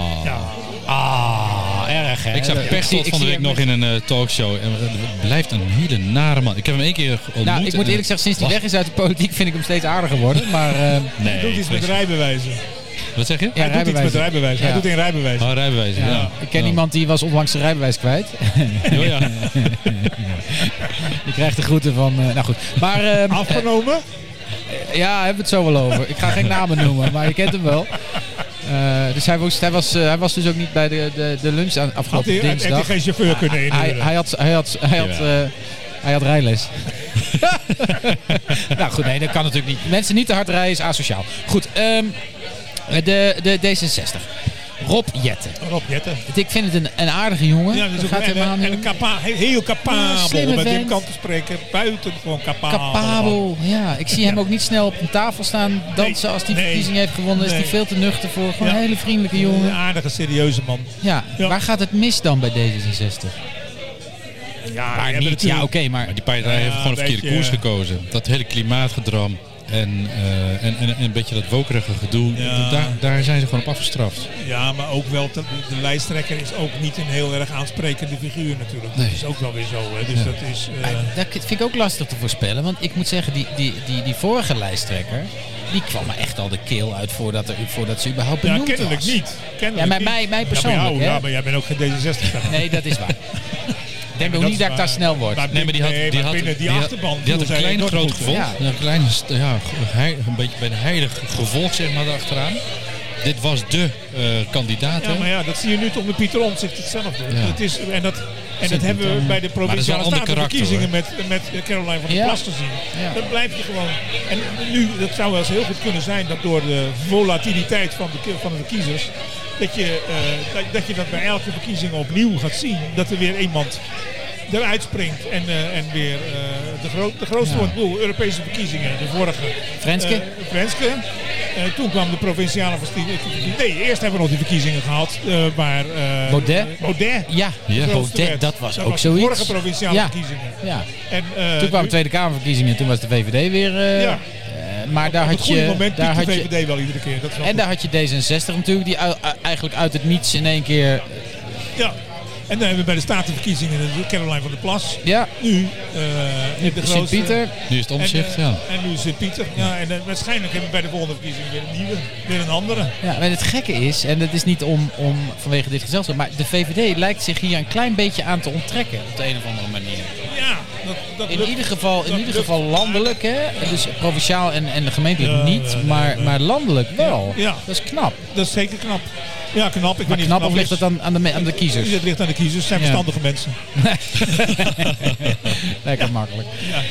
Speaker 2: Ah, erg hè?
Speaker 1: Ik zag
Speaker 2: Dat- zie-
Speaker 1: Pechtold
Speaker 2: ik
Speaker 1: van de
Speaker 2: zie
Speaker 1: week
Speaker 2: hem
Speaker 1: nog
Speaker 2: met-
Speaker 1: in een eh, talkshow. En het blijft een hele nare man. Ik heb hem één keer ontmoet.
Speaker 2: Nou, ik moet
Speaker 1: en-
Speaker 2: eerlijk zeggen, sinds hij
Speaker 1: Was-
Speaker 2: weg is uit de politiek vind ik hem steeds aardiger worden. Maar eh,
Speaker 1: Nee,
Speaker 4: Doet iets met
Speaker 1: vreselijk.
Speaker 4: rijbewijzen.
Speaker 1: Wat zeg je?
Speaker 2: ja,
Speaker 4: Hij doet iets
Speaker 2: rijbewijs.
Speaker 4: met rijbewijs. Hij
Speaker 2: Ja.
Speaker 4: doet in rijbewijs.
Speaker 1: Oh, rijbewijs. Ja.
Speaker 2: Ik ken
Speaker 1: Ja.
Speaker 2: iemand die was onlangs zijn rijbewijs kwijt. [laughs]
Speaker 1: Oh, ja. [laughs]
Speaker 2: Je krijgt de groeten van... eh, nou goed. Maar eh,
Speaker 4: Afgenomen?
Speaker 2: ja, hebben we het zo wel over. Ik ga
Speaker 4: [laughs]
Speaker 2: geen namen noemen, maar je kent hem wel. Eh, dus hij was, hij, was, eh, hij was dus ook niet bij de, de, de lunch aan-
Speaker 4: Had
Speaker 2: afgelopen
Speaker 4: hij, had
Speaker 2: dinsdag.
Speaker 4: hij geen chauffeur kunnen
Speaker 2: Hij,
Speaker 4: inhuren?
Speaker 2: hij had, hij had, hij had,
Speaker 1: Jawel.
Speaker 2: eh, hij had
Speaker 4: [laughs]
Speaker 2: rijles. nou goed, nee, dat kan natuurlijk niet. Mensen niet te hard rijden is asociaal. Goed, ehm, de, de D66. Rob Jetten.
Speaker 4: Rob Jetten.
Speaker 2: Ik vind het een, een aardige jongen.
Speaker 4: Ja,
Speaker 2: dat
Speaker 4: dat is ook,
Speaker 2: gaat
Speaker 4: en,
Speaker 2: helemaal
Speaker 4: en
Speaker 2: niet.
Speaker 4: een kapa- heel- heel
Speaker 2: Ja,
Speaker 4: capabel,
Speaker 2: slimme
Speaker 4: om met hem
Speaker 2: vent.
Speaker 4: kan te spreken. Buitengewoon capabel. Oh,
Speaker 2: Capabel. Ja, ik zie hem ook niet snel op een tafel staan dansen
Speaker 4: Nee,
Speaker 2: als die
Speaker 4: nee,
Speaker 2: verkiezing heeft gewonnen. Is
Speaker 4: nee.
Speaker 2: die veel te nuchter voor. Gewoon
Speaker 4: Ja.
Speaker 2: een hele vriendelijke
Speaker 4: Een
Speaker 2: jongen.
Speaker 4: aardige, serieuze man.
Speaker 2: Ja.
Speaker 4: Ja.
Speaker 2: waar gaat het mis dan bij D66?
Speaker 4: Ja, die
Speaker 2: Waar
Speaker 4: hebben
Speaker 2: niet, ja oké,
Speaker 4: natuurlijk-
Speaker 2: maar
Speaker 1: Maar die partij heeft
Speaker 4: Ja,
Speaker 1: gewoon een
Speaker 4: een
Speaker 1: verkeerde
Speaker 4: beetje,
Speaker 1: koers
Speaker 4: eh.
Speaker 1: gekozen. Dat hele klimaatgedram en, eh, en, en, en een beetje dat wokerige gedoe.
Speaker 4: Ja.
Speaker 1: Daar, daar zijn ze gewoon op afgestraft.
Speaker 4: Ja, maar ook wel, te- de, lijsttrekker is ook niet een heel erg aansprekende figuur natuurlijk.
Speaker 1: Nee.
Speaker 4: Dat is ook wel weer zo. Hè. Dus dat is... eh,
Speaker 2: Dat vind ik ook lastig te voorspellen. Want ik moet zeggen, die, die, die, die vorige lijsttrekker... die kwam me echt al de keel uit voordat, er, voordat ze überhaupt
Speaker 4: ja,
Speaker 2: benoemd
Speaker 4: kennelijk
Speaker 2: was.
Speaker 4: niet. Kennelijk
Speaker 2: Ja, maar
Speaker 4: niet.
Speaker 2: mij- mij
Speaker 4: Ja,
Speaker 2: persoonlijk,
Speaker 4: jou,
Speaker 2: hè?
Speaker 4: Ja, maar jij bent ook geen D66.
Speaker 2: Nee, dat
Speaker 4: [laughs]
Speaker 2: is waar. Ik denk ook
Speaker 4: dat
Speaker 2: niet
Speaker 4: is
Speaker 2: dat ik daar
Speaker 4: waar.
Speaker 2: snel word.
Speaker 4: Maar-
Speaker 1: Nee, maar die had,
Speaker 4: Nee,
Speaker 1: die
Speaker 4: maar
Speaker 1: had,
Speaker 4: binnen die
Speaker 1: had-
Speaker 4: achterban
Speaker 1: die had
Speaker 4: viel
Speaker 1: een
Speaker 4: zij
Speaker 1: klein
Speaker 4: enorm
Speaker 1: groot
Speaker 4: goed, hè?
Speaker 1: gevolg.
Speaker 2: Ja.
Speaker 1: Ja, een, klein, st- ja, ge- hei- een beetje bij een heilig gevolg zeg maar erachteraan. Dit was de eh, kandidaat.
Speaker 4: Ja,
Speaker 1: hè?
Speaker 4: maar ja, dat zie je nu toch met Pieter Omtzigt hetzelfde.
Speaker 1: Ja.
Speaker 4: Dat is, en dat, en dat hebben we bij de provinciale
Speaker 1: ander
Speaker 4: statenverkiezingen met, met Caroline van der
Speaker 2: Ja.
Speaker 4: Plas gezien.
Speaker 2: Ja.
Speaker 4: Dat blijf je gewoon. En nu, dat zou wel eens heel goed kunnen zijn dat door de volatiliteit van de, van de kiezers. Dat je, eh, dat, dat je dat bij elke verkiezing opnieuw gaat zien. Dat er weer iemand eruit springt en, eh, en weer eh, de, groot, de grootste wordt. Ik bedoel, Europese verkiezingen, de vorige.
Speaker 2: Frenske?
Speaker 4: eh, Frenske. Eh, toen kwam de provinciale verkiezingen. Nee, eerst hebben we nog die verkiezingen gehad eh, waar... eh,
Speaker 2: Baudet?
Speaker 4: Baudet.
Speaker 2: Ja,
Speaker 1: Ja.
Speaker 4: de grootste
Speaker 2: Baudet,
Speaker 4: werd.
Speaker 2: dat was
Speaker 4: dat
Speaker 2: ook
Speaker 4: was
Speaker 2: zoiets.
Speaker 4: De vorige provinciale
Speaker 2: Ja.
Speaker 4: verkiezingen.
Speaker 2: ja.
Speaker 4: En, eh,
Speaker 2: Toen kwamen de
Speaker 4: nu-
Speaker 2: Tweede Kamerverkiezingen. Toen was de VVD weer... eh,
Speaker 4: Ja.
Speaker 2: eh, maar daar
Speaker 4: Op het
Speaker 2: had
Speaker 4: goede
Speaker 2: je...
Speaker 4: moment
Speaker 2: Daar
Speaker 4: piekt
Speaker 2: had
Speaker 4: de
Speaker 2: je
Speaker 4: VVD wel iedere keer. Dat is wel
Speaker 2: en
Speaker 4: goed.
Speaker 2: daar had je D66 natuurlijk, die ui- ui- eigenlijk uit het niets in één keer...
Speaker 4: ja. en dan hebben we bij de statenverkiezingen de Caroline van der Plas.
Speaker 2: Ja,
Speaker 4: Nu, eh de grootste.
Speaker 2: Sint-Pieter.
Speaker 1: Nu is het
Speaker 4: En,
Speaker 1: omzicht,
Speaker 4: eh,
Speaker 1: ja.
Speaker 4: en nu Sint-Pieter. Ja, en eh, waarschijnlijk hebben we bij de volgende verkiezingen weer een nieuwe. Weer een andere.
Speaker 2: Ja, en het gekke is, en dat is niet om, om vanwege dit gezelschap, maar de VVD lijkt zich hier een klein beetje aan te onttrekken op de een of andere manier.
Speaker 4: Ja, dat, dat
Speaker 2: In
Speaker 4: lukt.
Speaker 2: ieder geval, in
Speaker 4: dat
Speaker 2: ieder
Speaker 4: lukt.
Speaker 2: geval landelijk, hè? Dus provinciaal en, en gemeentelijk
Speaker 4: Ja,
Speaker 2: niet,
Speaker 4: ja, nee,
Speaker 2: maar,
Speaker 4: nee.
Speaker 2: maar landelijk wel.
Speaker 4: Ja, ja.
Speaker 2: Dat is knap.
Speaker 4: Dat is zeker knap. Ja, knap. Ik
Speaker 2: Maar
Speaker 4: weet niet
Speaker 2: knap of
Speaker 4: is.
Speaker 2: ligt het dan aan de, me- aan de kiezers?
Speaker 4: Het ligt aan de kiezers. Het zijn
Speaker 2: Ja.
Speaker 4: verstandige mensen.
Speaker 2: [laughs] Lekker makkelijk.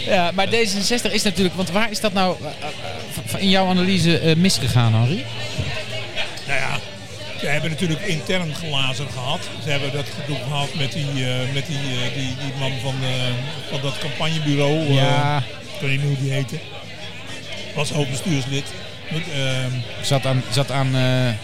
Speaker 2: Ja. maar D66 is natuurlijk, want waar is dat nou eh, eh, v- in jouw analyse eh, misgegaan, Henri?
Speaker 4: Nou ja, ze hebben natuurlijk intern glazen gehad. Ze hebben dat gedoe gehad met die, eh, met die, eh, die, die man van, eh, van dat campagnebureau. eh, ik weet niet hoe die heette. Was hoofdbestuurslid. Met, ehm,
Speaker 2: Zat aan. Zat aan eh, eh,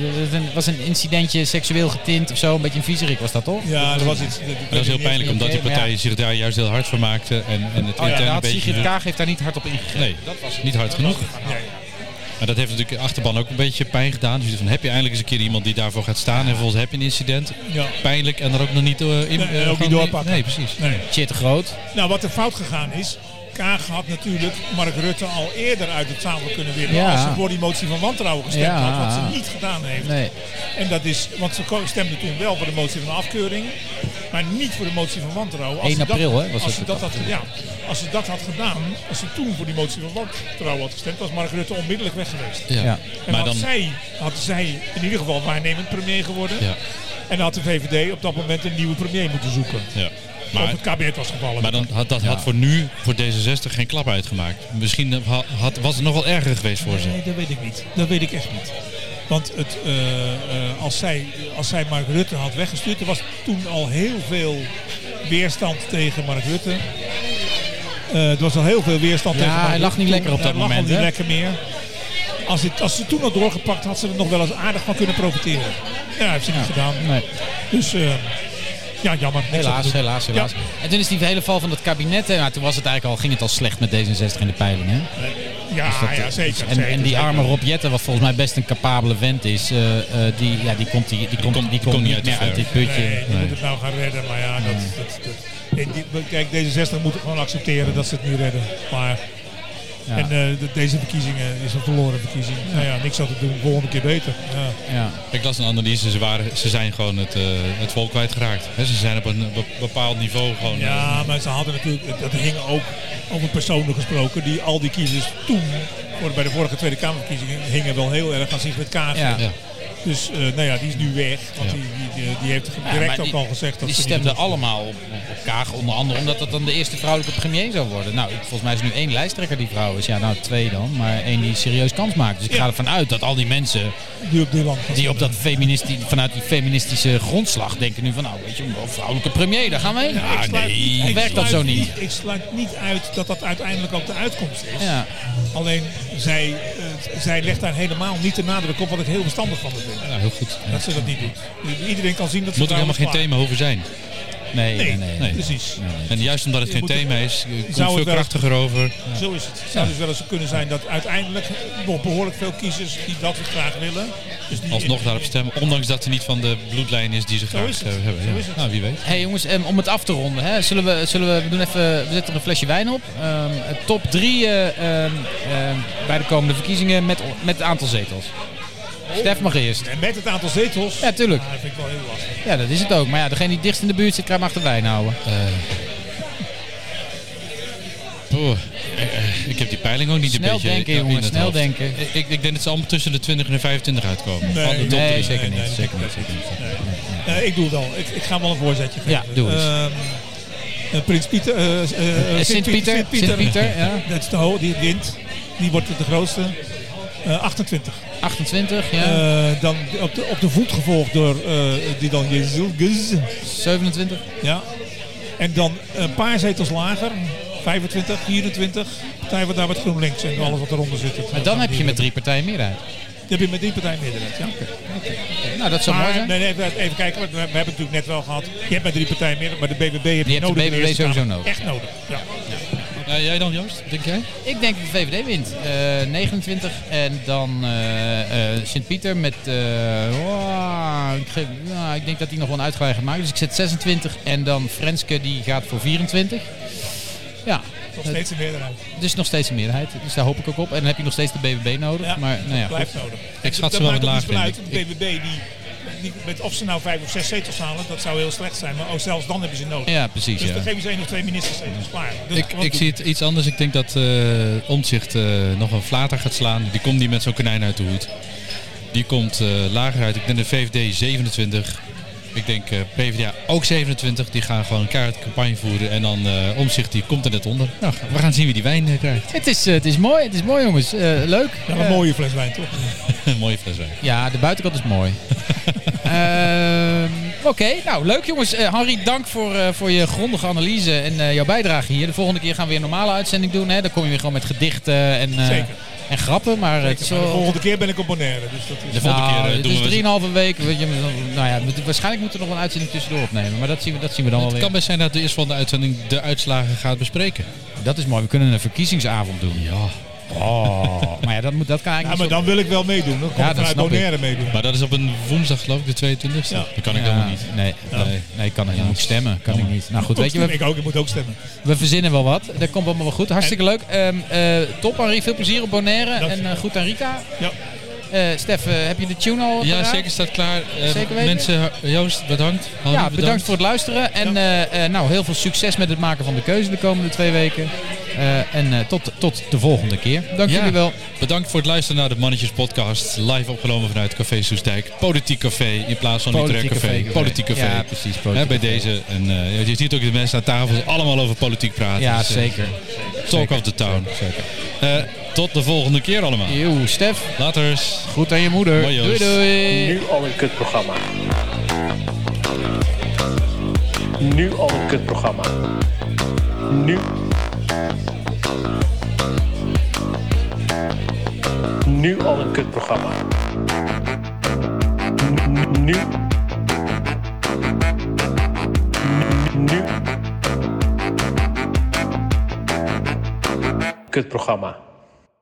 Speaker 2: het was een- was een incidentje seksueel getint of zo, een beetje een viezerik was dat toch?
Speaker 4: ja, er was iets.
Speaker 1: Dat is heel pijnlijk, omdat die
Speaker 2: maar ja.
Speaker 1: partij zich daar juist heel hard voor maakte. En, en het
Speaker 2: Oh ja,
Speaker 1: interne
Speaker 2: daar
Speaker 1: een
Speaker 2: had
Speaker 1: beetje...
Speaker 2: Sigrid Kaag heeft daar niet hard op ingegrepen.
Speaker 1: Nee, niet hard genoeg. Maar dat heeft natuurlijk de achterban ook een beetje pijn gedaan. Dus van, heb je eindelijk eens een keer iemand die daarvoor gaat staan. En volgens heb je een incident.
Speaker 4: Ja.
Speaker 1: Pijnlijk en er ook nog niet eh, in.
Speaker 4: Nee,
Speaker 1: eh,
Speaker 4: ook niet
Speaker 1: gewoon-
Speaker 4: doorpakken.
Speaker 1: Nee, precies.
Speaker 4: Nee.
Speaker 2: Shit, groot.
Speaker 4: Nou, wat er fout gegaan is. Kaag had natuurlijk Mark Rutte al eerder uit het zadel kunnen winnen.
Speaker 2: Ja.
Speaker 4: Als ze voor die motie van wantrouwen gestemd
Speaker 2: Ja.
Speaker 4: had. Wat ze niet gedaan heeft.
Speaker 2: Nee.
Speaker 4: En dat is, want ze ko- stemden toen wel voor de motie van afkeuring, maar niet voor de motie van wantrouwen.
Speaker 2: 1
Speaker 4: ze dat-
Speaker 2: april, hè, was
Speaker 4: als ze
Speaker 2: het
Speaker 4: dat, had, ja, als ze dat had gedaan, als ze toen voor die motie van wantrouwen had gestemd, was Mark Rutte onmiddellijk weg geweest.
Speaker 1: Ja.
Speaker 2: Ja.
Speaker 4: En
Speaker 1: Maar
Speaker 4: had,
Speaker 1: dan...
Speaker 4: zij, had zij in ieder geval waarnemend premier geworden.
Speaker 1: Ja.
Speaker 4: En had de VVD op dat moment een nieuwe premier moeten zoeken.
Speaker 1: Ja.
Speaker 4: of
Speaker 1: Maar,
Speaker 4: het kabinet was gevallen.
Speaker 1: maar dan had, dat had voor nu, voor D66, geen klap uitgemaakt. Misschien ha- had, was het nog wel erger geweest voor ze.
Speaker 4: Nee, dat weet ik niet. Dat weet ik echt niet. Want het, eh, eh, als, zij, als zij Mark Rutte had weggestuurd, er was toen al heel veel weerstand tegen Mark Rutte. Eh, er was al heel veel weerstand
Speaker 2: Ja,
Speaker 4: tegen Mark
Speaker 2: hij lag
Speaker 4: Rutte
Speaker 2: niet
Speaker 4: toen.
Speaker 2: lekker op dat
Speaker 4: Hij lag
Speaker 2: moment,
Speaker 4: al niet
Speaker 2: hè?
Speaker 4: lekker meer. Als, het, als ze toen had doorgepakt, had ze er nog wel eens aardig van kunnen profiteren. Ja, heeft ze niet gedaan.
Speaker 2: Nee,
Speaker 4: Dus eh, ja, jammer. Niks aan te
Speaker 2: helaas,
Speaker 4: doen.
Speaker 2: helaas, helaas.
Speaker 4: Ja.
Speaker 2: En toen is die hele val van dat kabinet. hè, Nou, toen was het eigenlijk al, ging het al slecht met D66 in de peilingen. hè?
Speaker 4: Ja,
Speaker 2: Dat,
Speaker 4: Ah, ja,
Speaker 2: eh,
Speaker 4: zeker.
Speaker 2: En,
Speaker 4: zeker,
Speaker 2: en die
Speaker 4: zeker.
Speaker 2: arme Rob Jetten, wat volgens mij best een capabele vent is, eh, eh, die, ja, die komt, die, die komt,
Speaker 1: komt-
Speaker 2: die
Speaker 1: komt
Speaker 2: komt
Speaker 1: niet
Speaker 2: niet
Speaker 1: uit de
Speaker 2: meer uit
Speaker 1: verf.
Speaker 2: dit putje.
Speaker 4: Nee, die moet het nou gaan redden. Maar ja, dat, dat, dat, nee, die- kijk, deze 60 moet gewoon accepteren dat ze het nu redden. Maar,
Speaker 2: Ja.
Speaker 4: En eh, de- deze verkiezingen is een verloren verkiezing. Nou ja, niks aan te doen. Volgende keer beter. Ja.
Speaker 2: Ja.
Speaker 1: Ik las een analyse, ze, waren, ze zijn gewoon het, eh, het volk kwijtgeraakt. Hè, ze zijn op een be- bepaald niveau gewoon...
Speaker 4: ja, maar ze hadden natuurlijk... Dat hing ook over personen gesproken. Die al die kiezers toen, voor- bij de vorige Tweede Kamerverkiezingen... hingen wel heel erg aan zich met Kaag.
Speaker 2: Ja.
Speaker 1: Ja.
Speaker 4: Dus eh, nou ja, die is nu weg. Want
Speaker 1: Ja.
Speaker 4: die, die, eh, die, die heeft
Speaker 2: Ja,
Speaker 4: direct
Speaker 2: maar
Speaker 4: ook
Speaker 2: die-
Speaker 4: al gezegd... dat
Speaker 2: Die
Speaker 4: ze niet
Speaker 2: stemden allemaal op, op, op Kaag, onder andere omdat dat dan de eerste vrouwelijke premier zou worden. Nou, ik- volgens mij is er nu één lijsttrekker die vrouw is. Ja, nou twee dan, maar één die serieus kans maakt. Dus ik
Speaker 4: Ja.
Speaker 2: ga ervan uit dat al die mensen
Speaker 4: die op dit land gaan
Speaker 2: die op
Speaker 4: stemmen.
Speaker 2: dat feministi- vanuit die feministische grondslag denken nu van nou, weet je, een vrouwelijke premier, daar gaan we heen. Ah,
Speaker 4: Ik sluit niet- ik
Speaker 2: werkt dat
Speaker 4: sluit
Speaker 2: zo niet?
Speaker 4: Ik sluit niet uit dat dat uiteindelijk ook de uitkomst is.
Speaker 2: Ja.
Speaker 4: Alleen zij, eh, zij legt daar helemaal niet de nadruk op, wat ik heel verstandig van haar vind.
Speaker 1: Ja, heel goed.
Speaker 4: Dat ze dat niet doet. Iedereen kan zien dat ze
Speaker 1: Moet er
Speaker 4: daar
Speaker 1: helemaal geen
Speaker 4: wel
Speaker 1: thema hoeven zijn.
Speaker 2: Nee,
Speaker 4: klaar-
Speaker 2: nee, nee.
Speaker 4: Nee,
Speaker 1: nee.
Speaker 4: precies.
Speaker 1: En juist omdat het geen
Speaker 4: moet het-
Speaker 1: thema is, eh, komt
Speaker 4: Zou
Speaker 1: veel
Speaker 4: het wel-
Speaker 1: krachtiger over.
Speaker 4: Zo is het. Het zou dus wel eens kunnen zijn dat uiteindelijk nog behoorlijk veel kiezers die dat graag willen. Dus die
Speaker 1: Alsnog daarop stemmen, ondanks dat ze niet van de bloedlijn is die ze graag
Speaker 4: is het.
Speaker 1: eh, hebben.
Speaker 4: Zo
Speaker 1: ja.
Speaker 4: is het.
Speaker 1: Nou, wie weet.
Speaker 2: Hey jongens, em, om het af te ronden, hè, zullen, we, zullen we, we doen even, we zetten er een flesje wijn op. Ehm, top drie eh, ehm, ehm, bij de komende verkiezingen met, met het aantal zetels. Stef mag eerst.
Speaker 4: En met het aantal zetels.
Speaker 2: Ja, tuurlijk.
Speaker 4: Ah, dat vind ik wel heel lastig.
Speaker 2: Ja, dat is het ook. Maar ja, degene die dichtst in de buurt zit, krijgt hem achter wijn houden.
Speaker 1: Eh, Boah, eh, eh, ik heb die peiling ook niet
Speaker 2: Snel
Speaker 1: een beetje eh,
Speaker 2: denken,
Speaker 1: in
Speaker 2: jongens,
Speaker 1: het
Speaker 2: snel
Speaker 1: hoofd.
Speaker 2: denken.
Speaker 1: Ik, ik denk dat ze allemaal tussen de 20 en de 25 uitkomen. Van de top
Speaker 2: nee,
Speaker 1: drie.
Speaker 2: zeker niet,
Speaker 4: dat
Speaker 2: zeker
Speaker 4: denk
Speaker 2: niet,
Speaker 4: ik Eh, ik doe het al. Ik, ik ga hem al een voorzetje geven.
Speaker 2: Ja, doe eens.
Speaker 4: Ehm, eh, Prins Pieter. eh, eh,
Speaker 2: Eh,
Speaker 4: Sint
Speaker 2: Sint-Pieter,
Speaker 4: Piet- Sint-Pieter.
Speaker 2: Sint-Pieter, ja.
Speaker 4: Dat is de ho die wint. Die wordt de grootste. Eh, 28.
Speaker 2: 28, ja.
Speaker 4: Eh, dan op de, op de voet gevolgd door eh, die dan Jezilgus.
Speaker 2: 27.
Speaker 4: Ja. En dan een paar zetels lager. 25, 24. Partij wat daar met GroenLinks en alles wat eronder zit.
Speaker 2: Maar dan heb je met drie partijen meerderheid.
Speaker 4: Dan heb je met die partij meerderheid, ja.
Speaker 2: Nou, dat zou mooi
Speaker 4: Maar,
Speaker 2: zijn.
Speaker 4: nee, nee, even- even kijken, want we, we hebben het natuurlijk net wel gehad. Je hebt maar drie partijen meer, maar de BBB heb je
Speaker 2: hebt de
Speaker 4: nodig. in
Speaker 2: BBB
Speaker 4: Eerste Kamer.
Speaker 2: sowieso nodig,
Speaker 4: Echt nodig, ja.
Speaker 1: Eh, jij dan, Joost? Denk jij?
Speaker 2: Ik denk dat de VVD wint. Eh, 29 en dan eh, eh, Sint-Pieter met... eh, oh, ik, geef- nou, ik denk dat die nog wel een uitgeleide gaat maken. Dus ik zet 26 en dan Frenske die gaat voor 24. Ja,
Speaker 4: Nog steeds een meerderheid.
Speaker 2: dus nog steeds een meerderheid. Dus daar hoop ik ook op. En dan heb je nog steeds de BBB nodig.
Speaker 4: Ja,
Speaker 2: maar nou ja, goed.
Speaker 4: Blijft nodig.
Speaker 1: Ik schat
Speaker 4: Dat
Speaker 1: ze wel
Speaker 4: maakt
Speaker 1: wat
Speaker 4: ook
Speaker 1: laag,
Speaker 4: niet veel
Speaker 1: vind
Speaker 4: uit,
Speaker 1: ik.
Speaker 4: want De BBB die, die, met of ze nou vijf of zes zetels halen, dat zou heel slecht zijn. Maar ook zelfs dan hebben ze nodig.
Speaker 2: Ja, precies.
Speaker 4: Dus
Speaker 2: Ja.
Speaker 4: dan geven ze één of twee ministerzetels klaar. Dus
Speaker 1: Ik,
Speaker 4: wat
Speaker 1: ik
Speaker 4: doen?
Speaker 1: zie het iets anders. Ik denk dat eh Omtzigt eh, nog een flater gaat slaan. Die komt niet met zo'n konijn uit de hoed. Die komt eh, lager uit. Ik denk de VVD 27. Ik denk eh, PvdA ook 27. Die gaan gewoon een kaart campagne voeren. En dan eh Omtzigt die komt er net onder. Nou, we gaan zien wie die wijn eh, [laughs] krijgt.
Speaker 2: Het is, eh, het is mooi, het is mooi jongens. Eh, leuk.
Speaker 4: Ja,
Speaker 2: Eh,
Speaker 4: een mooie fles wijn, toch?
Speaker 1: Een mooie fles wijn.
Speaker 2: Ja, de buitenkant is mooi. Ehm, Oké, nou leuk jongens. Eh, Harry, dank voor, eh, voor je grondige analyse en eh, jouw bijdrage hier. De volgende keer gaan we weer een normale uitzending doen. Hè? Dan kom je weer gewoon met gedichten en, eh,
Speaker 4: Zeker.
Speaker 2: en grappen. Maar het is
Speaker 4: Maar de
Speaker 2: wel-
Speaker 4: volgende keer ben ik op Bonaire. Dus dat is...
Speaker 1: De volgende
Speaker 2: Nou,
Speaker 1: keer eh,
Speaker 2: het
Speaker 1: doen
Speaker 2: is
Speaker 1: we...
Speaker 2: drieënhalve week. Weet je, nou ja, we- waarschijnlijk moeten we nog wel een uitzending tussendoor opnemen. Maar dat zien we, dat zien we dan wel
Speaker 1: het
Speaker 2: weer.
Speaker 1: kan best zijn dat de eerste van de uitzending de uitslagen gaat bespreken.
Speaker 2: Dat is mooi. We kunnen een verkiezingsavond doen. Ja. Oh. maar ja, dat, moet, dat kan eigenlijk
Speaker 4: Ja,
Speaker 2: niet
Speaker 4: maar
Speaker 2: zo-
Speaker 4: dan wil ik wel meedoen. Dan kom
Speaker 2: Ja,
Speaker 4: ik
Speaker 2: dat
Speaker 4: vanuit
Speaker 2: snap ik.
Speaker 4: Bonaire meedoen.
Speaker 1: Maar dat is op een woensdag geloof ik, de 22e.
Speaker 4: Ja.
Speaker 1: Dat kan ik
Speaker 2: Ja,
Speaker 1: helemaal niet.
Speaker 2: Nee, nee, nee, kan ik niet. Moet stemmen, kan ik niet. Nou goed, weet je, we,
Speaker 4: ik ook, ik moet ook stemmen.
Speaker 2: we verzinnen wel wat. Dat komt allemaal wel goed. Hartstikke leuk. Ehm, eh, top Henri, veel plezier op Bonaire.
Speaker 4: Dank je.
Speaker 2: en eh, goed aan Rika.
Speaker 4: Ja.
Speaker 2: Eh, Stef, eh, heb je de tune al
Speaker 1: Ja,
Speaker 2: paraat?
Speaker 1: zeker staat klaar. Eh,
Speaker 2: Zeker weten.
Speaker 1: Mensen, Joost, bedankt. Hanne,
Speaker 2: Ja, bedankt voor het luisteren. En eh, eh, nou, heel veel succes met het maken van de keuze de komende twee weken. Eh, en eh, tot, tot de volgende keer. Dank jullie wel.
Speaker 1: Bedankt voor het luisteren naar de Mannetjes podcast. Live opgenomen vanuit Café Soestdijk. Politiek Café in plaats van
Speaker 2: Politiek
Speaker 1: Literair Café.
Speaker 2: Café.
Speaker 1: Politiek Café.
Speaker 2: Ja, precies,
Speaker 1: Hè,
Speaker 2: Politiek
Speaker 1: bij
Speaker 2: Café.
Speaker 1: deze. En eh, je ziet ook de mensen aan tafel allemaal over politiek praten.
Speaker 2: Ja,
Speaker 1: Dus, eh,
Speaker 2: zeker.
Speaker 1: Talk of the town.
Speaker 2: Zeker.
Speaker 1: Eh, tot de volgende keer allemaal.
Speaker 2: Joe, Stef,
Speaker 1: Laters.
Speaker 2: goed aan je moeder.
Speaker 1: Hoi,
Speaker 2: doei
Speaker 1: Joost.
Speaker 2: doei.
Speaker 7: Nu al een kutprogramma. Nu al een kutprogramma. Nu. Nu al een kutprogramma. Nu. Nu. Kutprogramma.